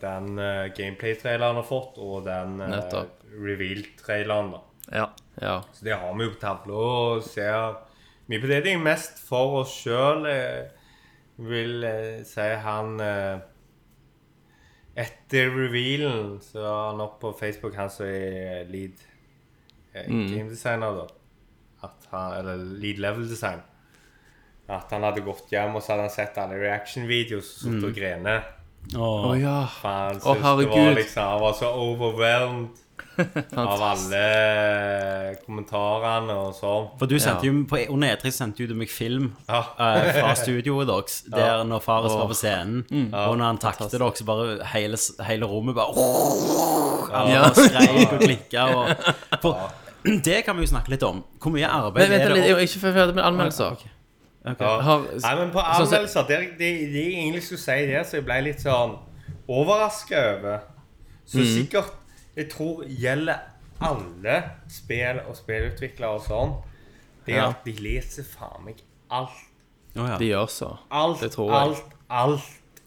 den eh, gameplay-traileren har fått, og den eh, Nettopp. reveal-traileren, da. Ja. Ja. Så det har vi jo på tavla og ser mye på det. Det er mest for oss sjøl, vil eh, si han eh, Etter revealen så er han opp på Facebook, han som er lead eh, game designer, da. At han, eller lead level design. At han hadde gått hjem og så hadde han sett alle reaction-videoer og sittet og grene. Å ja. For Å, han syntes det var herregud. liksom Han var så overwhelmed av alle kommentarene og sånn. For du sendte Ja. jo på under E3 sendte jo du meg film Ja. eh, fra studioet deres, der når Fares var på scenen, Mm. og når han takte dere, så bare hele, s- hele rommet bare Alle Ja. skreik og klikka og For det kan vi jo snakke litt om. Hvor mye arbeid Men vent er litt, det jeg er ikke ferdig med anmeldelser. Ok. Ja. Har- Nei, men på sånn som- anmeldelser Det det- det jeg egentlig skulle si der, så jeg ble litt sånn overraska over. Så Mm. sikkert Jeg tror gjelder alle spill og spillutviklere og sånn. Det er Ja. at de leser faen meg alt. Å, ja. De gjør så. Alt, Det tror jeg. alt, alt.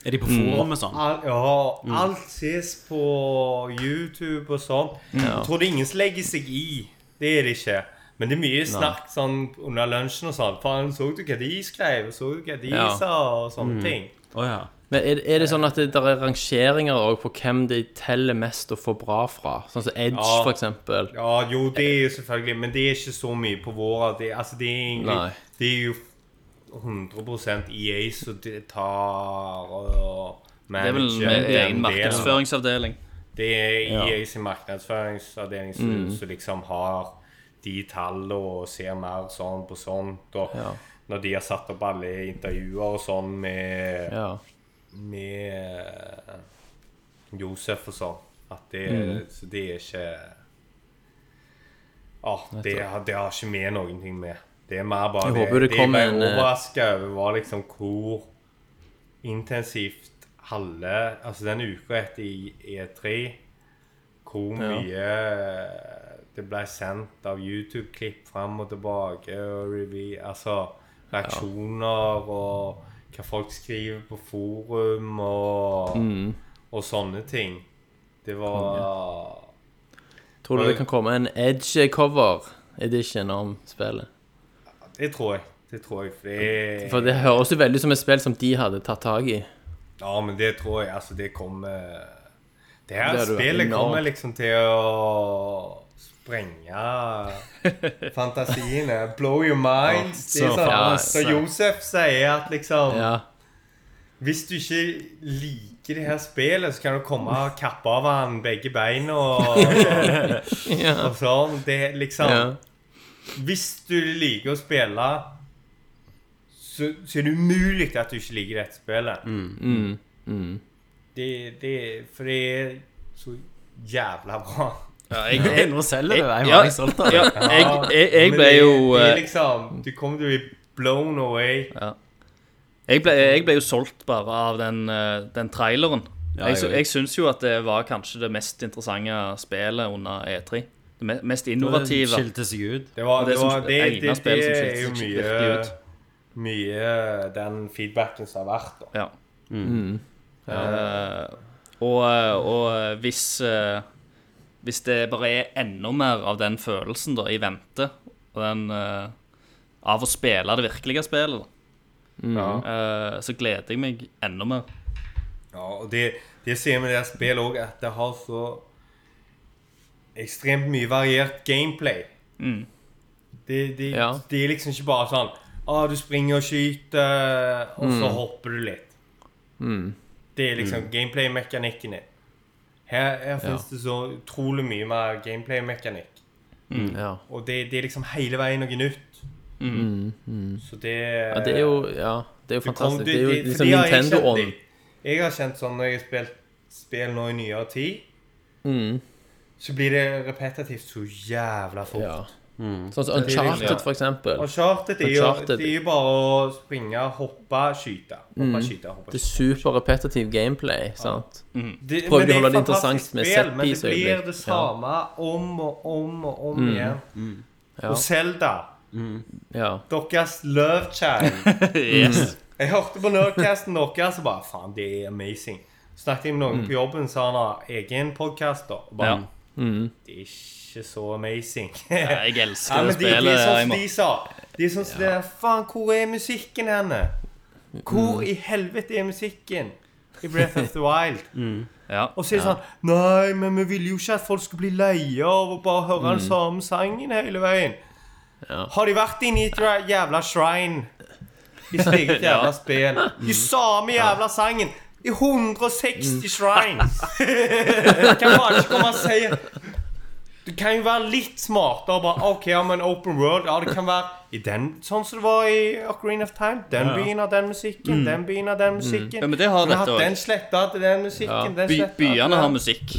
Er de på forum og sånn? Al ja, Mm. alt ses på YouTube og sånn. Jeg tror det er ingen som legger seg i. Det er det ikke. Men det er mye snakk sånn under lunsjen og sånn. Faen, så du hva de skrev? Så du hva de Ja. sa? Og Mm. sånne ting. Å ja. Men er, er det sånn at det der er rangeringer òg på hvem de teller mest og får bra fra? Sånn som Edge, Ja. for eksempel. Ja, jo, det er jo selvfølgelig Men det er ikke så mye på våra. Det, altså, det, er Nei. egentlig, det er jo 100 EA som det tar og Det er vel manager med den egen delen. markedsføringsavdeling. Det er EA sin markedsføringsavdeling som, Mm. som liksom har de tallene og ser mer sånn på sånt. Og Ja. når de har satt opp alle intervjuer og sånn med, Ja. med eh, Josef og sånn, at det, Mm. så det er ikke ah, det, har- det har ikke vi noen ting med. Det er mer bare Jeg håper det det jeg kommer ble en, eh, overraska over, var liksom hvor intensivt halve Altså den uka etter E i- E3, hvor Ja. mye eh, det ble sendt av YouTube-klipp fram og tilbake, og review, altså reaksjoner og hva folk skriver på forum og, Mm. og sånne ting. Det var Tror du det kan komme en Edge cover edition om spillet? Det tror jeg. Det tror jeg. For det, For det høres jo veldig ut som et spill som de hadde tatt tak i. Ja, men det tror jeg. Altså, det kommer Det her Det er jo spillet enormt. kommer liksom til å sprenge fantasiene. Blow your minds. Det så er sånn, faen. altså. så Josef sier at liksom Ja. Hvis du ikke liker det her spillet, så kan du komme og kappe av han begge beina og, ja. og sånn. Det er liksom ja. Hvis du liker å spille, så, så er det umulig at du ikke liker dette spillet. Mm. Mm. Det, det, for det er så jævla bra. Ja, jeg, Jeg nå selger det, jeg Ja. var ikke stolt av det. ja, jeg, jeg, jeg Men ble det, jo det er eh, liksom, Du kommer til å bli blown away. Jeg ble, jeg ble jo solgt bare av den, eh, den traileren. Ja, jeg, sy- jeg jeg syns jo at det var kanskje det mest interessante spillet under E3. Det me- mest Det innovative. skilte seg ut. Det, var, Og det det, som- var, det, det det, ene det, spillet som er skilte jo seg mye, virkelig ut. mye den feedbacken som har vært. da. Ja. Mm. Eh, og, eh, og hvis eh, Hvis det bare er enda mer av den følelsen da i vente, og den eh, av å spille det virkelige spillet, Mm. Ja. eh, så gleder jeg meg enda mer. Ja, og det, det sier vi i det her spillet òg, at det har så ekstremt mye variert gameplay. Mm. Det, det, Ja. det er liksom ikke bare sånn ah, du springer og skyter, og så hopper du litt. Mm. Det er liksom gameplay-mekanikken din. Her, her finnes det så utrolig mye mer gameplay-mekanikk. ja. Og det, det er liksom hele veien noe nytt. Så det Mm. Ja, det er jo Ja, det er jo du kom- fantastisk. du- Det er jo det- for liksom det har jeg kjent Nintendo-ånd. litt. Jeg har kjent sånn når jeg har spilt spill nå i nyere tid, Mm. så blir det repetitivt så jævla fort. Ja. Sånn som Det er liksom- Uncharted, for eksempel. Og chartet er jo Uncharted. det er jo bare å springe, hoppe, skyte. Mm. Hoppe, skyte, hoppe. Det er skyte. superrepetitiv gameplay, sant? Det- prøver men du å er holde det et interessant fantastisk med spill, set Men det piece blir øyeblikk. det Ja. Mm. samme om og om og om igjen. Ja. Og Zelda, Ja. deres love child Mm. Yes. Jeg hørte på Nerdcasten deres og bare Faen, det er amazing. Snakket jeg med noen på jobben, så han har egen podkast. Og bare Mm. Ja. Det er ikke så amazing. Ja, ja, jeg elsker men det de, de spillet. er sånn som Aymar. de sa. De er sånn som det der, Faen, hvor er musikken henne? Hvor Mm. i helvete er musikken? I Breath of the Wild. Mm. Ja. Og så er det sånn Nei, men vi ville jo ikke at folk skulle bli leie av å bare høre Mm. den samme sangen hele veien. Ja. Har de vært inne i et dra- jævla shrine i sitt eget jævla spill? Mm. I samme jævla sangen! I 160 shrines! kan bare ikke komme og si Du kan jo være litt smartere. Bare, OK, ja, men open world Ja, det kan være i den, sånn som det var i Ocarina of Time. Den byen har den musikken, den byen har den musikken. Mm. Ja, men det har Vi har dette hatt den òg. sletta til den musikken. Den By, sletta til den. byene har musikk.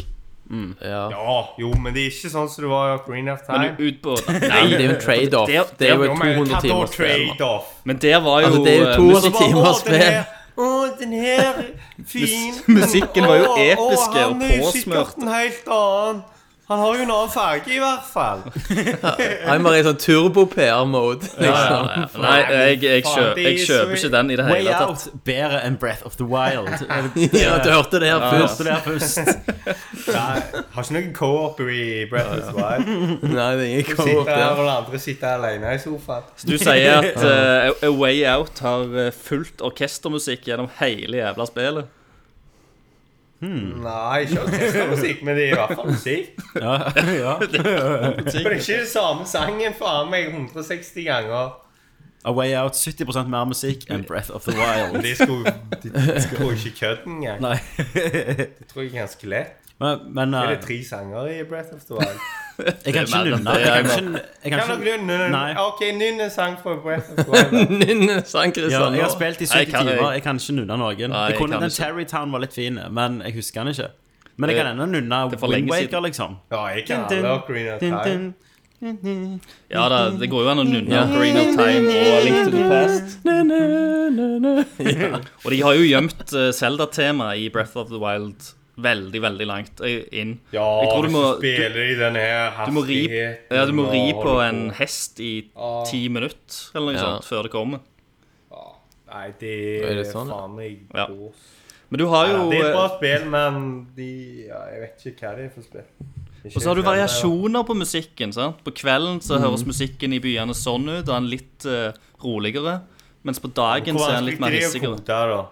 ja. Ja, jo, men det er ikke sånn som det var i Ocarina of Men Time. ut på Nei, det er jo en trade-off. Det er- Det er jo Jo, et men 200 hva da timers spill. da. trade-off? Men der var jo Altså, det er jo eh, to- musikk- Så bare, 10 timers «Å, den her- spill». Å, den her fin musikken var jo Å, å, episke og Han er jo påsmørt. sikkert en helt annen. Han har jo en annen farge, i hvert fall. I'm bare i sånn turbo-PR-mode. Liksom. Ja, Nei, jeg, jeg, kjø, Faen, det er jeg kjøper så- ikke den i det Way hele tatt. Out bedre enn Breath of the Wild. Ja, du hørte det her først. Første der først. Nei, har ikke noen co-op i Breath of the Wild. Nei, det er ingen Sitter co-op der, der. og den andre sitter alene i sofaen. Så du sier at eh, A- A Way Out har eh, fullt orkestermusikk gjennom hele jævla spillet? Nei, ikke orkestermusikk, men det er i hvert fall musikk. Ja, ja. For det er ikke den samme sangen faen meg 160 ganger. A Way Out 70 mer musikk enn Breath of the Men Wild. det skulle, det skulle ikke kødde engang. Nei. Det tror jeg er ganske lett. Men, men Er eh, det tre sanger i Breath of the Wild? jeg kan ikke Det er mer enn nynne. det, Jeg kan ikke, jeg Kan kan dere ikke nynne? Nei. Ok, nynn en sang fra Breath of the Wild. da. Nynne sang ja, Kristian jeg har nå. spilt i Nei, 70 kan jeg- timer. Jeg kan ikke nunne noen. Nei, Jeg jeg kunne kan Den ikke. Terrytown var litt fin, men jeg husker den ikke. Men jeg Det- kan ennå nunne det er for lenge Windwaker, liksom. Ja, jeg kan alle Ocarina of Dun, Time. dun, Ja da, det går jo an å nunne Ocarina of Time og A Link to the Past. Ja. Og de har jo gjemt Selda-temaet i Breath of the Wild veldig, veldig langt eh, inn. Ja, Jeg tror du må, så du, spiller de den her du må ri, hastigheten ja, du må og ri holder på en hest i Ah, ti minutter eller noe Ja. sånt før det kommer. Nei, det Er er det sånn, ja? faen meg Ja. gås. Men du har Ja, jo det er et bra eh, spill, men de ja, Jeg vet ikke hva de er for spill. Ikke Og så har du det, men- variasjoner på musikken. sant? På kvelden så høres musikken i byene sånn ut, da er den litt eh, roligere. Mens på dagen så er den litt mer Hvor vanskelig hissigere. er det å kode,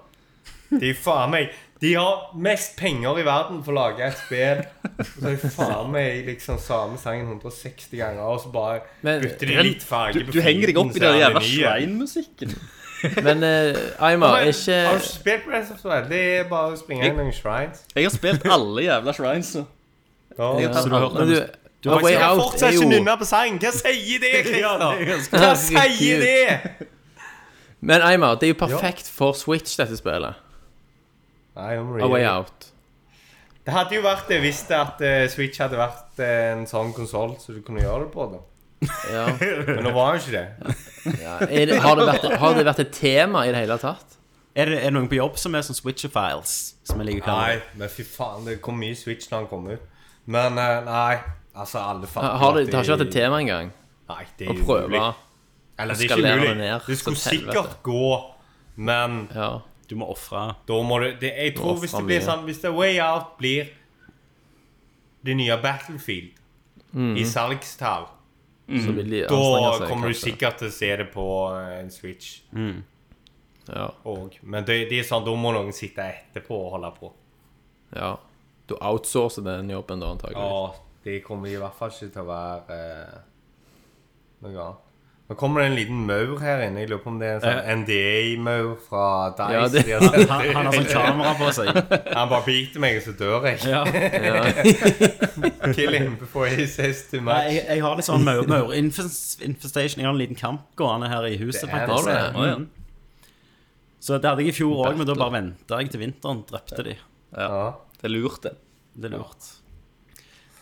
da? De, faen meg, de har mest penger i verden for å lage et spill. Og så er det faen meg liksom samme sangen 160 ganger, og så bare Men- bytter de litt farge Du, du henger deg opp i den jævla shrine-musikken. Men eh, Aymar, er ikke Har du spilt Breath of the Wild? Det er bare å springe inn i noen shrines. Jeg har spilt alle jævla shrines. nå. Ja. Jeg har tatt Så du har alle. Men du, A Way Jeg Out er fortsetter jo ikke nynne på sangen. Hva sier det, Christer? Hva sier det? Men Aymar, det er jo perfekt for Switch, dette spillet. Nei, nå må du A gi Way deg. Out. Det hadde jo vært det hvis det at eh, Switch hadde vært eh, en sånn konsoll så du kunne gjøre det på. da. Ja. Men nå var jo ikke det. Er det, har, det vært, har det vært et tema i det hele tatt? Er det er det noen på jobb som er sånn switcher-files? Som jeg liker å kalle Nei, det. men fy faen, det kom mye Switch da han kom ut. Men eh, nei, altså alle fatter Har det, at det har ikke vært et tema engang Nei, det å er prøve. umulig. Eller det er skalere ikke det mulig. ned, Det skulle så til helvete. sikkert gå, men Ja. Du må ofre da må du det, Jeg tror Å, hvis det faen, blir mye. sånn Hvis The Way Out blir det nye Battlefield Mhm. i salgstall, Så vil de anstrenge Mm. da seg. kommer du kanskje. sikkert til å se det på eh, en Switch. Ja. Og, men det, det er sånn, da må noen sitte etterpå og holde på. ja. Du outsourcer den jobben da, antakeligvis. Ja, det kommer i hvert fall ikke til å være eh, noe annet. Nå kommer det en liten maur her inne. Jeg lurer på om det er en sånn NDA-maur fra Dice. Ja, det- de har sendt. Han, han har sånn kamera på seg. Han bare biter meg, og så dør jeg. Kill him before he says too Nei, much. jeg, jeg har litt sånn maur- maurinfestation. Jeg har en liten kamp gående her i huset, Damn. faktisk. Mm. Har du Å, ja. Så det hadde jeg i fjor òg, men da bare venta jeg til vinteren. Drepte de. Ja. Det er lurt, det. Det er lurt.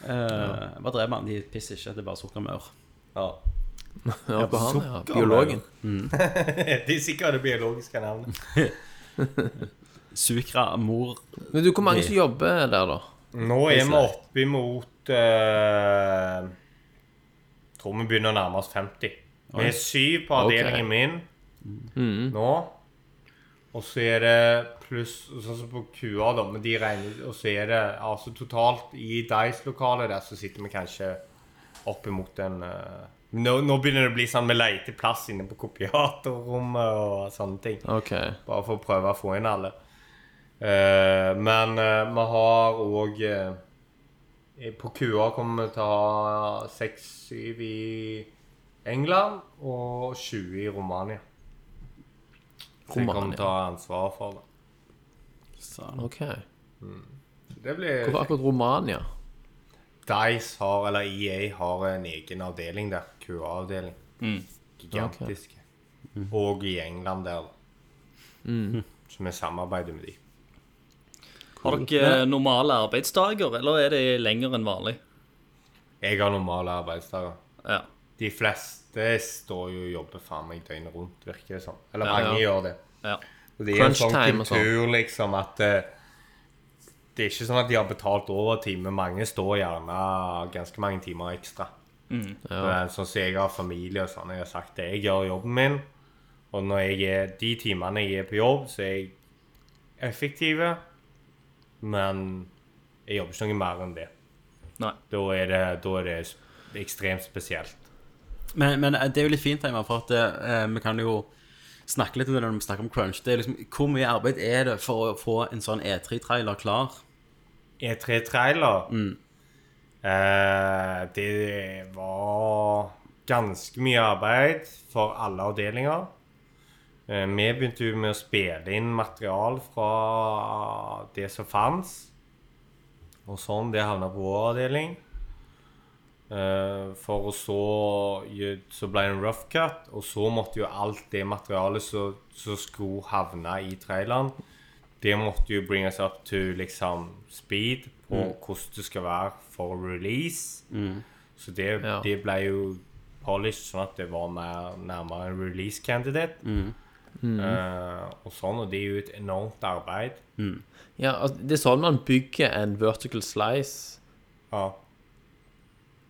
Eh, Hva drev han? De pisser ikke, det er bare sukkermaur. Ja. Ja, på han, ja. Biologen. Det er sikkert det biologiske navnet. Sukra, mor Men du, hvor mange som jobber der, da? Nå er vi oppimot uh, Tror vi begynner å nærme oss 50. Vi er syv på Ok. avdelingen min nå. Og så er det pluss Sånn som på QA, da, men de regner Og så er det altså totalt i Dice-lokalet der så sitter vi kanskje oppimot en eh, nå, nå begynner det å bli sånn vi leter plass inne på kopiatorrommet og sånne ting. OK. Bare for å prøve å få inn alle. Eh, men eh, vi har òg På QA kommer vi til å ha 6-7 i England og 20 i Romania. Så jeg kommer til Romania. å ha ansvaret for det. OK. Så Det blir Hvorfor akkurat Romania? Dice har, eller EA har en egen avdeling der. QA-avdeling. Gigantisk. Mm. Og i England der. Så vi samarbeider med de. Har dere normale arbeidsdager, eller er det lenger enn vanlig? Jeg har normale arbeidsdager. Ja. De fleste står jo og jobber faen meg døgnet rundt, virker det som. Eller Ja, mange ja. gjør det. ja. Og det er en Crunch sånn time og sånn. kultur, liksom, at eh, Det er ikke sånn at de har betalt overtid, men mange står gjerne ganske mange timer ekstra. Mm. Men Sånn som jeg har familie og sånn, jeg har sagt det. Jeg gjør jobben min, og når jeg er de timene jeg er på jobb, så er jeg effektiv, men jeg jobber ikke noe mer enn det. Nei. Da er det, da er det sp- ekstremt spesielt. Men, men eh, det er jo litt fint, Einar, for at eh, vi kan jo snakke litt om det når vi snakker om crunch. Det er liksom, Hvor mye arbeid er det for å få en sånn E3-trailer klar? E E3-trailer eh, Det var ganske mye arbeid for alle avdelinger. Eh, vi begynte jo med å spille inn material fra det som fantes. Og sånn. Det havna på vår avdeling. Eh, for å så gjø- Så ble det en rough cut, og så måtte jo alt det materialet som som skulle havne i traileren, det måtte jo bringes up to liksom speed på hvordan det skal være for release. Så det, Ja. det ble jo polished sånn at det var mer nærmere en release candidate. Eh, og sånn, og det er jo et enormt arbeid. Ja, altså, det er sånn man bygger en vertical slice, Ja.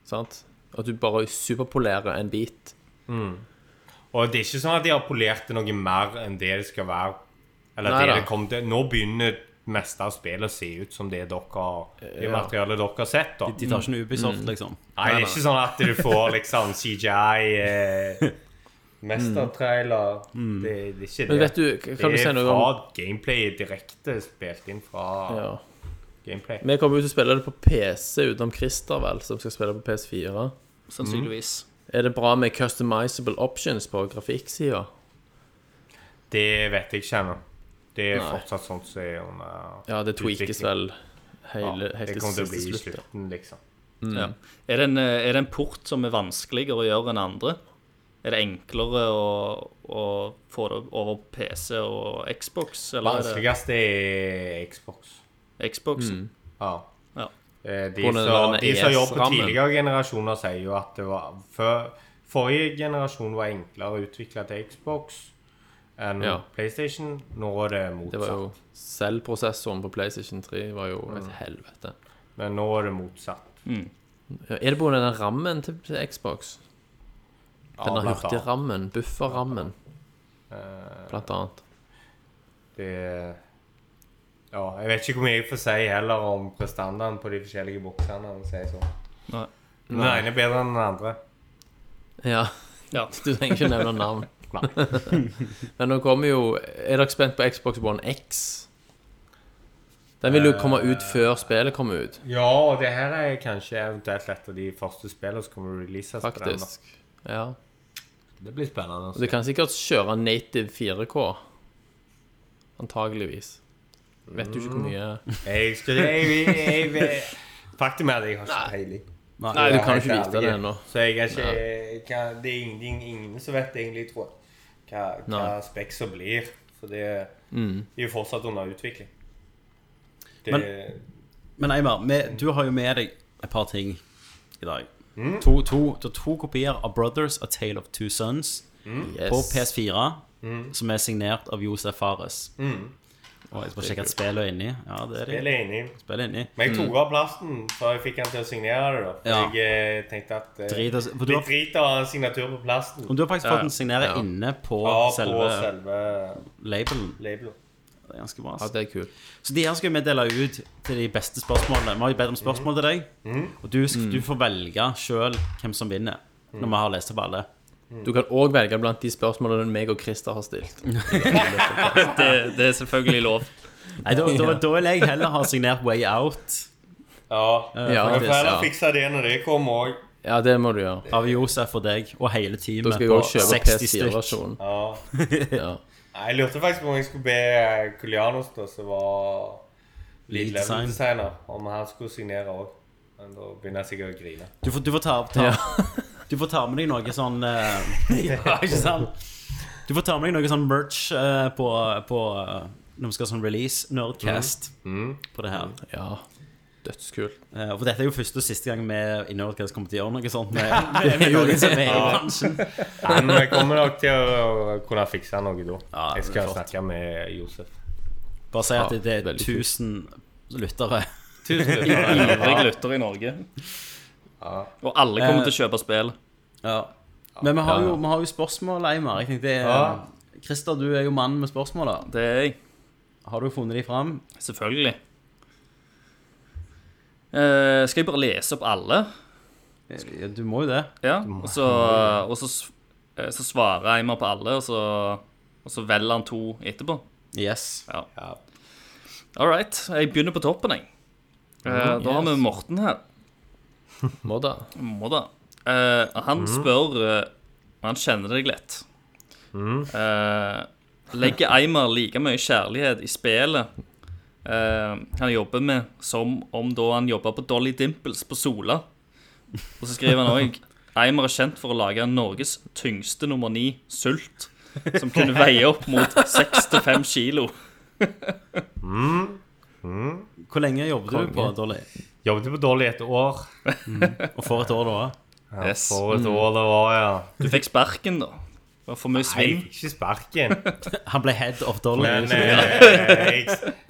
sant? At du bare superpolerer en bit. Og det er ikke sånn at de har polert det noe mer enn det det skal være. Eller Nei det da. det kom til. Nå begynner det meste av spillet å se ut som det dere har Det Ja. materialet dere har sett, da. De tar ikke noe Mm. Ubisoft, liksom. Nei, det er ikke sånn at du får liksom CGI eh, Mestertrailer. Det, det er ikke det. Mm. Men vet du, k- kan du det si er noe fra om gameplay direkte spilt inn fra ja. gameplay. Vi kommer jo til å spille det på PC utenom Christer, vel, som skal spille på PS4. sannsynligvis. Er det bra med customizable options på grafikksida? Det vet jeg ikke ennå. Det er Nei. fortsatt sånn som er under Ja, det tweakes Utvikling. vel hele, Ja, helt Det til kommer til å siste bli i slutt. da. slutten, liksom. Ja. Er, det en, eh, er det en port som er vanskeligere å gjøre enn andre? Er det enklere å, å få det over PC og Xbox? Eller er Vanskeligst er Xbox. det Xbox? Ja. Ja. Eh, De På den E som- der de som jobber på ES-rammen. tidligere generasjoner, sier jo at det var før, Forrige generasjon var enklere å utvikle til Xbox enn Ja. PlayStation. Nå er det motsatt. Det var jo Selvprosessoren på PlayStation 3 var jo Mm. et helvete. Men nå er det motsatt. Ja, er det på denne rammen til til Xbox? Denne blant annet. Eh, hurtigrammen, bufferrammen, blant annet. Det Ja, jeg vet ikke hvor mye jeg får si heller om prestandaen på de forskjellige boksene. om jeg sier sånn. Nei. Den ene er bedre enn den andre. Ja, Ja. du trenger ikke nevne navn. Men nå kommer jo Er dere spent på Xbox One X? Den vil jo Eh, komme ut før spillet kommer ut, Ja, og det her er kanskje eventuelt et av de første spillene som kommer releases på den. da. faktisk. Ja. Det blir spennende. å Og du kan sikkert kjøre native 4K. Antageligvis. Vet jo ikke hvor mye Jeg skal jeg, jeg, jeg, Faktum er at jeg har ikke peiling. Nei, du kan Helt jo ikke vite ærlig. det ennå. Så jeg er ikke jeg kan, Det er ingen, ingen som vet egentlig, tror jeg, hva, hva Nei. Mm. Spexer blir. For det de er jo fortsatt under utvikling. Det, Men Eimar, vi- du har jo med deg et par ting i dag. To, to, det er to kopier av Brothers A Tale of Two Sons på Yes. PS4, som er signert av Josef Fares. Og jeg skal sjekke at spillet er inni. Ja, det er jeg det. er enig. Spillet er inni. Mm. Men jeg tok av plasten, så jeg fikk han til å signere det. da Ja. Jeg eh, tenkte at eh, Drit oss- for du Det har- driter å ha en signatur på plasten. Om du har faktisk fått den signere Ja. inne på Ja, på selve selve, selve labelen. labelet. Det er ganske bra. Ja, ass. det er kult. Så de her skal vi dele ut til de beste spørsmålene. Vi har jo bedt om spørsmål til deg, Mm. og du, sk- du får velge sjøl hvem som vinner. Mm. Når vi har lest opp alle. Du kan òg velge blant de spørsmålene meg og Christer har stilt. Det, det er selvfølgelig lov. Nei, da, da, da vil jeg heller ha signert Way Out eh, Ja. Ja, Jeg får heller ja. fikse det når det kommer òg. ja det må du gjøre. av Josef og deg og hele Da teamet skal jeg på òg kjøpe 60 stykk. PS4-versjonen. Ja. Ja. Nei, Jeg lurte faktisk på om jeg skulle be eh, Kulianos, da, som var lead Lead design. level-designer, om han skulle signere òg. Men da begynner jeg sikkert å grine. Du får, du, får ta, ta, du får ta med deg noe sånn eh, Ja, ikke sant? Du får ta med deg noe sånn merch eh, på, på eh, når vi skal ha sånn release, Nerdcast, Mm. på det her. ja. Dødskult. Eh, for dette er jo første og siste gang vi i Nerdcast kommer til å gjøre noe sånt med, med, med noen som er i bransjen. Nei, Men jeg eh, kommer nok til å kunne fikse noe da. Ja, jeg det skal er flott. snakke med Josef. Bare si at det, det er veldig kult. 1000 lyttere. Ivrig lytter i Norge. Og alle kommer til å kjøpe spill. Ja. Men vi har jo, vi har jo spørsmål, Eimar. Jeg tenkte, Ja. eh, Christer, du er jo mannen med spørsmål. da. Det er jeg. Har du funnet de fram? Selvfølgelig. Eh, skal jeg bare lese opp alle? Eh, Ja, Du må jo det. Ja, og så, og så, s- eh, så svarer Eimer på alle, og så, og så velger han to etterpå. Yes. All right, jeg begynner på toppen, jeg. Eh, Mhm, Da har vi Morten her. Må da. Må da. Eh, Mhm. han spør eh, Han kjenner deg lett. Mhm. Eh, legger Eimer like mye kjærlighet i spillet eh, han jobber med, som om da han jobba på Dolly Dimples på Sola? Og så skriver han òg Eimer er kjent for å lage Norges tyngste nummer ni, Sult, som kunne veie opp mot seks til fem kilo. Hvor lenge jobbet du Konge. på Dolly? Jobbet på Dolly et år. Og for et år da? Ja, Yes. For Mm. et år det var, ja. Du fikk sparken, da. Det var for mye Nei, jeg svinn. fikk ikke sparken. Han ble head of Dolly. Men eh, jeg,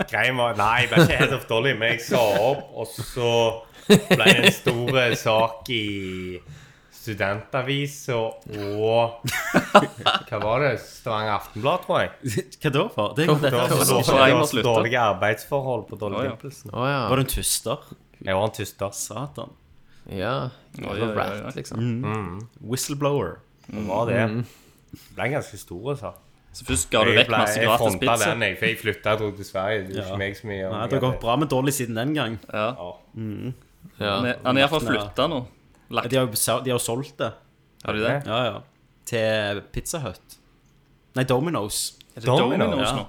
greien var Nei, jeg ble ikke head of Dolly, men jeg sa opp, og så ble det en stor eh, sak i studentavisa og Hva var det? Stavanger Aftenblad, tror jeg. Hva da for? Det er jo Det var dette. så så jeg må dårlige, slutte. dårlige arbeidsforhold på Dolly Å, ja. Dimpelsen. Å ja. Var du en tuster? Jeg var en tyster. Satan. Ja. Oi, Det oi, var oi, oi. rat, liksom. Whistleblower. Det var det. Mm. Ble ganske stor, altså. Så først ga du Jeg, vekk ble, masse jeg gratis fronta pizza. den, jeg, for jeg flytta og dro til Sverige. Det er jo Ja. ikke meg så mye. om Nei, Det har gått bra med Dolly siden den gang. Ja. Ja. Ja. Han er- han er iallfall flytta nå. De har jo sa- de har jo solgt det. Har du det? Ja, ja. Til Pizza Hut. Nei, Domino's. Er det Domino's, Domino's ja. nå?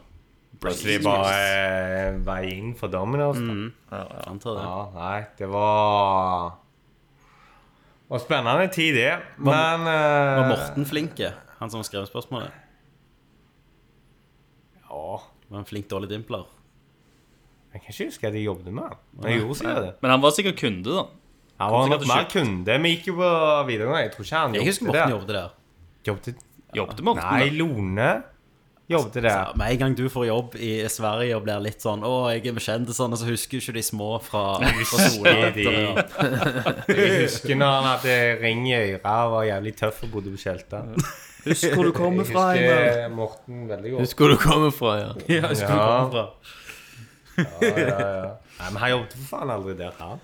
Plutselig bare eh, vei inn for Domino's. Mm. da. Jeg antar det. Ja, nei, det var Det var spennende tid, det. Men eh, Var Morten flinke? Han som skrev spørsmålet? Ja, Var han flink Dolly Dimpler? jeg kan ikke huske at jeg jobbet med han. Men jeg gjorde sikkert det. Men han var sikkert kunde, da. Han var sikkert nok mer kunde. Vi gikk jo på videregående. Jeg tror ikke han Jeg husker jobbet Morten der. jobbet der. Jobbet Jobbet Morten Nei, der? Lone jobbet Ja, der. med en gang du får jobb i Sverige og blir litt sånn 'Å, jeg er med kjendisene', så husker ikke de små fra, fra Sola. Husker de. Jeg husker når han hadde ring i øra og var jævlig tøff og bodde på Tjelta. Husk hvor du kommer Jeg fra, Einar. husker Morten veldig godt. Husk hvor du kommer fra, ja. Ja, jeg skulle Ja. komme fra. Ja, ja, ja. Nei, men han jobbet for faen aldri der. Han.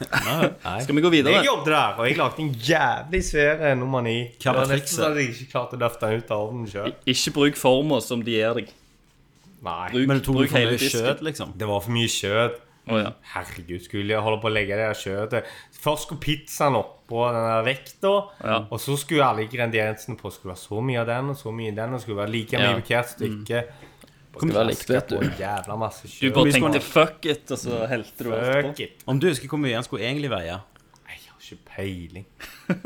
Skal vi gå videre? Jeg jobbet der, og jeg lagde en jævlig svær nummer ni. Hva var Det nesten sånn trikset? at jeg ikke klarte å løfte den ut av ovnen sjøl. Ikke bruk forma som de gir deg. Nei. Bruk, Men du tok bruk for hele mye kjøtt, disken. liksom? Det var for mye kjøtt. Å ja. Herregud, skulle jeg holde på å legge det der kjøttet Først skulle pizzaen oppå den der vekta, Ja. og så skulle alle ingrediensene på. Skulle være så mye av den, og så mye av den, og skulle være like mye Ja. på hvert stykke. Skal være likt, vet du. Og jævla masse Du kjøtt. bare mye skal tenkte 'fuck it', og så helte du Fuck alt på. it. Om du husker hvor mye han skulle egentlig veie? Nei, Jeg har ikke peiling.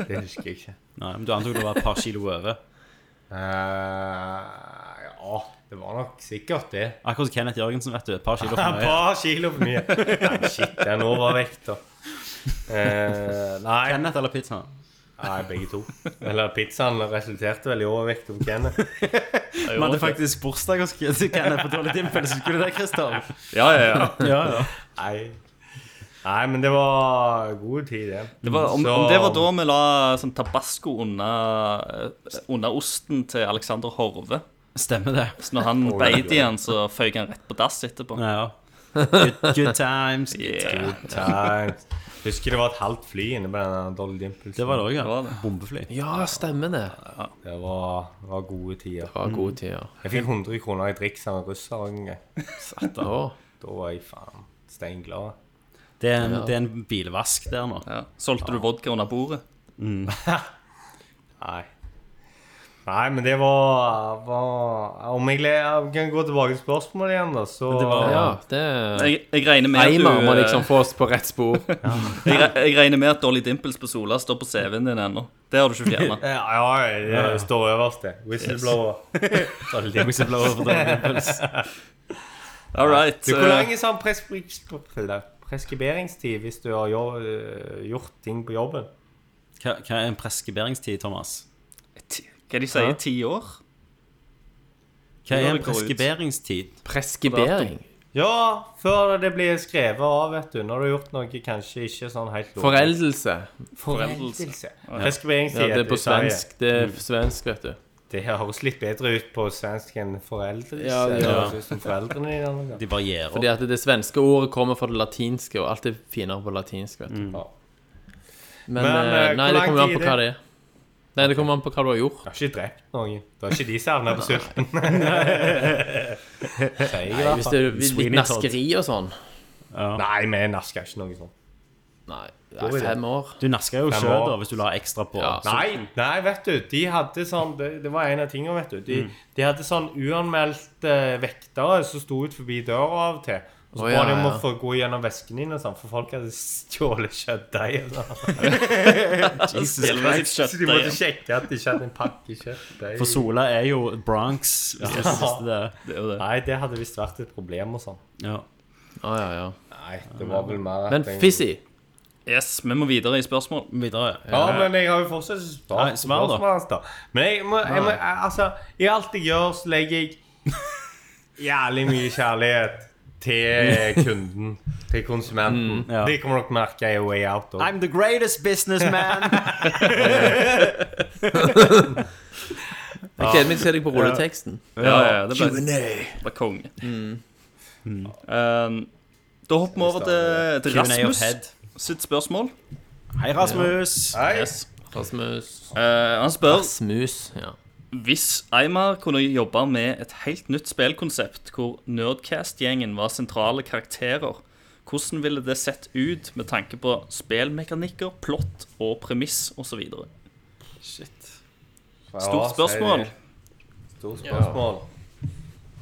Det husker jeg ikke. Nei, men Du antok det var et par kilo over? Eh, ja, det var nok sikkert det. Akkurat som Kenneth Jørgensen, vet du. Et par kilo for Et mye. par kilo for mye. Nei, shit, det er en overvekt, da. Eh, nei. Kenneth eller pizza? nei, begge to. Eller pizzaen resulterte vel i overvekt om Kenneth. Vi hadde faktisk bursdag hos Kenneth på Dolly Dimple. Husker du det, Kristoff? Ja, ja, ja. Ja, ja. Nei. nei, men det var god tid, det. Det var, om, Så- om det var da vi la sånn tabasco under, eh, under osten til Alexander Horve Stemmer det. Sånn Så når han beit igjen, så føyk han rett på dass etterpå. Ja, ja. Good, good times. Yeah, Nei, Husker det var et halvt fly inne på den Dolly Dimples. Det var det òg, det var ja. det. Bombefly. Ja, stemmer det. Det var, det var gode tider. Ha gode tider. Jeg fikk 100 kroner i driks av en russer en gang. Å, Da var jeg faen steinglad. Det er, en, det er en bilvask der nå. Ja. Solgte du vodka under bordet? Nei. Nei, men det var, var Om jeg, le- jeg kan gå tilbake til spørsmålet igjen, da, så ja, det Jeg, jeg, regner med at Einar du, eh, må liksom få oss på rett spor. jeg, re- jeg regner med at Dolly Dimples på Sola står på CV-en din ennå. Det har du ikke fjerna. Ja, ja, det står øverst, det. Whistleblower. liksom Whistleblower for Dolly Dimples. All right. Du, hvor lang eh, er sånn pres preskriberingstid hvis du har jo, øh, gjort ting på jobben? Hva, hva er en preskriberingstid, Thomas? eh, ti- Hva de sier? Ti år? Hva er Når en det går ut. preskriberingstid? Preskibering. Ja, før det blir skrevet av, vet du. Når du har gjort noe kanskje ikke sånn helt lovlig. Foreldelse. Foreldelse. Ja, Preskriberingstid. det er heter på i Sverige. svensk. Det er svensk, vet du. Det høres litt bedre ut på svensk enn foreldelse. Ja, det det gjør høres ut som foreldrene dine. eller noe. De varierer. Fordi at det svenske ordet kommer fra det latinske, og alt er finere på latinsk, vet du. Ja. Men, Mm. Men, eh, eh, nei, hvor det lang kommer an tid på er hva det er. Nei, det kommer an på hva du har gjort. Du har ikke drept noen. Du har ikke de savna på sulten. Sier jeg i Hvis hvert det fall. er litt Sweeney Todd. naskeri og sånn. Nei, vi naska ikke noe sånn. sånt. Nei, det Da er er det. fem år. Du nasker jo Fem sjøl, år. da, hvis du la ekstra på. Ja. Så- Nei, nei, vet du. De hadde sånn Det, det var en av tingene, vet du. De, Mm. de hadde sånn uanmeldte vektere som sto ut forbi døra av og til. Og Å, så ba ja, de om å ja. få gå gjennom vesken din og sånn, for folk hadde stjålet kjøttdeig. og sånn. Jesus Eller Christ. sitt Så de kjøttdeig. måtte sjekke at de ikke hadde en pakke kjøttdeig. For Sola er jo Bronx, hvis du syns det. Det er jo det. Nei, det hadde visst vært et problem og sånn. Ja. Ah, ja, ja. Nei, det var vel mer at Men jeg- Fizzy Yes, vi må videre i spørsmål. Videre. Ja, men jeg har jo fortsatt Nei, spart svar da. spørsmålet hans, da. Men jeg må, jeg må jeg- Altså, i alt jeg gjør, så legger jeg jævlig mye kjærlighet til kunden. Til konsumenten. Mm, ja. Det kommer dere merke i Way Out òg. I'm the greatest businessman. Jeg gleder meg til å se deg på rulleteksten. Ja, ja, det ble, Mm. ble konge. Mm. Um, da hopper vi over til, til Q&A of Rasmus head. sitt spørsmål. Hei, Rasmus. Yes. Rasmus Eh, han spør Rasmus, ja. Hvis Eymar kunne jobbe med et helt nytt spillkonsept hvor Nerdcast-gjengen var sentrale karakterer, hvordan ville det sett ut med tanke på spillmekanikker, plott og premiss osv.? Shit. Stort spørsmål. Stort spørsmål.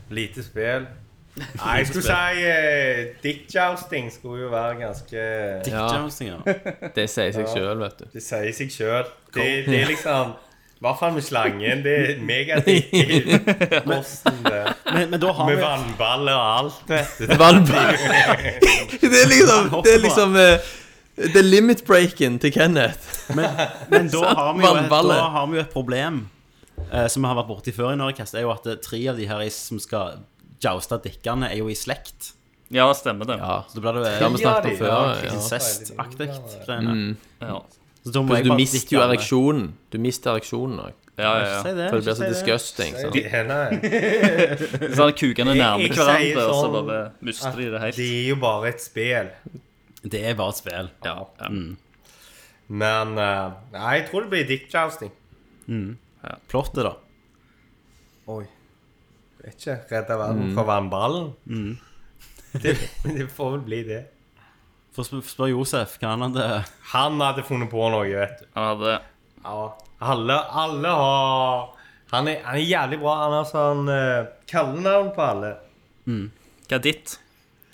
Lite spill. Nei, jeg skulle si eh, dickjousting skulle jo være ganske ja. Johnson, ja. Det sier seg sjøl, vet du. Det sier seg sjøl. Det, det er liksom I hvert fall med slangen. Det er megadiktivt. Kosten det. Men, men da har Med vi vannballer og alt, vet du. Det er liksom Det er liksom eh, The limit breaken til Kenneth. Men da har vi jo et, Vannballe. da har vi jo et problem eh, som vi har vært borti før i Norcast, er jo at eh, tre av de her i- som skal jouste dikkene, er jo i slekt. Ja, stemmer det. Ja. Så da blir det Det har vi jo snakket om Ja, før. eh, Ja. incestaktig greiene. Så Ja, da må Pluss jeg Altså, du bare mister dikke jo alle. ereksjonen. Du mister ereksjonen òg. ja, ja. Si ja. det. For det blir si så disgusting. sant? De- Nei. Sånn at Kukene nærmer Jeg- jeg sier hverandre, og så sånn bare mister de det helt. Det er jo bare et spill. Det er bare et spill. Ja, Mm. ja. Men eh, Nei, jeg tror det blir dickjousting. Plottet, da. Oi. Vet ikke. Redde verden Mm. fra vannballen. Det, det får vel bli det. For spør, spør Josef, kan han eh, det? Han hadde funnet på noe, vet du. Han hadde Ja. Alle, alle har han er, han er jævlig bra. Han har sånn eh, kallenavn på alle. Hva er ditt?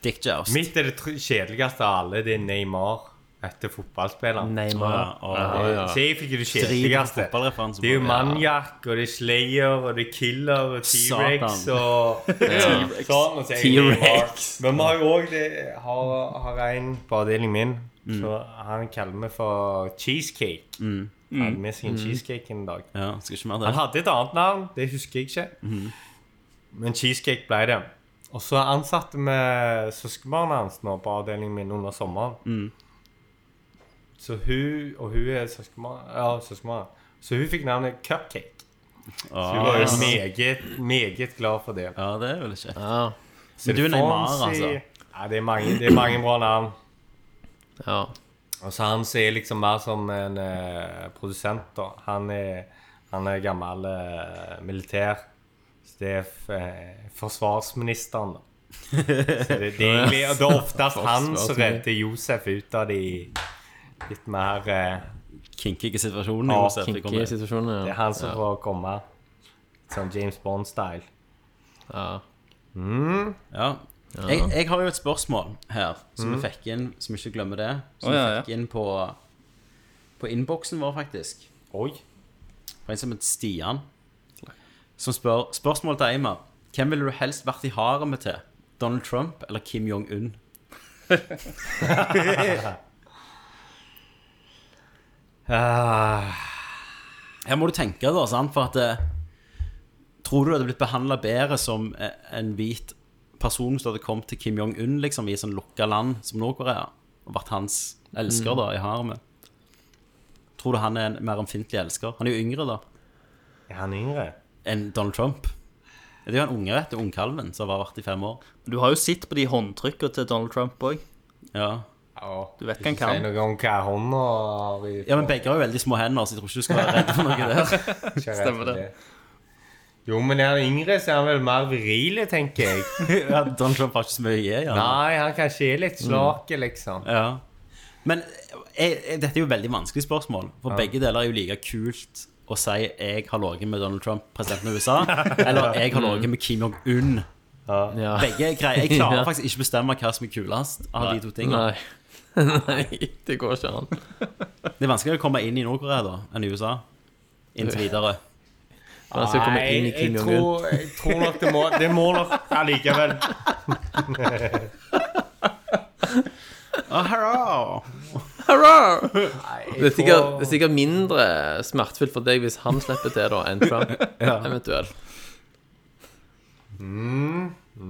Dick Joust. Mitt er det tr- kjedeligste av alle. Det er Neymar etter fotballspilleren. Ja, og- Så jeg fikk jo det Drit i kjedeligste. fotballreferansen Det er jo på- Maniac, og det er Slayer, og det er Killer, og T-Rex Satan. og Sånn, og så er det Neymar. Men vi har jo òg har, har en på avdelingen min, Mm. så han kaller meg for Cheesecake. Han hadde med Mm. seg en cheesecake en dag. Ja, skal ikke mer Han det. hadde et annet navn, det husker jeg ikke. Mhm. Men cheesecake ble det. Og så ansatte vi søskenbarnet hans nå på avdelingen min under sommeren. Mm. Så hun og hun er søskenbarn. Ja, søskenbarn. Så hun fikk navnet Cupcake. Så hun var jo meget, meget glad for det. Ja, det Ah. er vel ikke Ja. Så Men du er Neymar, Fonzie- altså. Ja, det er mange, det er mange bra navn. ja. Og så han ser liksom mer som en eh, produsent, da. Han er, han er gammel eh, militær. Så det er f, eh, forsvarsministeren, da. Så det, det, er egentlig, og det er oftest han som redder Josef ut av de litt mer eh, kinkige situasjonen. Ja, Josef, det Kinky kommer. situasjoner. Det Ja. er han som får komme. Sånn James Bond-style. Ja. Ja. Jeg, jeg har jo et spørsmål her, som vi fikk inn, som ikke glemmer det. Som Mm. Å, ja, vi ja. fikk inn på, på innboksen vår, faktisk. Oi. Fra en som heter Stian, som spør Spørsmål til Eimar. Hvem ville du helst vært i haremet til? Donald Trump eller Kim Jong-un? Ah, Her må du tenke, da, sant? for at eh, Tror du du hadde blitt behandla bedre som eh, en hvit person som hadde kommet til Kim Jong-un liksom, i et sånn lukka land som Nord-Korea, og vært hans elsker da, i haremet? Tror du han er en mer ømfintlig elsker? Han er jo yngre da er han yngre? enn Donald Trump. Det er jo han unge, vet du, ungkalven som har vært i fem år. Du har jo sett på de håndtrykkene til Donald Trump òg. Ja, Ja. Du vet hva han Si kan. noe om hva hånda har i ja men begge har jo veldig små hender, så jeg tror ikke du skal være redd for noe der. Ikke redd Stemmer for det. Jo, men er han yngre, så er han vel mer viril, tenker jeg. Ja, Donald Trump har ikke så mye å gi. Ja. Nei, han kanskje er litt slake, liksom. Ja. Men jeg, jeg, dette er jo et veldig vanskelig spørsmål, for begge deler er jo like kult å si 'jeg har ligget med Donald Trump, presidenten av USA', eller 'jeg har ligget med Kim Jong-un'. ja. Begge greier Jeg klarer Ja. faktisk ikke bestemme hva som er kulest av de to tingene. Nei. Nei, det går ikke an. Det er vanskeligere å komme inn i Nord-Korea da enn i USA. Inntil videre. Men han skal komme inn i Kim jeg Jong-un. tror, jeg tror nok det må Det må nok allikevel Ah, hurra! Hurra! Det er sikkert, det er sikkert mindre smertefullt for deg hvis han slipper til, da, enn Trump, eventuelt.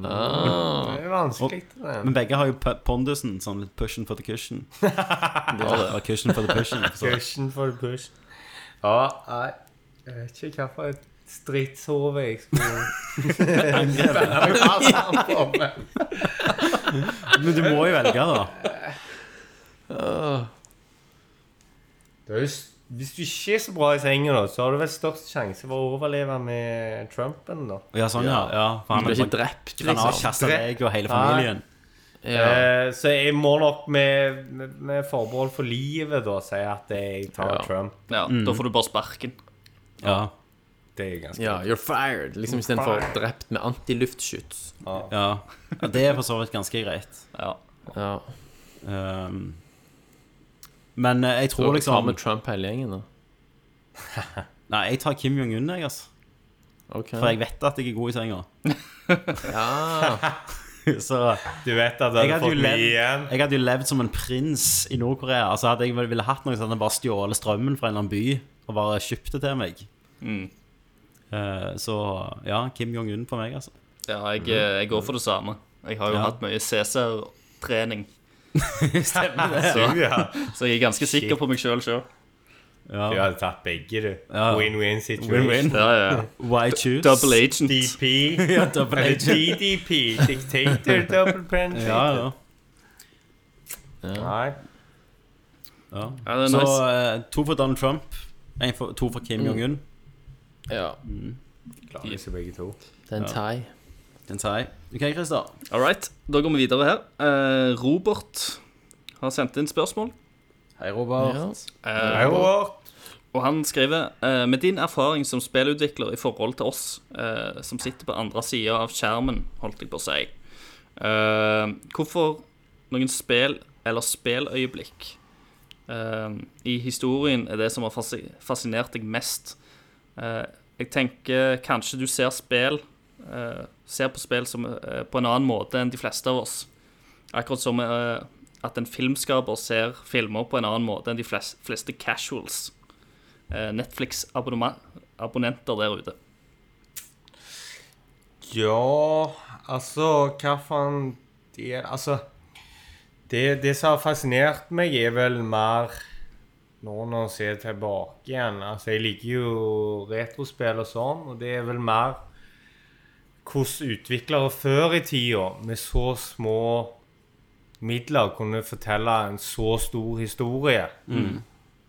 Ah, Det er vanskelig. det. Men begge har jo pu- pondusen. Sånn litt pushen for the cushion. Eller cushion for the pushen. Så. Cushion for push. Ja, nei Jeg vet ikke hva for et stridshode jeg skulle angrepe han på. men- Men du må jo velge, da. Ah. Det er jo s- Hvis du ikke er så bra i senga, da, så har du vel størst sjanse for å overleve med Trumpen, da. Ja, sånn, ja. ja for han han blir ikke bare- drept, kan liksom. avkaste deg og hele familien. Ja. Eh, så jeg må nok med, med, med forbehold for livet da si at jeg tar Ja. Trump. Ja, mm. Da får du bare sparken. Ja, Det er ganske Ja, you're fired, liksom istedenfor drept med antiluftskyts. ja. ja Det er for så vidt ganske greit. Ja. Ja. Um, men eh, jeg tror Så tar liksom vi Trump hele gjengen, da. Nei, jeg tar Kim Jong-un, jeg, altså. Ok. For jeg vet at jeg er god i senga. Ja. Så Du vet at du jeg hadde, hadde jo fått mye igjen. levd, jeg hadde jo levd som en prins i Nord-Korea. Altså Hadde jeg vel- ville hatt noe sånn at jeg bare stjålet strømmen fra en eller annen by og bare kjøpt det til meg. Eh, så ja, Kim Jong-un på meg, altså. Ja, jeg, eh, jeg går for det samme. Jeg har jo Ja. hatt mye Cæsar-trening, Stemmer det. så, Ja, så jeg er ganske sikker på meg sjøl sjøl. du Ja. hadde tatt begge, du. Ja. Win-win situation. Win-win. Ja, ja. ja. Why choose? Double agent. DP. ja, double Eller agent. DDP. Dictator double penetrated. Ja, ja. Nei. ja. Ja, det er Så nice. eh, to for Donald Trump, en for, to for Kim Jong-un. ja. Klarer ikke begge to. Det er en thai. Den tar jeg. OK, Christer. All right, da går vi videre her. Eh, Robert har sendt inn spørsmål. Hei, Robert. Ja. Eh, Nei, Robert. Og han skriver eh, Med din erfaring som spillutvikler i forhold til oss eh, som sitter på andre sida av skjermen, holdt jeg på å si, eh, hvorfor noen spill eller spilløyeblikk eh, i historien er det som har fasi fascinert deg mest? Eh, jeg tenker kanskje du ser spill eh, Ser på spill som, eh, på en annen måte enn de fleste av oss. Akkurat som eh, at en filmskaper ser filmer på en annen måte enn de flest, fleste casuals eh, Netflix-abonnenter der ute. Ja, altså Hva faen det er, Altså det, det som har fascinert meg, er vel mer nå når jeg ser tilbake igjen Altså, jeg liker jo retrospill og sånn, og det er vel mer hvordan utviklere før i tida, med så små midler, kunne fortelle en så stor historie.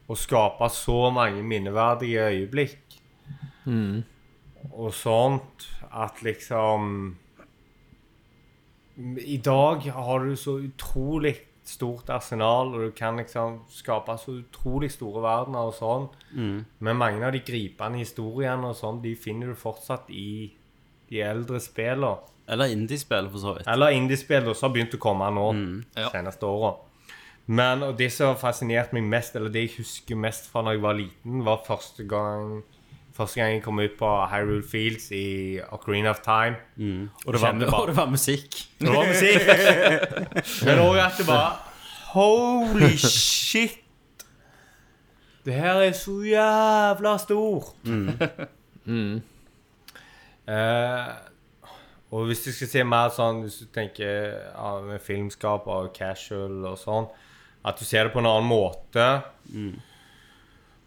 Og skape så mange minneverdige øyeblikk og sånt, at liksom I dag har du så utrolig stort arsenal, og du kan liksom skape så utrolig store verdener og sånn. Men mange av de gripende historiene og sånn, de finner du fortsatt i de eldre spillene. Eller indiespill, for så vidt. Eller indiespill, da, som har begynt å komme nå. ja. seneste åra. Men og det som har fascinert meg mest, eller det jeg husker mest fra da jeg var liten, var første gang, første gang jeg kom ut på Hyrule Fields i Ocarina of Time. Og det var, Kjenner bare- og det var musikk. Det var musikk! Men òg at det var Holy shit! Det her er så jævla stort! Eh, og hvis du skal se mer sånn Hvis du tenker ja, med filmskaper og casual og sånn At du ser det på en annen måte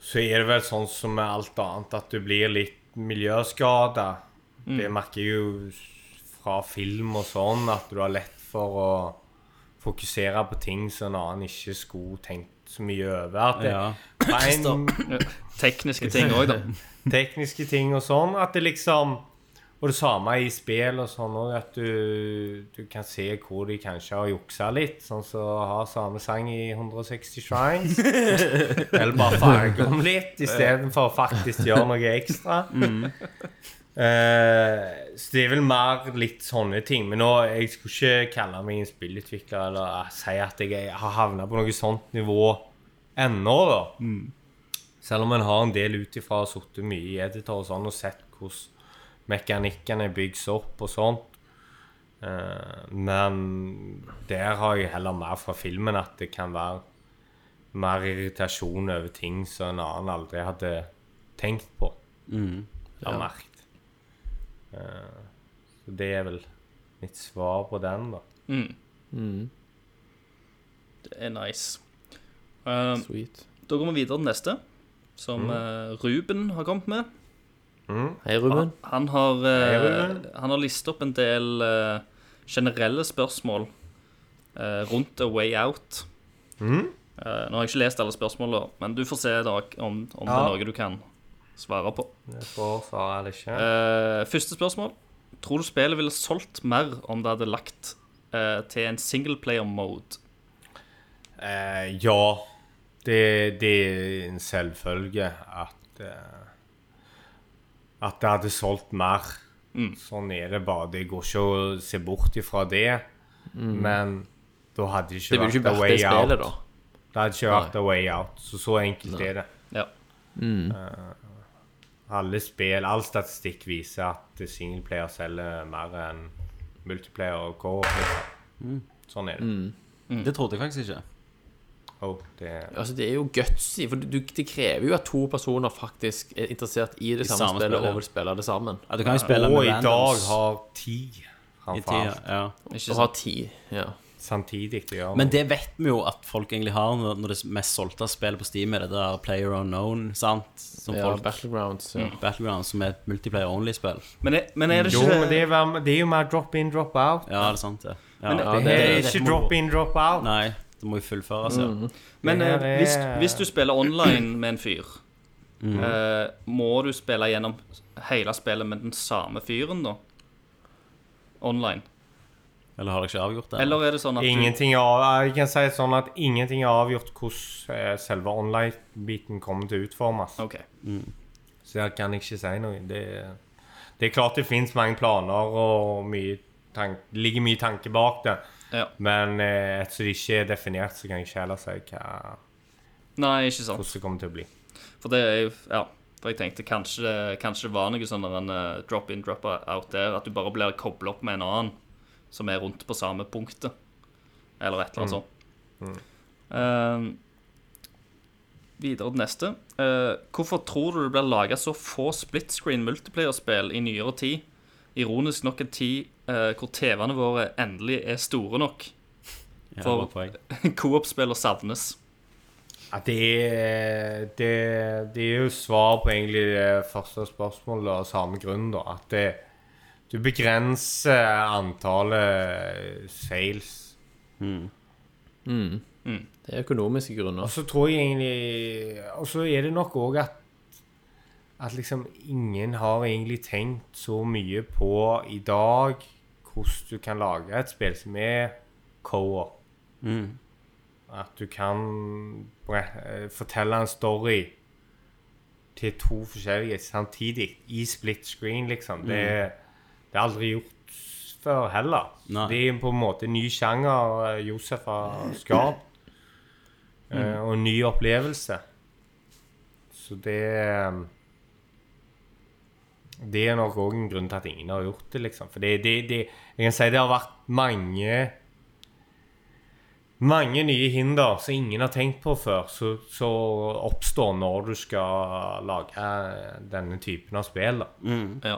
Så er det vel sånn som med alt annet At du blir litt miljøskada Det merker jeg jo fra film og sånn At du har lett for å fokusere på ting Som en annen ikke skulle tenkt så mye over At det, Ja. på en, Stopp. Tekniske ting òg, da. tekniske ting og sånn. At det liksom Og det samme i spill og sånn òg, at du, du kan se hvor de kanskje har juksa litt. Sånn som å ha samme sang i 160 shrines. Eller bare farge om litt, istedenfor å faktisk gjøre noe ekstra. Eh, så det er vel mer litt sånne ting. Men nå, jeg skulle ikke kalle meg en spillutvikler eller eh, si at jeg har havna på noe sånt nivå ennå, da. Selv om en har en del ut ifra og sittet mye i editor og sånn og sett hvordan mekanikkene bygges opp og sånt, Eh, men der har jeg heller mer fra filmen at det kan være mer irritasjon over ting som en annen aldri hadde tenkt på. Eller merket. Eh, så det er vel mitt svar på den, da. Mm. Det er nice. Um, Sweet. Da går vi videre til neste, Mm. som eh, Ruben har kommet med. Hei, Ruben. Han har, eh, Hei, Ruben. han har listet opp en del eh, generelle spørsmål eh, rundt A Way Out. Mm? Eh, nå har jeg ikke lest alle spørsmålene, men du får se da, om, om det er Ja. noe du kan svare på. Jeg får svare eller ikke. Eh, første spørsmål. Tror du spillet ville solgt mer om det hadde lagt eh, til en singleplayer-mode? Eh, ja. Det, det er en selvfølge at eh, At det hadde solgt mer. Sånn er det bare. Det går ikke å se bort ifra det. Men da hadde det ikke Det ville jo ikke vært a vært way det spillet, out. da. Det hadde ikke vært a way out. Så så enkelt er det. Ja. Alle spill, all statistikk viser at singleplayer selger mer enn multiplayer og co-op. Liksom. Sånn er det. Det trodde jeg faktisk ikke. Oh, det Altså, det er jo gutsy, for du, det krever jo at to personer faktisk er interessert i det samme, samme spillet spillet, ja. og vil spille det sammen. Ja, du kan jo spille og med i dag randoms har ti i framfor tida. alt. Ja. Ikke Og sant? har ti. Ja. Samtidig det gjør Men det vet vi jo at folk egentlig har når når det mest solgte spillet på Steam er det der Player Unknown, sant? Som ja folk Mm. Battlegrounds. Ja. Battleground, som er et multiplayer-only-spill. Men er, men er det Jo, ikke men det er, vel- det er jo mer drop in, drop out. Ja, det er sant, det. Ja. Men- Ja, Det er det, ikke drop in, drop out. Nei, det må jo fullføres, ja. Mm. Men Det her eh, hvis, er- Mm. hvis du spiller online med en fyr, eh, må du spille gjennom hele spillet med den samme fyren, da? Online? Mm. Eller har dere ikke avgjort det? Eller er det sånn at Ingenting av, jeg kan si det sånn at ingenting er avgjort hvordan eh, selve online-biten kommer til å utformes. du OK. Så jeg kan ikke si noe. Det, det er klart det finnes mange planer og mye tank, det ligger mye tanke bak det. Ja. Men eh, ettersom det ikke er definert, så kan jeg ikke heller si hva, Nei, ikke sånn. sant. hvordan det kommer til å bli. For det er jo Ja. For jeg tenkte kanskje, det- kanskje det var noe sånn der en eh, drop in, drop out der. At du bare blir kobla opp med en annen som er rundt på samme punktet. Eller et eller annet sånt. Eh, videre til neste. Eh, hvorfor tror du det blir laga så få split screen multiplayer-spill i nyere tid? Ironisk nok en tid eh, hvor TV-ene våre endelig er store nok. Ja, for- bra poeng. Coop-spiller savnes. Ja, det, er- det, det er jo svar på egentlig det første spørsmålet av samme grunn, da. At det, du begrenser antallet sales. Mm. det er økonomiske grunner. Og så tror jeg egentlig Og så er det nok òg at at liksom ingen har egentlig tenkt så mye på i dag hvordan du kan lage et spill som er co-op. At du kan bre- eh, fortelle en story til to forskjellige samtidig i split screen, liksom. Det, det er aldri gjort før heller. Nei. Det er på en måte en ny sjanger eh, Josef har skapt, eh, og en ny opplevelse. Så det eh, det er nok òg en grunn til at ingen har gjort det, liksom. For det, det, det Jeg kan si det har vært mange mange nye hinder som ingen har tenkt på før, som oppstår når du skal lage eh, denne typen av spill. Da. Ja.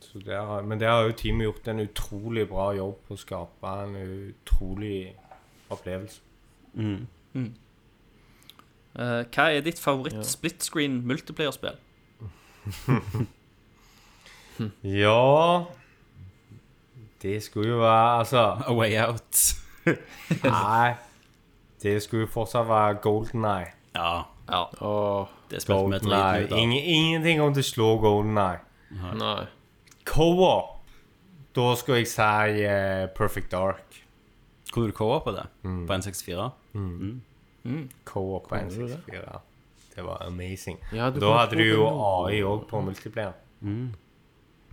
Så det har, men det har jo teamet gjort en utrolig bra jobb på å skape en utrolig opplevelse. Eh, hva er ditt favoritt-split-screen multiplayer-spill? Ja Det skulle jo være Altså A Way Out. Nei. Det skulle jo fortsatt være Golden Eye. Ja, Ja. Åh, det spilte vi Golden Eye. driten ut av. Ingen, ingenting om det slår Golden Eye. nei. Co-op. Da skal jeg si eh, Perfect Dark. Kunne du co-ope det på N64? Co-op på N64. Det var amazing. Ja, du da kan hadde få du jo den. AI òg på multiplayer.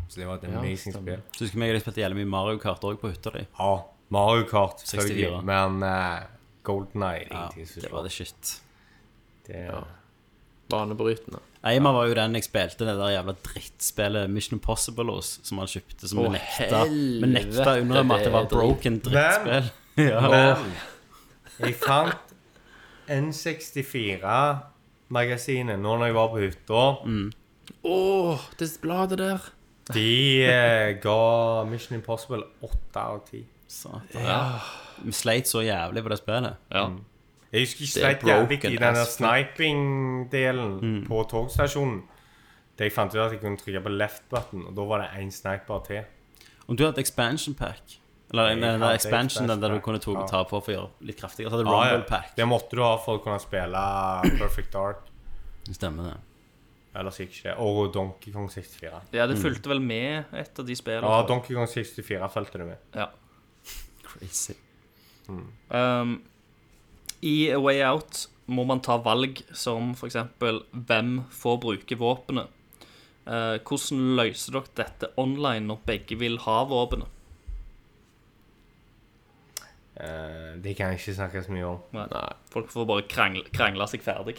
Så det var et amazing stemmer. spill. Så husker jeg meg jeg spilte jævlig mye Mario Kart òg på hytta di. Ja, Mario Kart, 64. selvfølgelig. Men eh, Golden Eye Ja, er ingenting som det var slår. det shit. Det- banebrytende. Eima var jo den jeg spilte det der jævla drittspillet Mission Impossible hos, som han kjøpte, som Å, vi nekta Vi nekta helvete, å innrømme at det var det er broken drittspill. Ja. Men jeg fant N64-magasinet nå når jeg var på hytta. Å, det bladet der. De eh, ga Mission Impossible åtte av ti. Satan. Vi sleit så jævlig på det spillet. Ja. Jeg husker ikke Det er sleit jævlig i broken den der as sniping-delen på togstasjonen. Da jeg fant ut at jeg kunne trykke på left button, og da var det én sniper til. Om du hadde expansion pack Eller den Jeg den hadde der expansion den der du expansion kunne to pack, ja. ta på for å gjøre litt kraftigere. Så hadde du Ah, Ja, ja. Rumble pack. Det måtte du ha for å kunne spille Perfect Dark. Stemmer det. Eller sikkert ikke det. Og Donkey Kong 64. ja, Mm. det fulgte vel med et av de spillene. Ja, Donkey Kong 64 fulgte det med. Ja. Crazy. Um, I A Way Out må man ta valg som f.eks.: Hvem får bruke våpenet? Eh, hvordan løser dere dette online når begge vil ha våpenet? Eh, det kan jeg ikke snakke så mye om. Nei. Folk får bare krangle, krangle seg ferdig.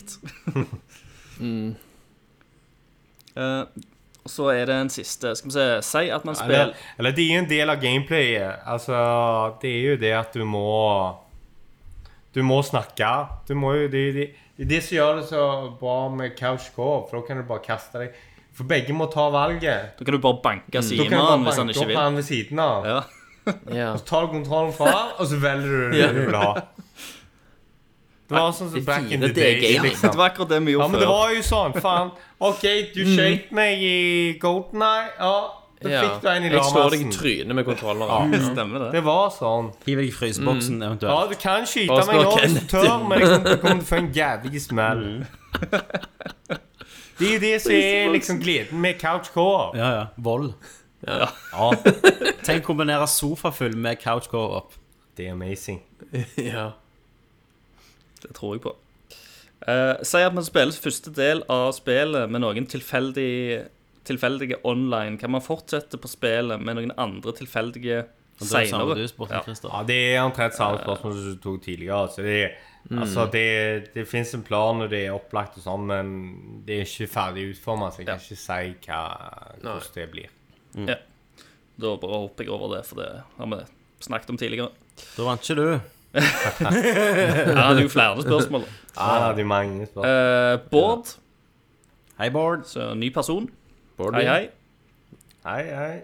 Mm. Eh, og så er det en siste. Skal vi se Si at man Eller, spiller eller det er jo en del av gameplayet. Altså, det er jo det at du må Du må snakke. Du må jo Det er det, det, er det som gjør det så bra med couch co-op, for da kan du bare kaste deg For begge må ta valget. Da kan du bare Mm. Da banke kan du bare Simon hvis banke opp han ikke vil. han ved siden av. Ja. Ja. Så tar du kontrollen fra han, og så velger du det du vil ha. Det var sånn som back in the fine, det er day. gøy, Det Liksom. var akkurat det vi Ja, gjorde men det var jo sånn, faen. OK, du skjøt meg i Golden Eye. Ja, da ja. fikk du en i Jeg slår deg i lamasen. trynet med Ja. kontrolleren. før. Stemmer det. Det var sånn. Hiv deg i fryseboksen Ja, eventuelt. du kan skyte Bare meg slå nå hvis du Kenneth tør, men jeg kommer- kommer til å få en jævlig smell. Det er jo det som er liksom gleden med couch co-op. Ja, ja. Vold. Ja, Tenk å kombinere sofafull med couch co-op. det er amazing. Ja. Det tror jeg på. Eh, si at man spiller første del av spillet med noen tilfeldig, tilfeldige online. Kan man fortsette på spillet med noen andre tilfeldige Og Det er jo samme seinere? du spurte, Ja. Christer. Ja, det er omtrent samme spørsmål som du tok tidligere. Så det, altså, det, det fins en plan, og det er opplagt og sånn, men det er ikke ferdig utforma, så jeg kan ikke si hva, hvordan det blir. Da bare hopper jeg over det, for det har vi snakket om tidligere. Da vant ikke du. Jeg hadde jo flere spørsmål. Ja, det er mange spørsmål. Eh, Bård, Hei, Bård. så ny person. Bård, Hei, hei. Hei, hei.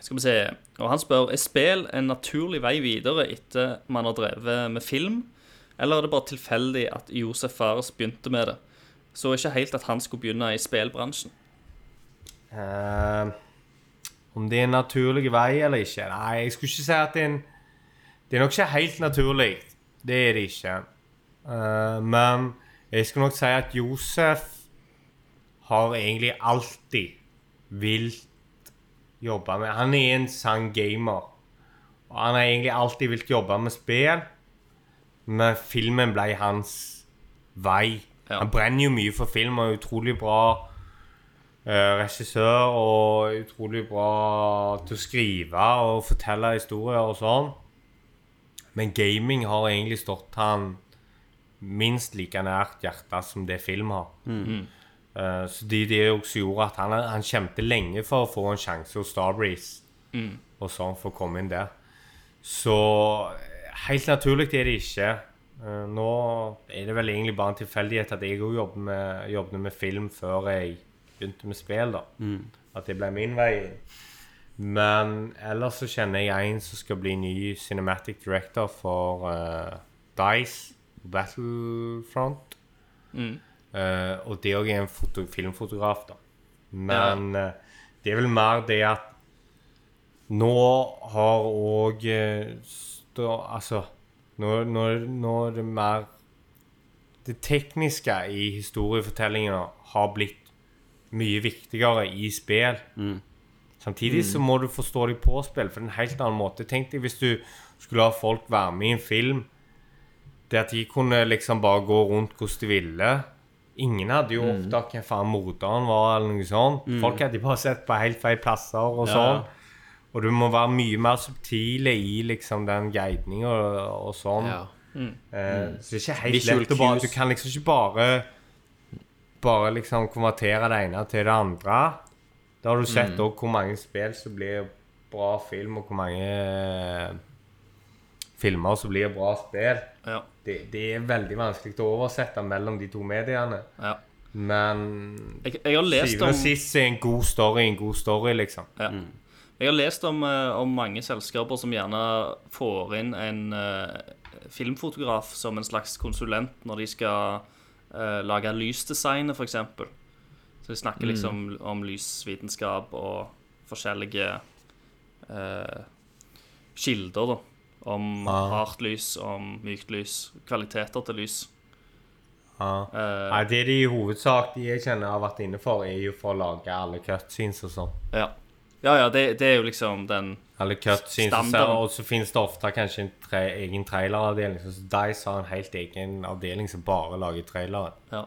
Skal vi se. Og han spør er spill en naturlig vei videre etter man har drevet med film, eller er det bare tilfeldig at Josef Fares begynte med det? Så ikke helt at han skulle begynne i spillbransjen. Eh, om det er en naturlig vei eller ikke? Nei, jeg skulle ikke si at det er en Det er nok ikke helt naturlig. Det er det ikke. Eh, men jeg skulle nok si at Josef har egentlig alltid vilt jobbe med Han er en sann gamer. Og han har egentlig alltid vilt jobbe med spill, men filmen ble hans vei. Ja. Han brenner jo mye for film og er utrolig bra eh, regissør og utrolig bra til å skrive og fortelle historier og sånn. Men gaming har egentlig stått han minst like nært hjertet som det film har. Eh, så det, det er jo også gjorde at han, han kjempet lenge for å få en sjanse hos Starbreeze og sånn for å komme inn der. Så eh, helt naturlig er det ikke. Eh, Nå er det vel egentlig bare en tilfeldighet at jeg òg jobbet, med- jobbet med film før jeg begynte med spill. da. At det ble min vei. inn. Men ellers så kjenner jeg en som skal bli ny cinematic director for eh, Dice Battlefront. Eh, og det òg er en foto filmfotograf, da. Men eh, det er vel mer det at nå har òg Altså nå, nå, nå er det mer Det tekniske i historiefortellingene har blitt mye viktigere i spill. Samtidig så må du forstå de på spill, for det er en helt annen måte. Tenk deg hvis du skulle ha folk være med i en film der de kunne liksom bare gå rundt hvordan de ville. Ingen hadde jo oppdaget hvem faen morderen var, eller noe sånt. Folk hadde bare sett på helt feil plasser og sånn. Og du må være mye mer subtile i liksom den guidninga og, og sånn. Ja. Eh, Så det er ikke helt Visual lett å bare cues. Du kan liksom ikke bare bare liksom konvertere det ene til det andre. Da har du sett Mm. også hvor mange spill som blir bra film, og hvor mange eh, filmer som blir bra spill. Ja. Det, det er veldig vanskelig å oversette mellom de to mediene. ja. Men Jeg, jeg har lest syvende og om sist er en god story en god story, liksom. Ja. Jeg har lest om, eh, om mange selskaper som gjerne får inn en eh, filmfotograf som en slags konsulent når de skal eh, lage lysdesignet, f.eks. Så de snakker liksom om lysvitenskap og forskjellige eh, kilder, da. Om Ah. hardt lys, om mykt lys, kvaliteter til lys. Ja. Eh, Nei, det de i hovedsak de jeg kjenner har vært inne for, er jo for å lage alle cutscenes og sånn. ja. ja, ja, det, det er jo liksom den Alle cutscenes og Standard. så- og så finnes det ofte kanskje en tre, egen traileravdeling. Så Dice har en helt egen avdeling som bare lager trailere. Ja.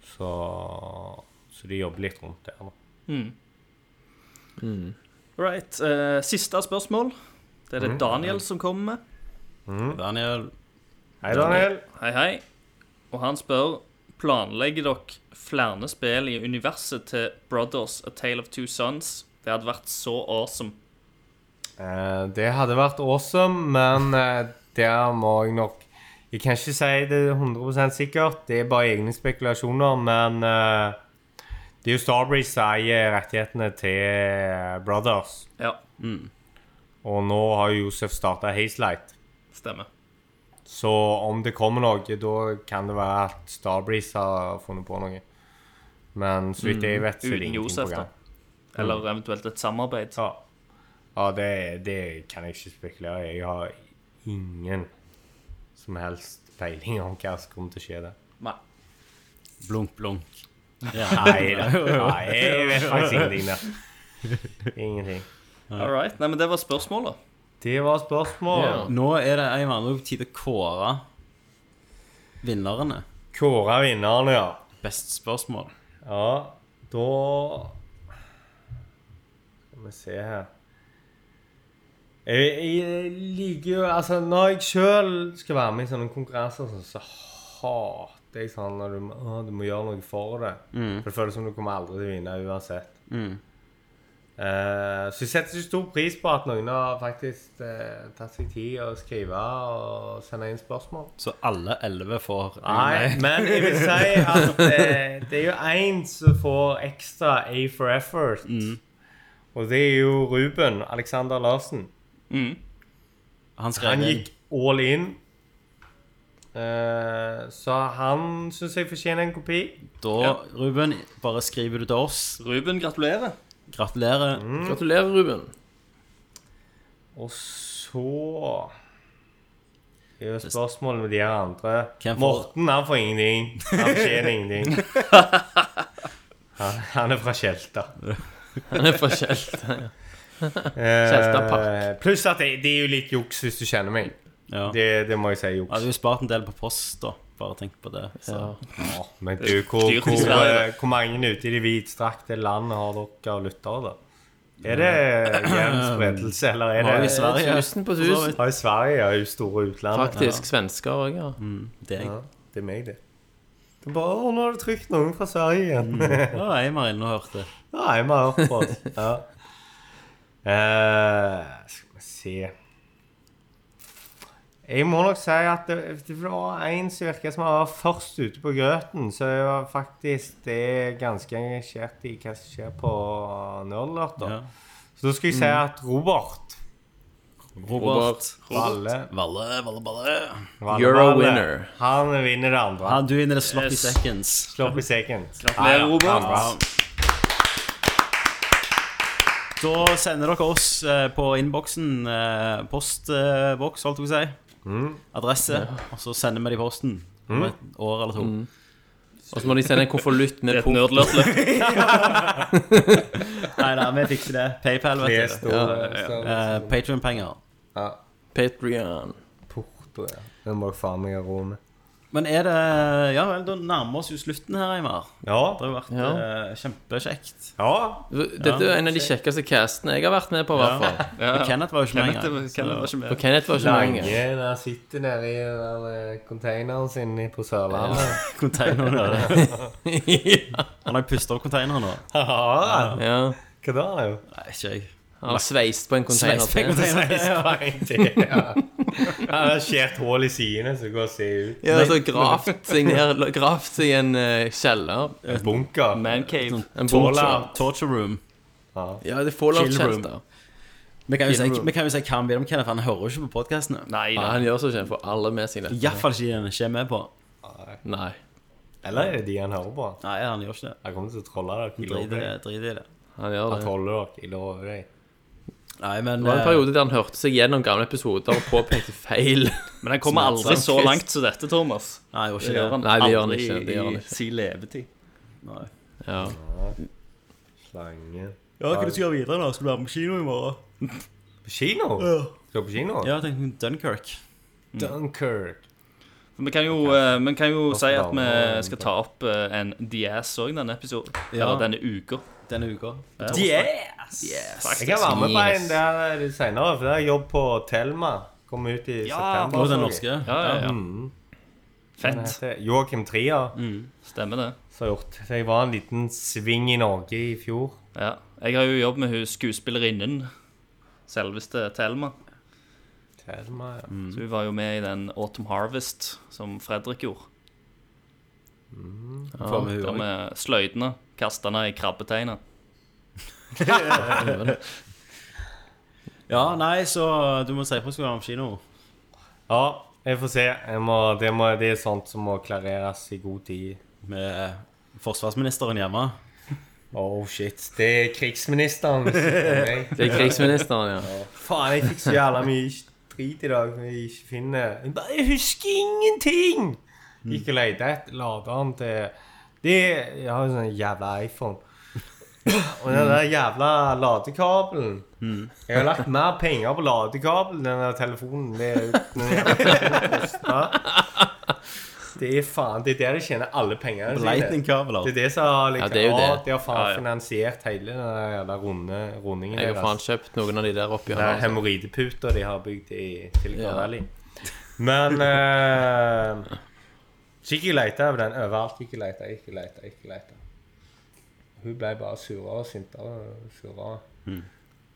Så, så de jobber litt rundt der. da. Mm. Right. Mm. eh, siste spørsmål. Det Mm. er det Daniel som kommer med. Daniel Hei, Daniel. Hei, hei. Og han spør Planlegger dere flere spill i universet til Brothers A Tale of Two Sons? Det hadde vært så awesome. Eh, det hadde vært awesome, men eh, der må jeg nok Jeg kan ikke si det 100 sikkert, det er bare egne spekulasjoner, men eh, det er jo Starbreeze som eier rettighetene til Brothers. Ja, Og nå har jo Josef starta Hazelight. stemmer. Så om det kommer noe, da kan det være at Starbreeze har funnet på noe. Men så vidt jeg vet, så er Mm, Uten det ingenting Josef, på da. gang. Mm. Eller eventuelt et samarbeid. Ja, ja det, det kan jeg ikke spekulere i. Jeg har ingen som helst peiling om hva som kommer til å skje der. Nei. Blunk, blunk. Nei, da. Nei, jeg vet faktisk ingenting der. Ingenting. All right. Nei, men det var spørsmålet. Det var spørsmål. Ja. Nå er det en vanlig tid å kåre vinnerne. Kåre vinneren, ja. Best spørsmål. Ja, da Skal vi se her jeg, jeg liker jo Altså, når jeg sjøl skal være med i sånne konkurranser, og sånn, så hater jeg sånn når du, må- å, du må gjøre noe for det. For det føles som du kommer aldri til å vinne uansett. Eh, så jeg setter så stor pris på at noen har faktisk eh, tatt seg tid å skrive og sende inn spørsmål. Så alle elleve får en- Nei, men jeg vil si at eh, det er jo én som får ekstra A for effort. Mm. Og det er jo Ruben Alexander Larsen. Han skrev Han inn. gikk all in. Eh, så han syns jeg fortjener en kopi. Da, Ruben, bare skriver du til oss. Ruben, gratulerer. Gratulerer. Mm. Gratulerer, Ruben. Og så Det er jo spørsmålet med de her andre. Hvem får- Morten han får ingenting. Han fortjener ingenting. Han, han er fra Tjelta. Han er fra Kjelta. Eh, Kjeltapark. pluss at det, det er jo litt juks hvis du kjenner meg. Ja. Det, det må jeg si Jeg hadde juks. jo spart en del på post, da. Bare tenk på det. Så. Ja. Ja, men du, hvor, Styrt i hvor, Sverige, eh, hvor mange ute i det vidstrakte landet har dere lyttere, da? Er det jevn spredelse, eller er Norge, det Sverige, Tusen på tusen. Ja, i Sverige er jo store utlandet. Faktisk. Svensker òg, ja. deg. Ja, det er meg, det. Det er bare, å, nå har du trykt noen fra Sverige igjen. Ja, Eimar inne og hørte. Nei, vi har hørt på oss. Ja. Eh, skal vi se Jeg må nok si at det, det var en som virket som han var først ute på grøten. Så jeg var faktisk det er ganske engasjert i hva som skjer på Nerdlert. Ja. Så da skal jeg si at Robert Robert. Valle, Valle, Valle, Valle. Valle You're a Valle, winner. Han vinner det andre. Ja, du er inne i det sloppy Yes. Eh, seconds. Slår på seken. Gratulerer, Robert. Da sender dere oss eh, på innboksen eh, postboks, holdt jeg på å si. Adresse. Og så sender vi det i posten om et år eller to. Og så må de sende en konvolutt med Det er et port. nerdlørtløft. Nei da, vi fikser det. PayPal, Det vet du. står ja. Eh, Patreon-penger. Patreon. Porto, ja. Det må dere faen meg ha råd med. Men er det Ja vel, da nærmer vi oss jo slutten her, Eimar. Det Ja. har jo vært Ja. eh, kjempekjekt. ja. Dette er en av de kjekkeste castene jeg har vært med på, i hvert fall. Men Kenneth var jo ikke med Kenneth, engang. Kenneth var så- ikke For med. Kenneth var ikke Lange mange. der sitter nede i den der eh, containeren sin i- på Sørlandet. Containeren ja. Han har jo pustet opp containeren nå. Ja. Ja. Hva da, jo? Nei, ikke jeg. Han har sveist på en container. Sveist på en til. container. Ja. Han har skjært hull i sidene, så det går å se ut. Ja, så gravd seg ned Gravd seg i en eh, kjeller. En bunker. Mancave. En bunker. Torture, torture room. Ja, det er fallout Chill room. shelter. Vi kan jo si, Chill room. vi kan jo si hva han vil om Kenneth, han hører jo ikke på podkastene. Nei, Ja, nei. han gjør så ikke, han får alle med seg dette. Iallfall ikke den ikke er med på. Nei. Eller er det de han hører på? Nei, han gjør ikke det. Han kommer til å trolle dere. Jeg Drit i lover det. deg. Drit i det. Han gjør Han det. troller dere. Jeg lover deg. Nei, men Det var en eh, periode der han hørte seg gjennom gamle episoder og påpekte feil. Men han kommer aldri så Snakk. langt som dette, Thomas. Nei, han gjør Det ikke gjør det. han Nei, det gjør han aldri ikke, det gjør han i ikke. sin levetid. Nei. Ja. Slange. Ja, hva du skal videre, da? Skal du være på kino i morgen? På kino? Skal du på kino? Ja, jeg tenkte Dunkirk. Dunkirk. Men vi kan jo, eh, vi kan jo Norsk si at vi dame. skal ta opp eh, en Diaz òg denne episoden. Ja. Eller denne uka. Denne uka. Yes! Jeg Faktisk. kan være med på Yes. en der seinere, for det er jobb på Thelma. Kom ut i september. Og den så jeg. norske. Ja, ja, ja. Mm. Han Fett. heter Joakim Trier. Stemmer det. som har gjort. Så jeg var en liten sving i Norge i fjor. Ja. Jeg har jo jobb med hun skuespillerinnen. Selveste Thelma. Thelma, ja. Mm. Så hun var jo med i den Autumn Harvest som Fredrik gjorde. Får vi hun Der også. med sløydene. Kastene i krabbeteina. Ja, nei, så du må si fra skal være på kino. Ja, jeg får se. Jeg må, det, må, det er sånt som må klareres i god tid. Med forsvarsministeren hjemme. Oh shit, det er krigsministeren. som sitter med meg. Det er krigsministeren, ja. Faen, jeg fikk så jævla mye drit i dag som jeg ikke finner. Jeg bare jeg husker ingenting! Mm. Gikk og lette etter laderen til det, Jeg har jo sånn jævla iPhone. Og den der jævla ladekabelen Mm. Jeg har lagt mer penger på ladekabelen enn den telefonen. Det er, den jævla telefonen koster. det er faen Det er der de tjener alle pengene sine. Lightning-kabel. Det er det som har liksom, Ja, det er jo ah, det. de har faen Ja, ja. finansiert hele den der jævla runde, rundingen Jeg har faen kjøpt noen av de der oppi det er her. altså. hemoroideputer de har bygd i Silicon Ja. Valley. Men uh, Så gikk jeg og lette over den overalt. Gikk og lette, gikk og lette, gikk og lette. Hun ble bare surere og sintere. og surere. Mm.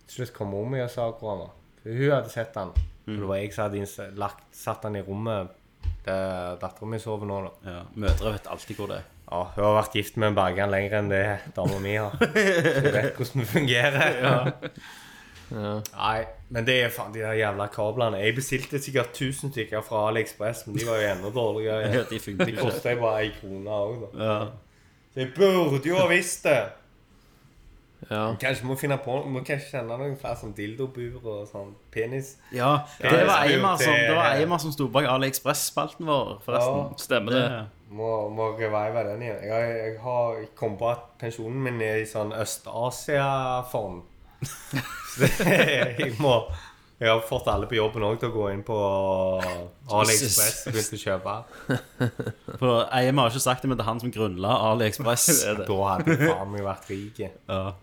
Til slutt kom hun med og sa hvor han var. For hun hadde sett han. Mm. For Det var jeg som hadde inns- lagt, satt han i rommet der dattera mi sover nå. da. Ja, mødre vet alltid hvor det er. Ja, hun har vært gift med en bergen lenger enn det dama mi har. Så hun vet hvordan det fungerer. Nei, men det er faen de der jævla kablene. Jeg bestilte sikkert 1000 stykker fra AliExpress, men de var jo enda dårligere. De funker De ikke. kosta jo bare ei krone òg, da. Ja. Så jeg burde jo ha visst det. Ja. Kanskje må finne på Må kanskje kjenne noen flere sånn dildobur og sånn penis. ja, det var Eimar som, det var Eimar som sto bak AliExpress-spalten vår, forresten. Stemmer det. Må, må revive den igjen. Jeg, har- jeg har jeg kom på at pensjonen min er i sånn Øst-Asia-fond. Så det- jeg må Jeg har fått alle på jobben òg til å gå inn på AliExpress og begynne å kjøpe. For Eimar har ikke sagt det, men det er han som grunnla AliExpress. Det er det. Da hadde jeg faen meg vært rik. Ja, altså.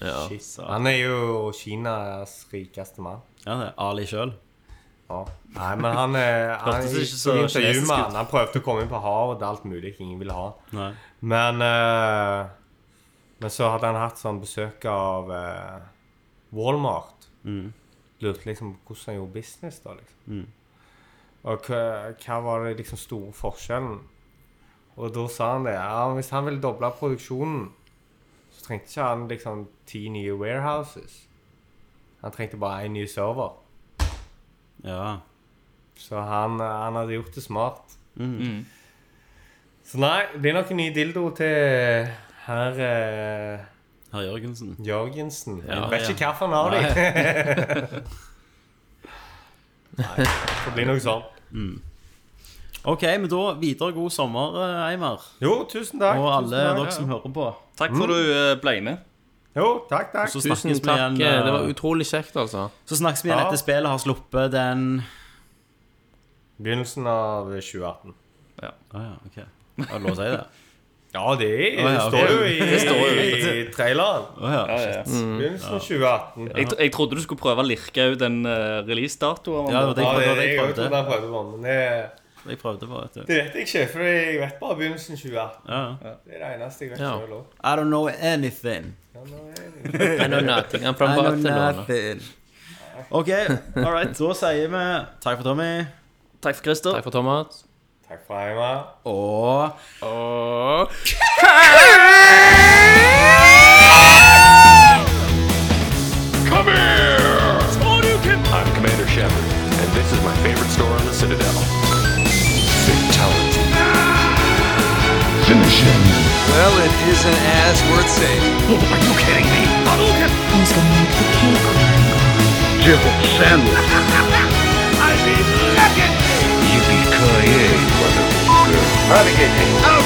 ja. Shit. Han er jo Kinas rikeste mann. ja det er Ali sjøl. Ja. Nei, men han, eh, han Hørtes i- ikke så i intervju kinesisk med ut. han, han prøvde å komme inn på havet, det er alt mulig ingen ville ha. Nei. Men eh, Men så hadde han hatt sånn besøk av eh, Walmart. Lurte liksom på hvordan han gjorde business, da. liksom Og hva, hva var det liksom store forskjellen? Og da sa han det. Ja, hvis han ville doble produksjonen, så trengte ikke han liksom ti nye warehouses. Han trengte bare én ny server. Ja. Så han, han hadde gjort det smart. Mm. Så nei, det blir nok en ny dildo til herr eh, Herr Jørgensen. Jørgensen. Ja, jeg vet ja. ikke hvilken han har, de. Nei, det blir nok sånn. OK, men da videre god sommer, eh, Eimar. Jo, tusen takk. Og alle tusen dere som hører på. Takk for du eh, ble med. Jo, takk, takk. Så snakkes Tusen vi takk. igjen, eh, eh, Det var utrolig kjekt, altså. så snakkes vi igjen Ja. etter spillet har sluppet den Begynnelsen av 2018. Å ja, ok. Er det lov å si det? Ja, det, er, Å, det ja, ok. står jo i, Det står jo i, traileren. Å ja. Begynnelsen av 2018. Jeg, tro- jeg trodde du skulle prøve å lirke ut en eh, releasedato. Amanda. Ja, det var det Ja, det, jeg prøvde. Jeg jeg har jo sånn. trodd prøvde, jeg prøvde på, men det, jeg prøvde på, vet du. det vet jeg ikke. For jeg vet bare begynnelsen 2018. Ja. Det er det eneste jeg vet Ja. selv om. I don't know anything. Ja, nå er det- I know nothing. I'm from Barcelona. OK, all right. Da sier vi takk for Tommy Takk for Christer. Takk for Thomas. Takk for hjemme. og Og Come here! I'm Commander Shepard, and this is my favorite store on the Citadel. Fatality. Finish him. Well, it isn't as worth saying. Are you kidding me? Who's gonna make the cake? Jibble sandwich. I mean, look at me! Yippee-ki-yay, motherfucker. Navigating.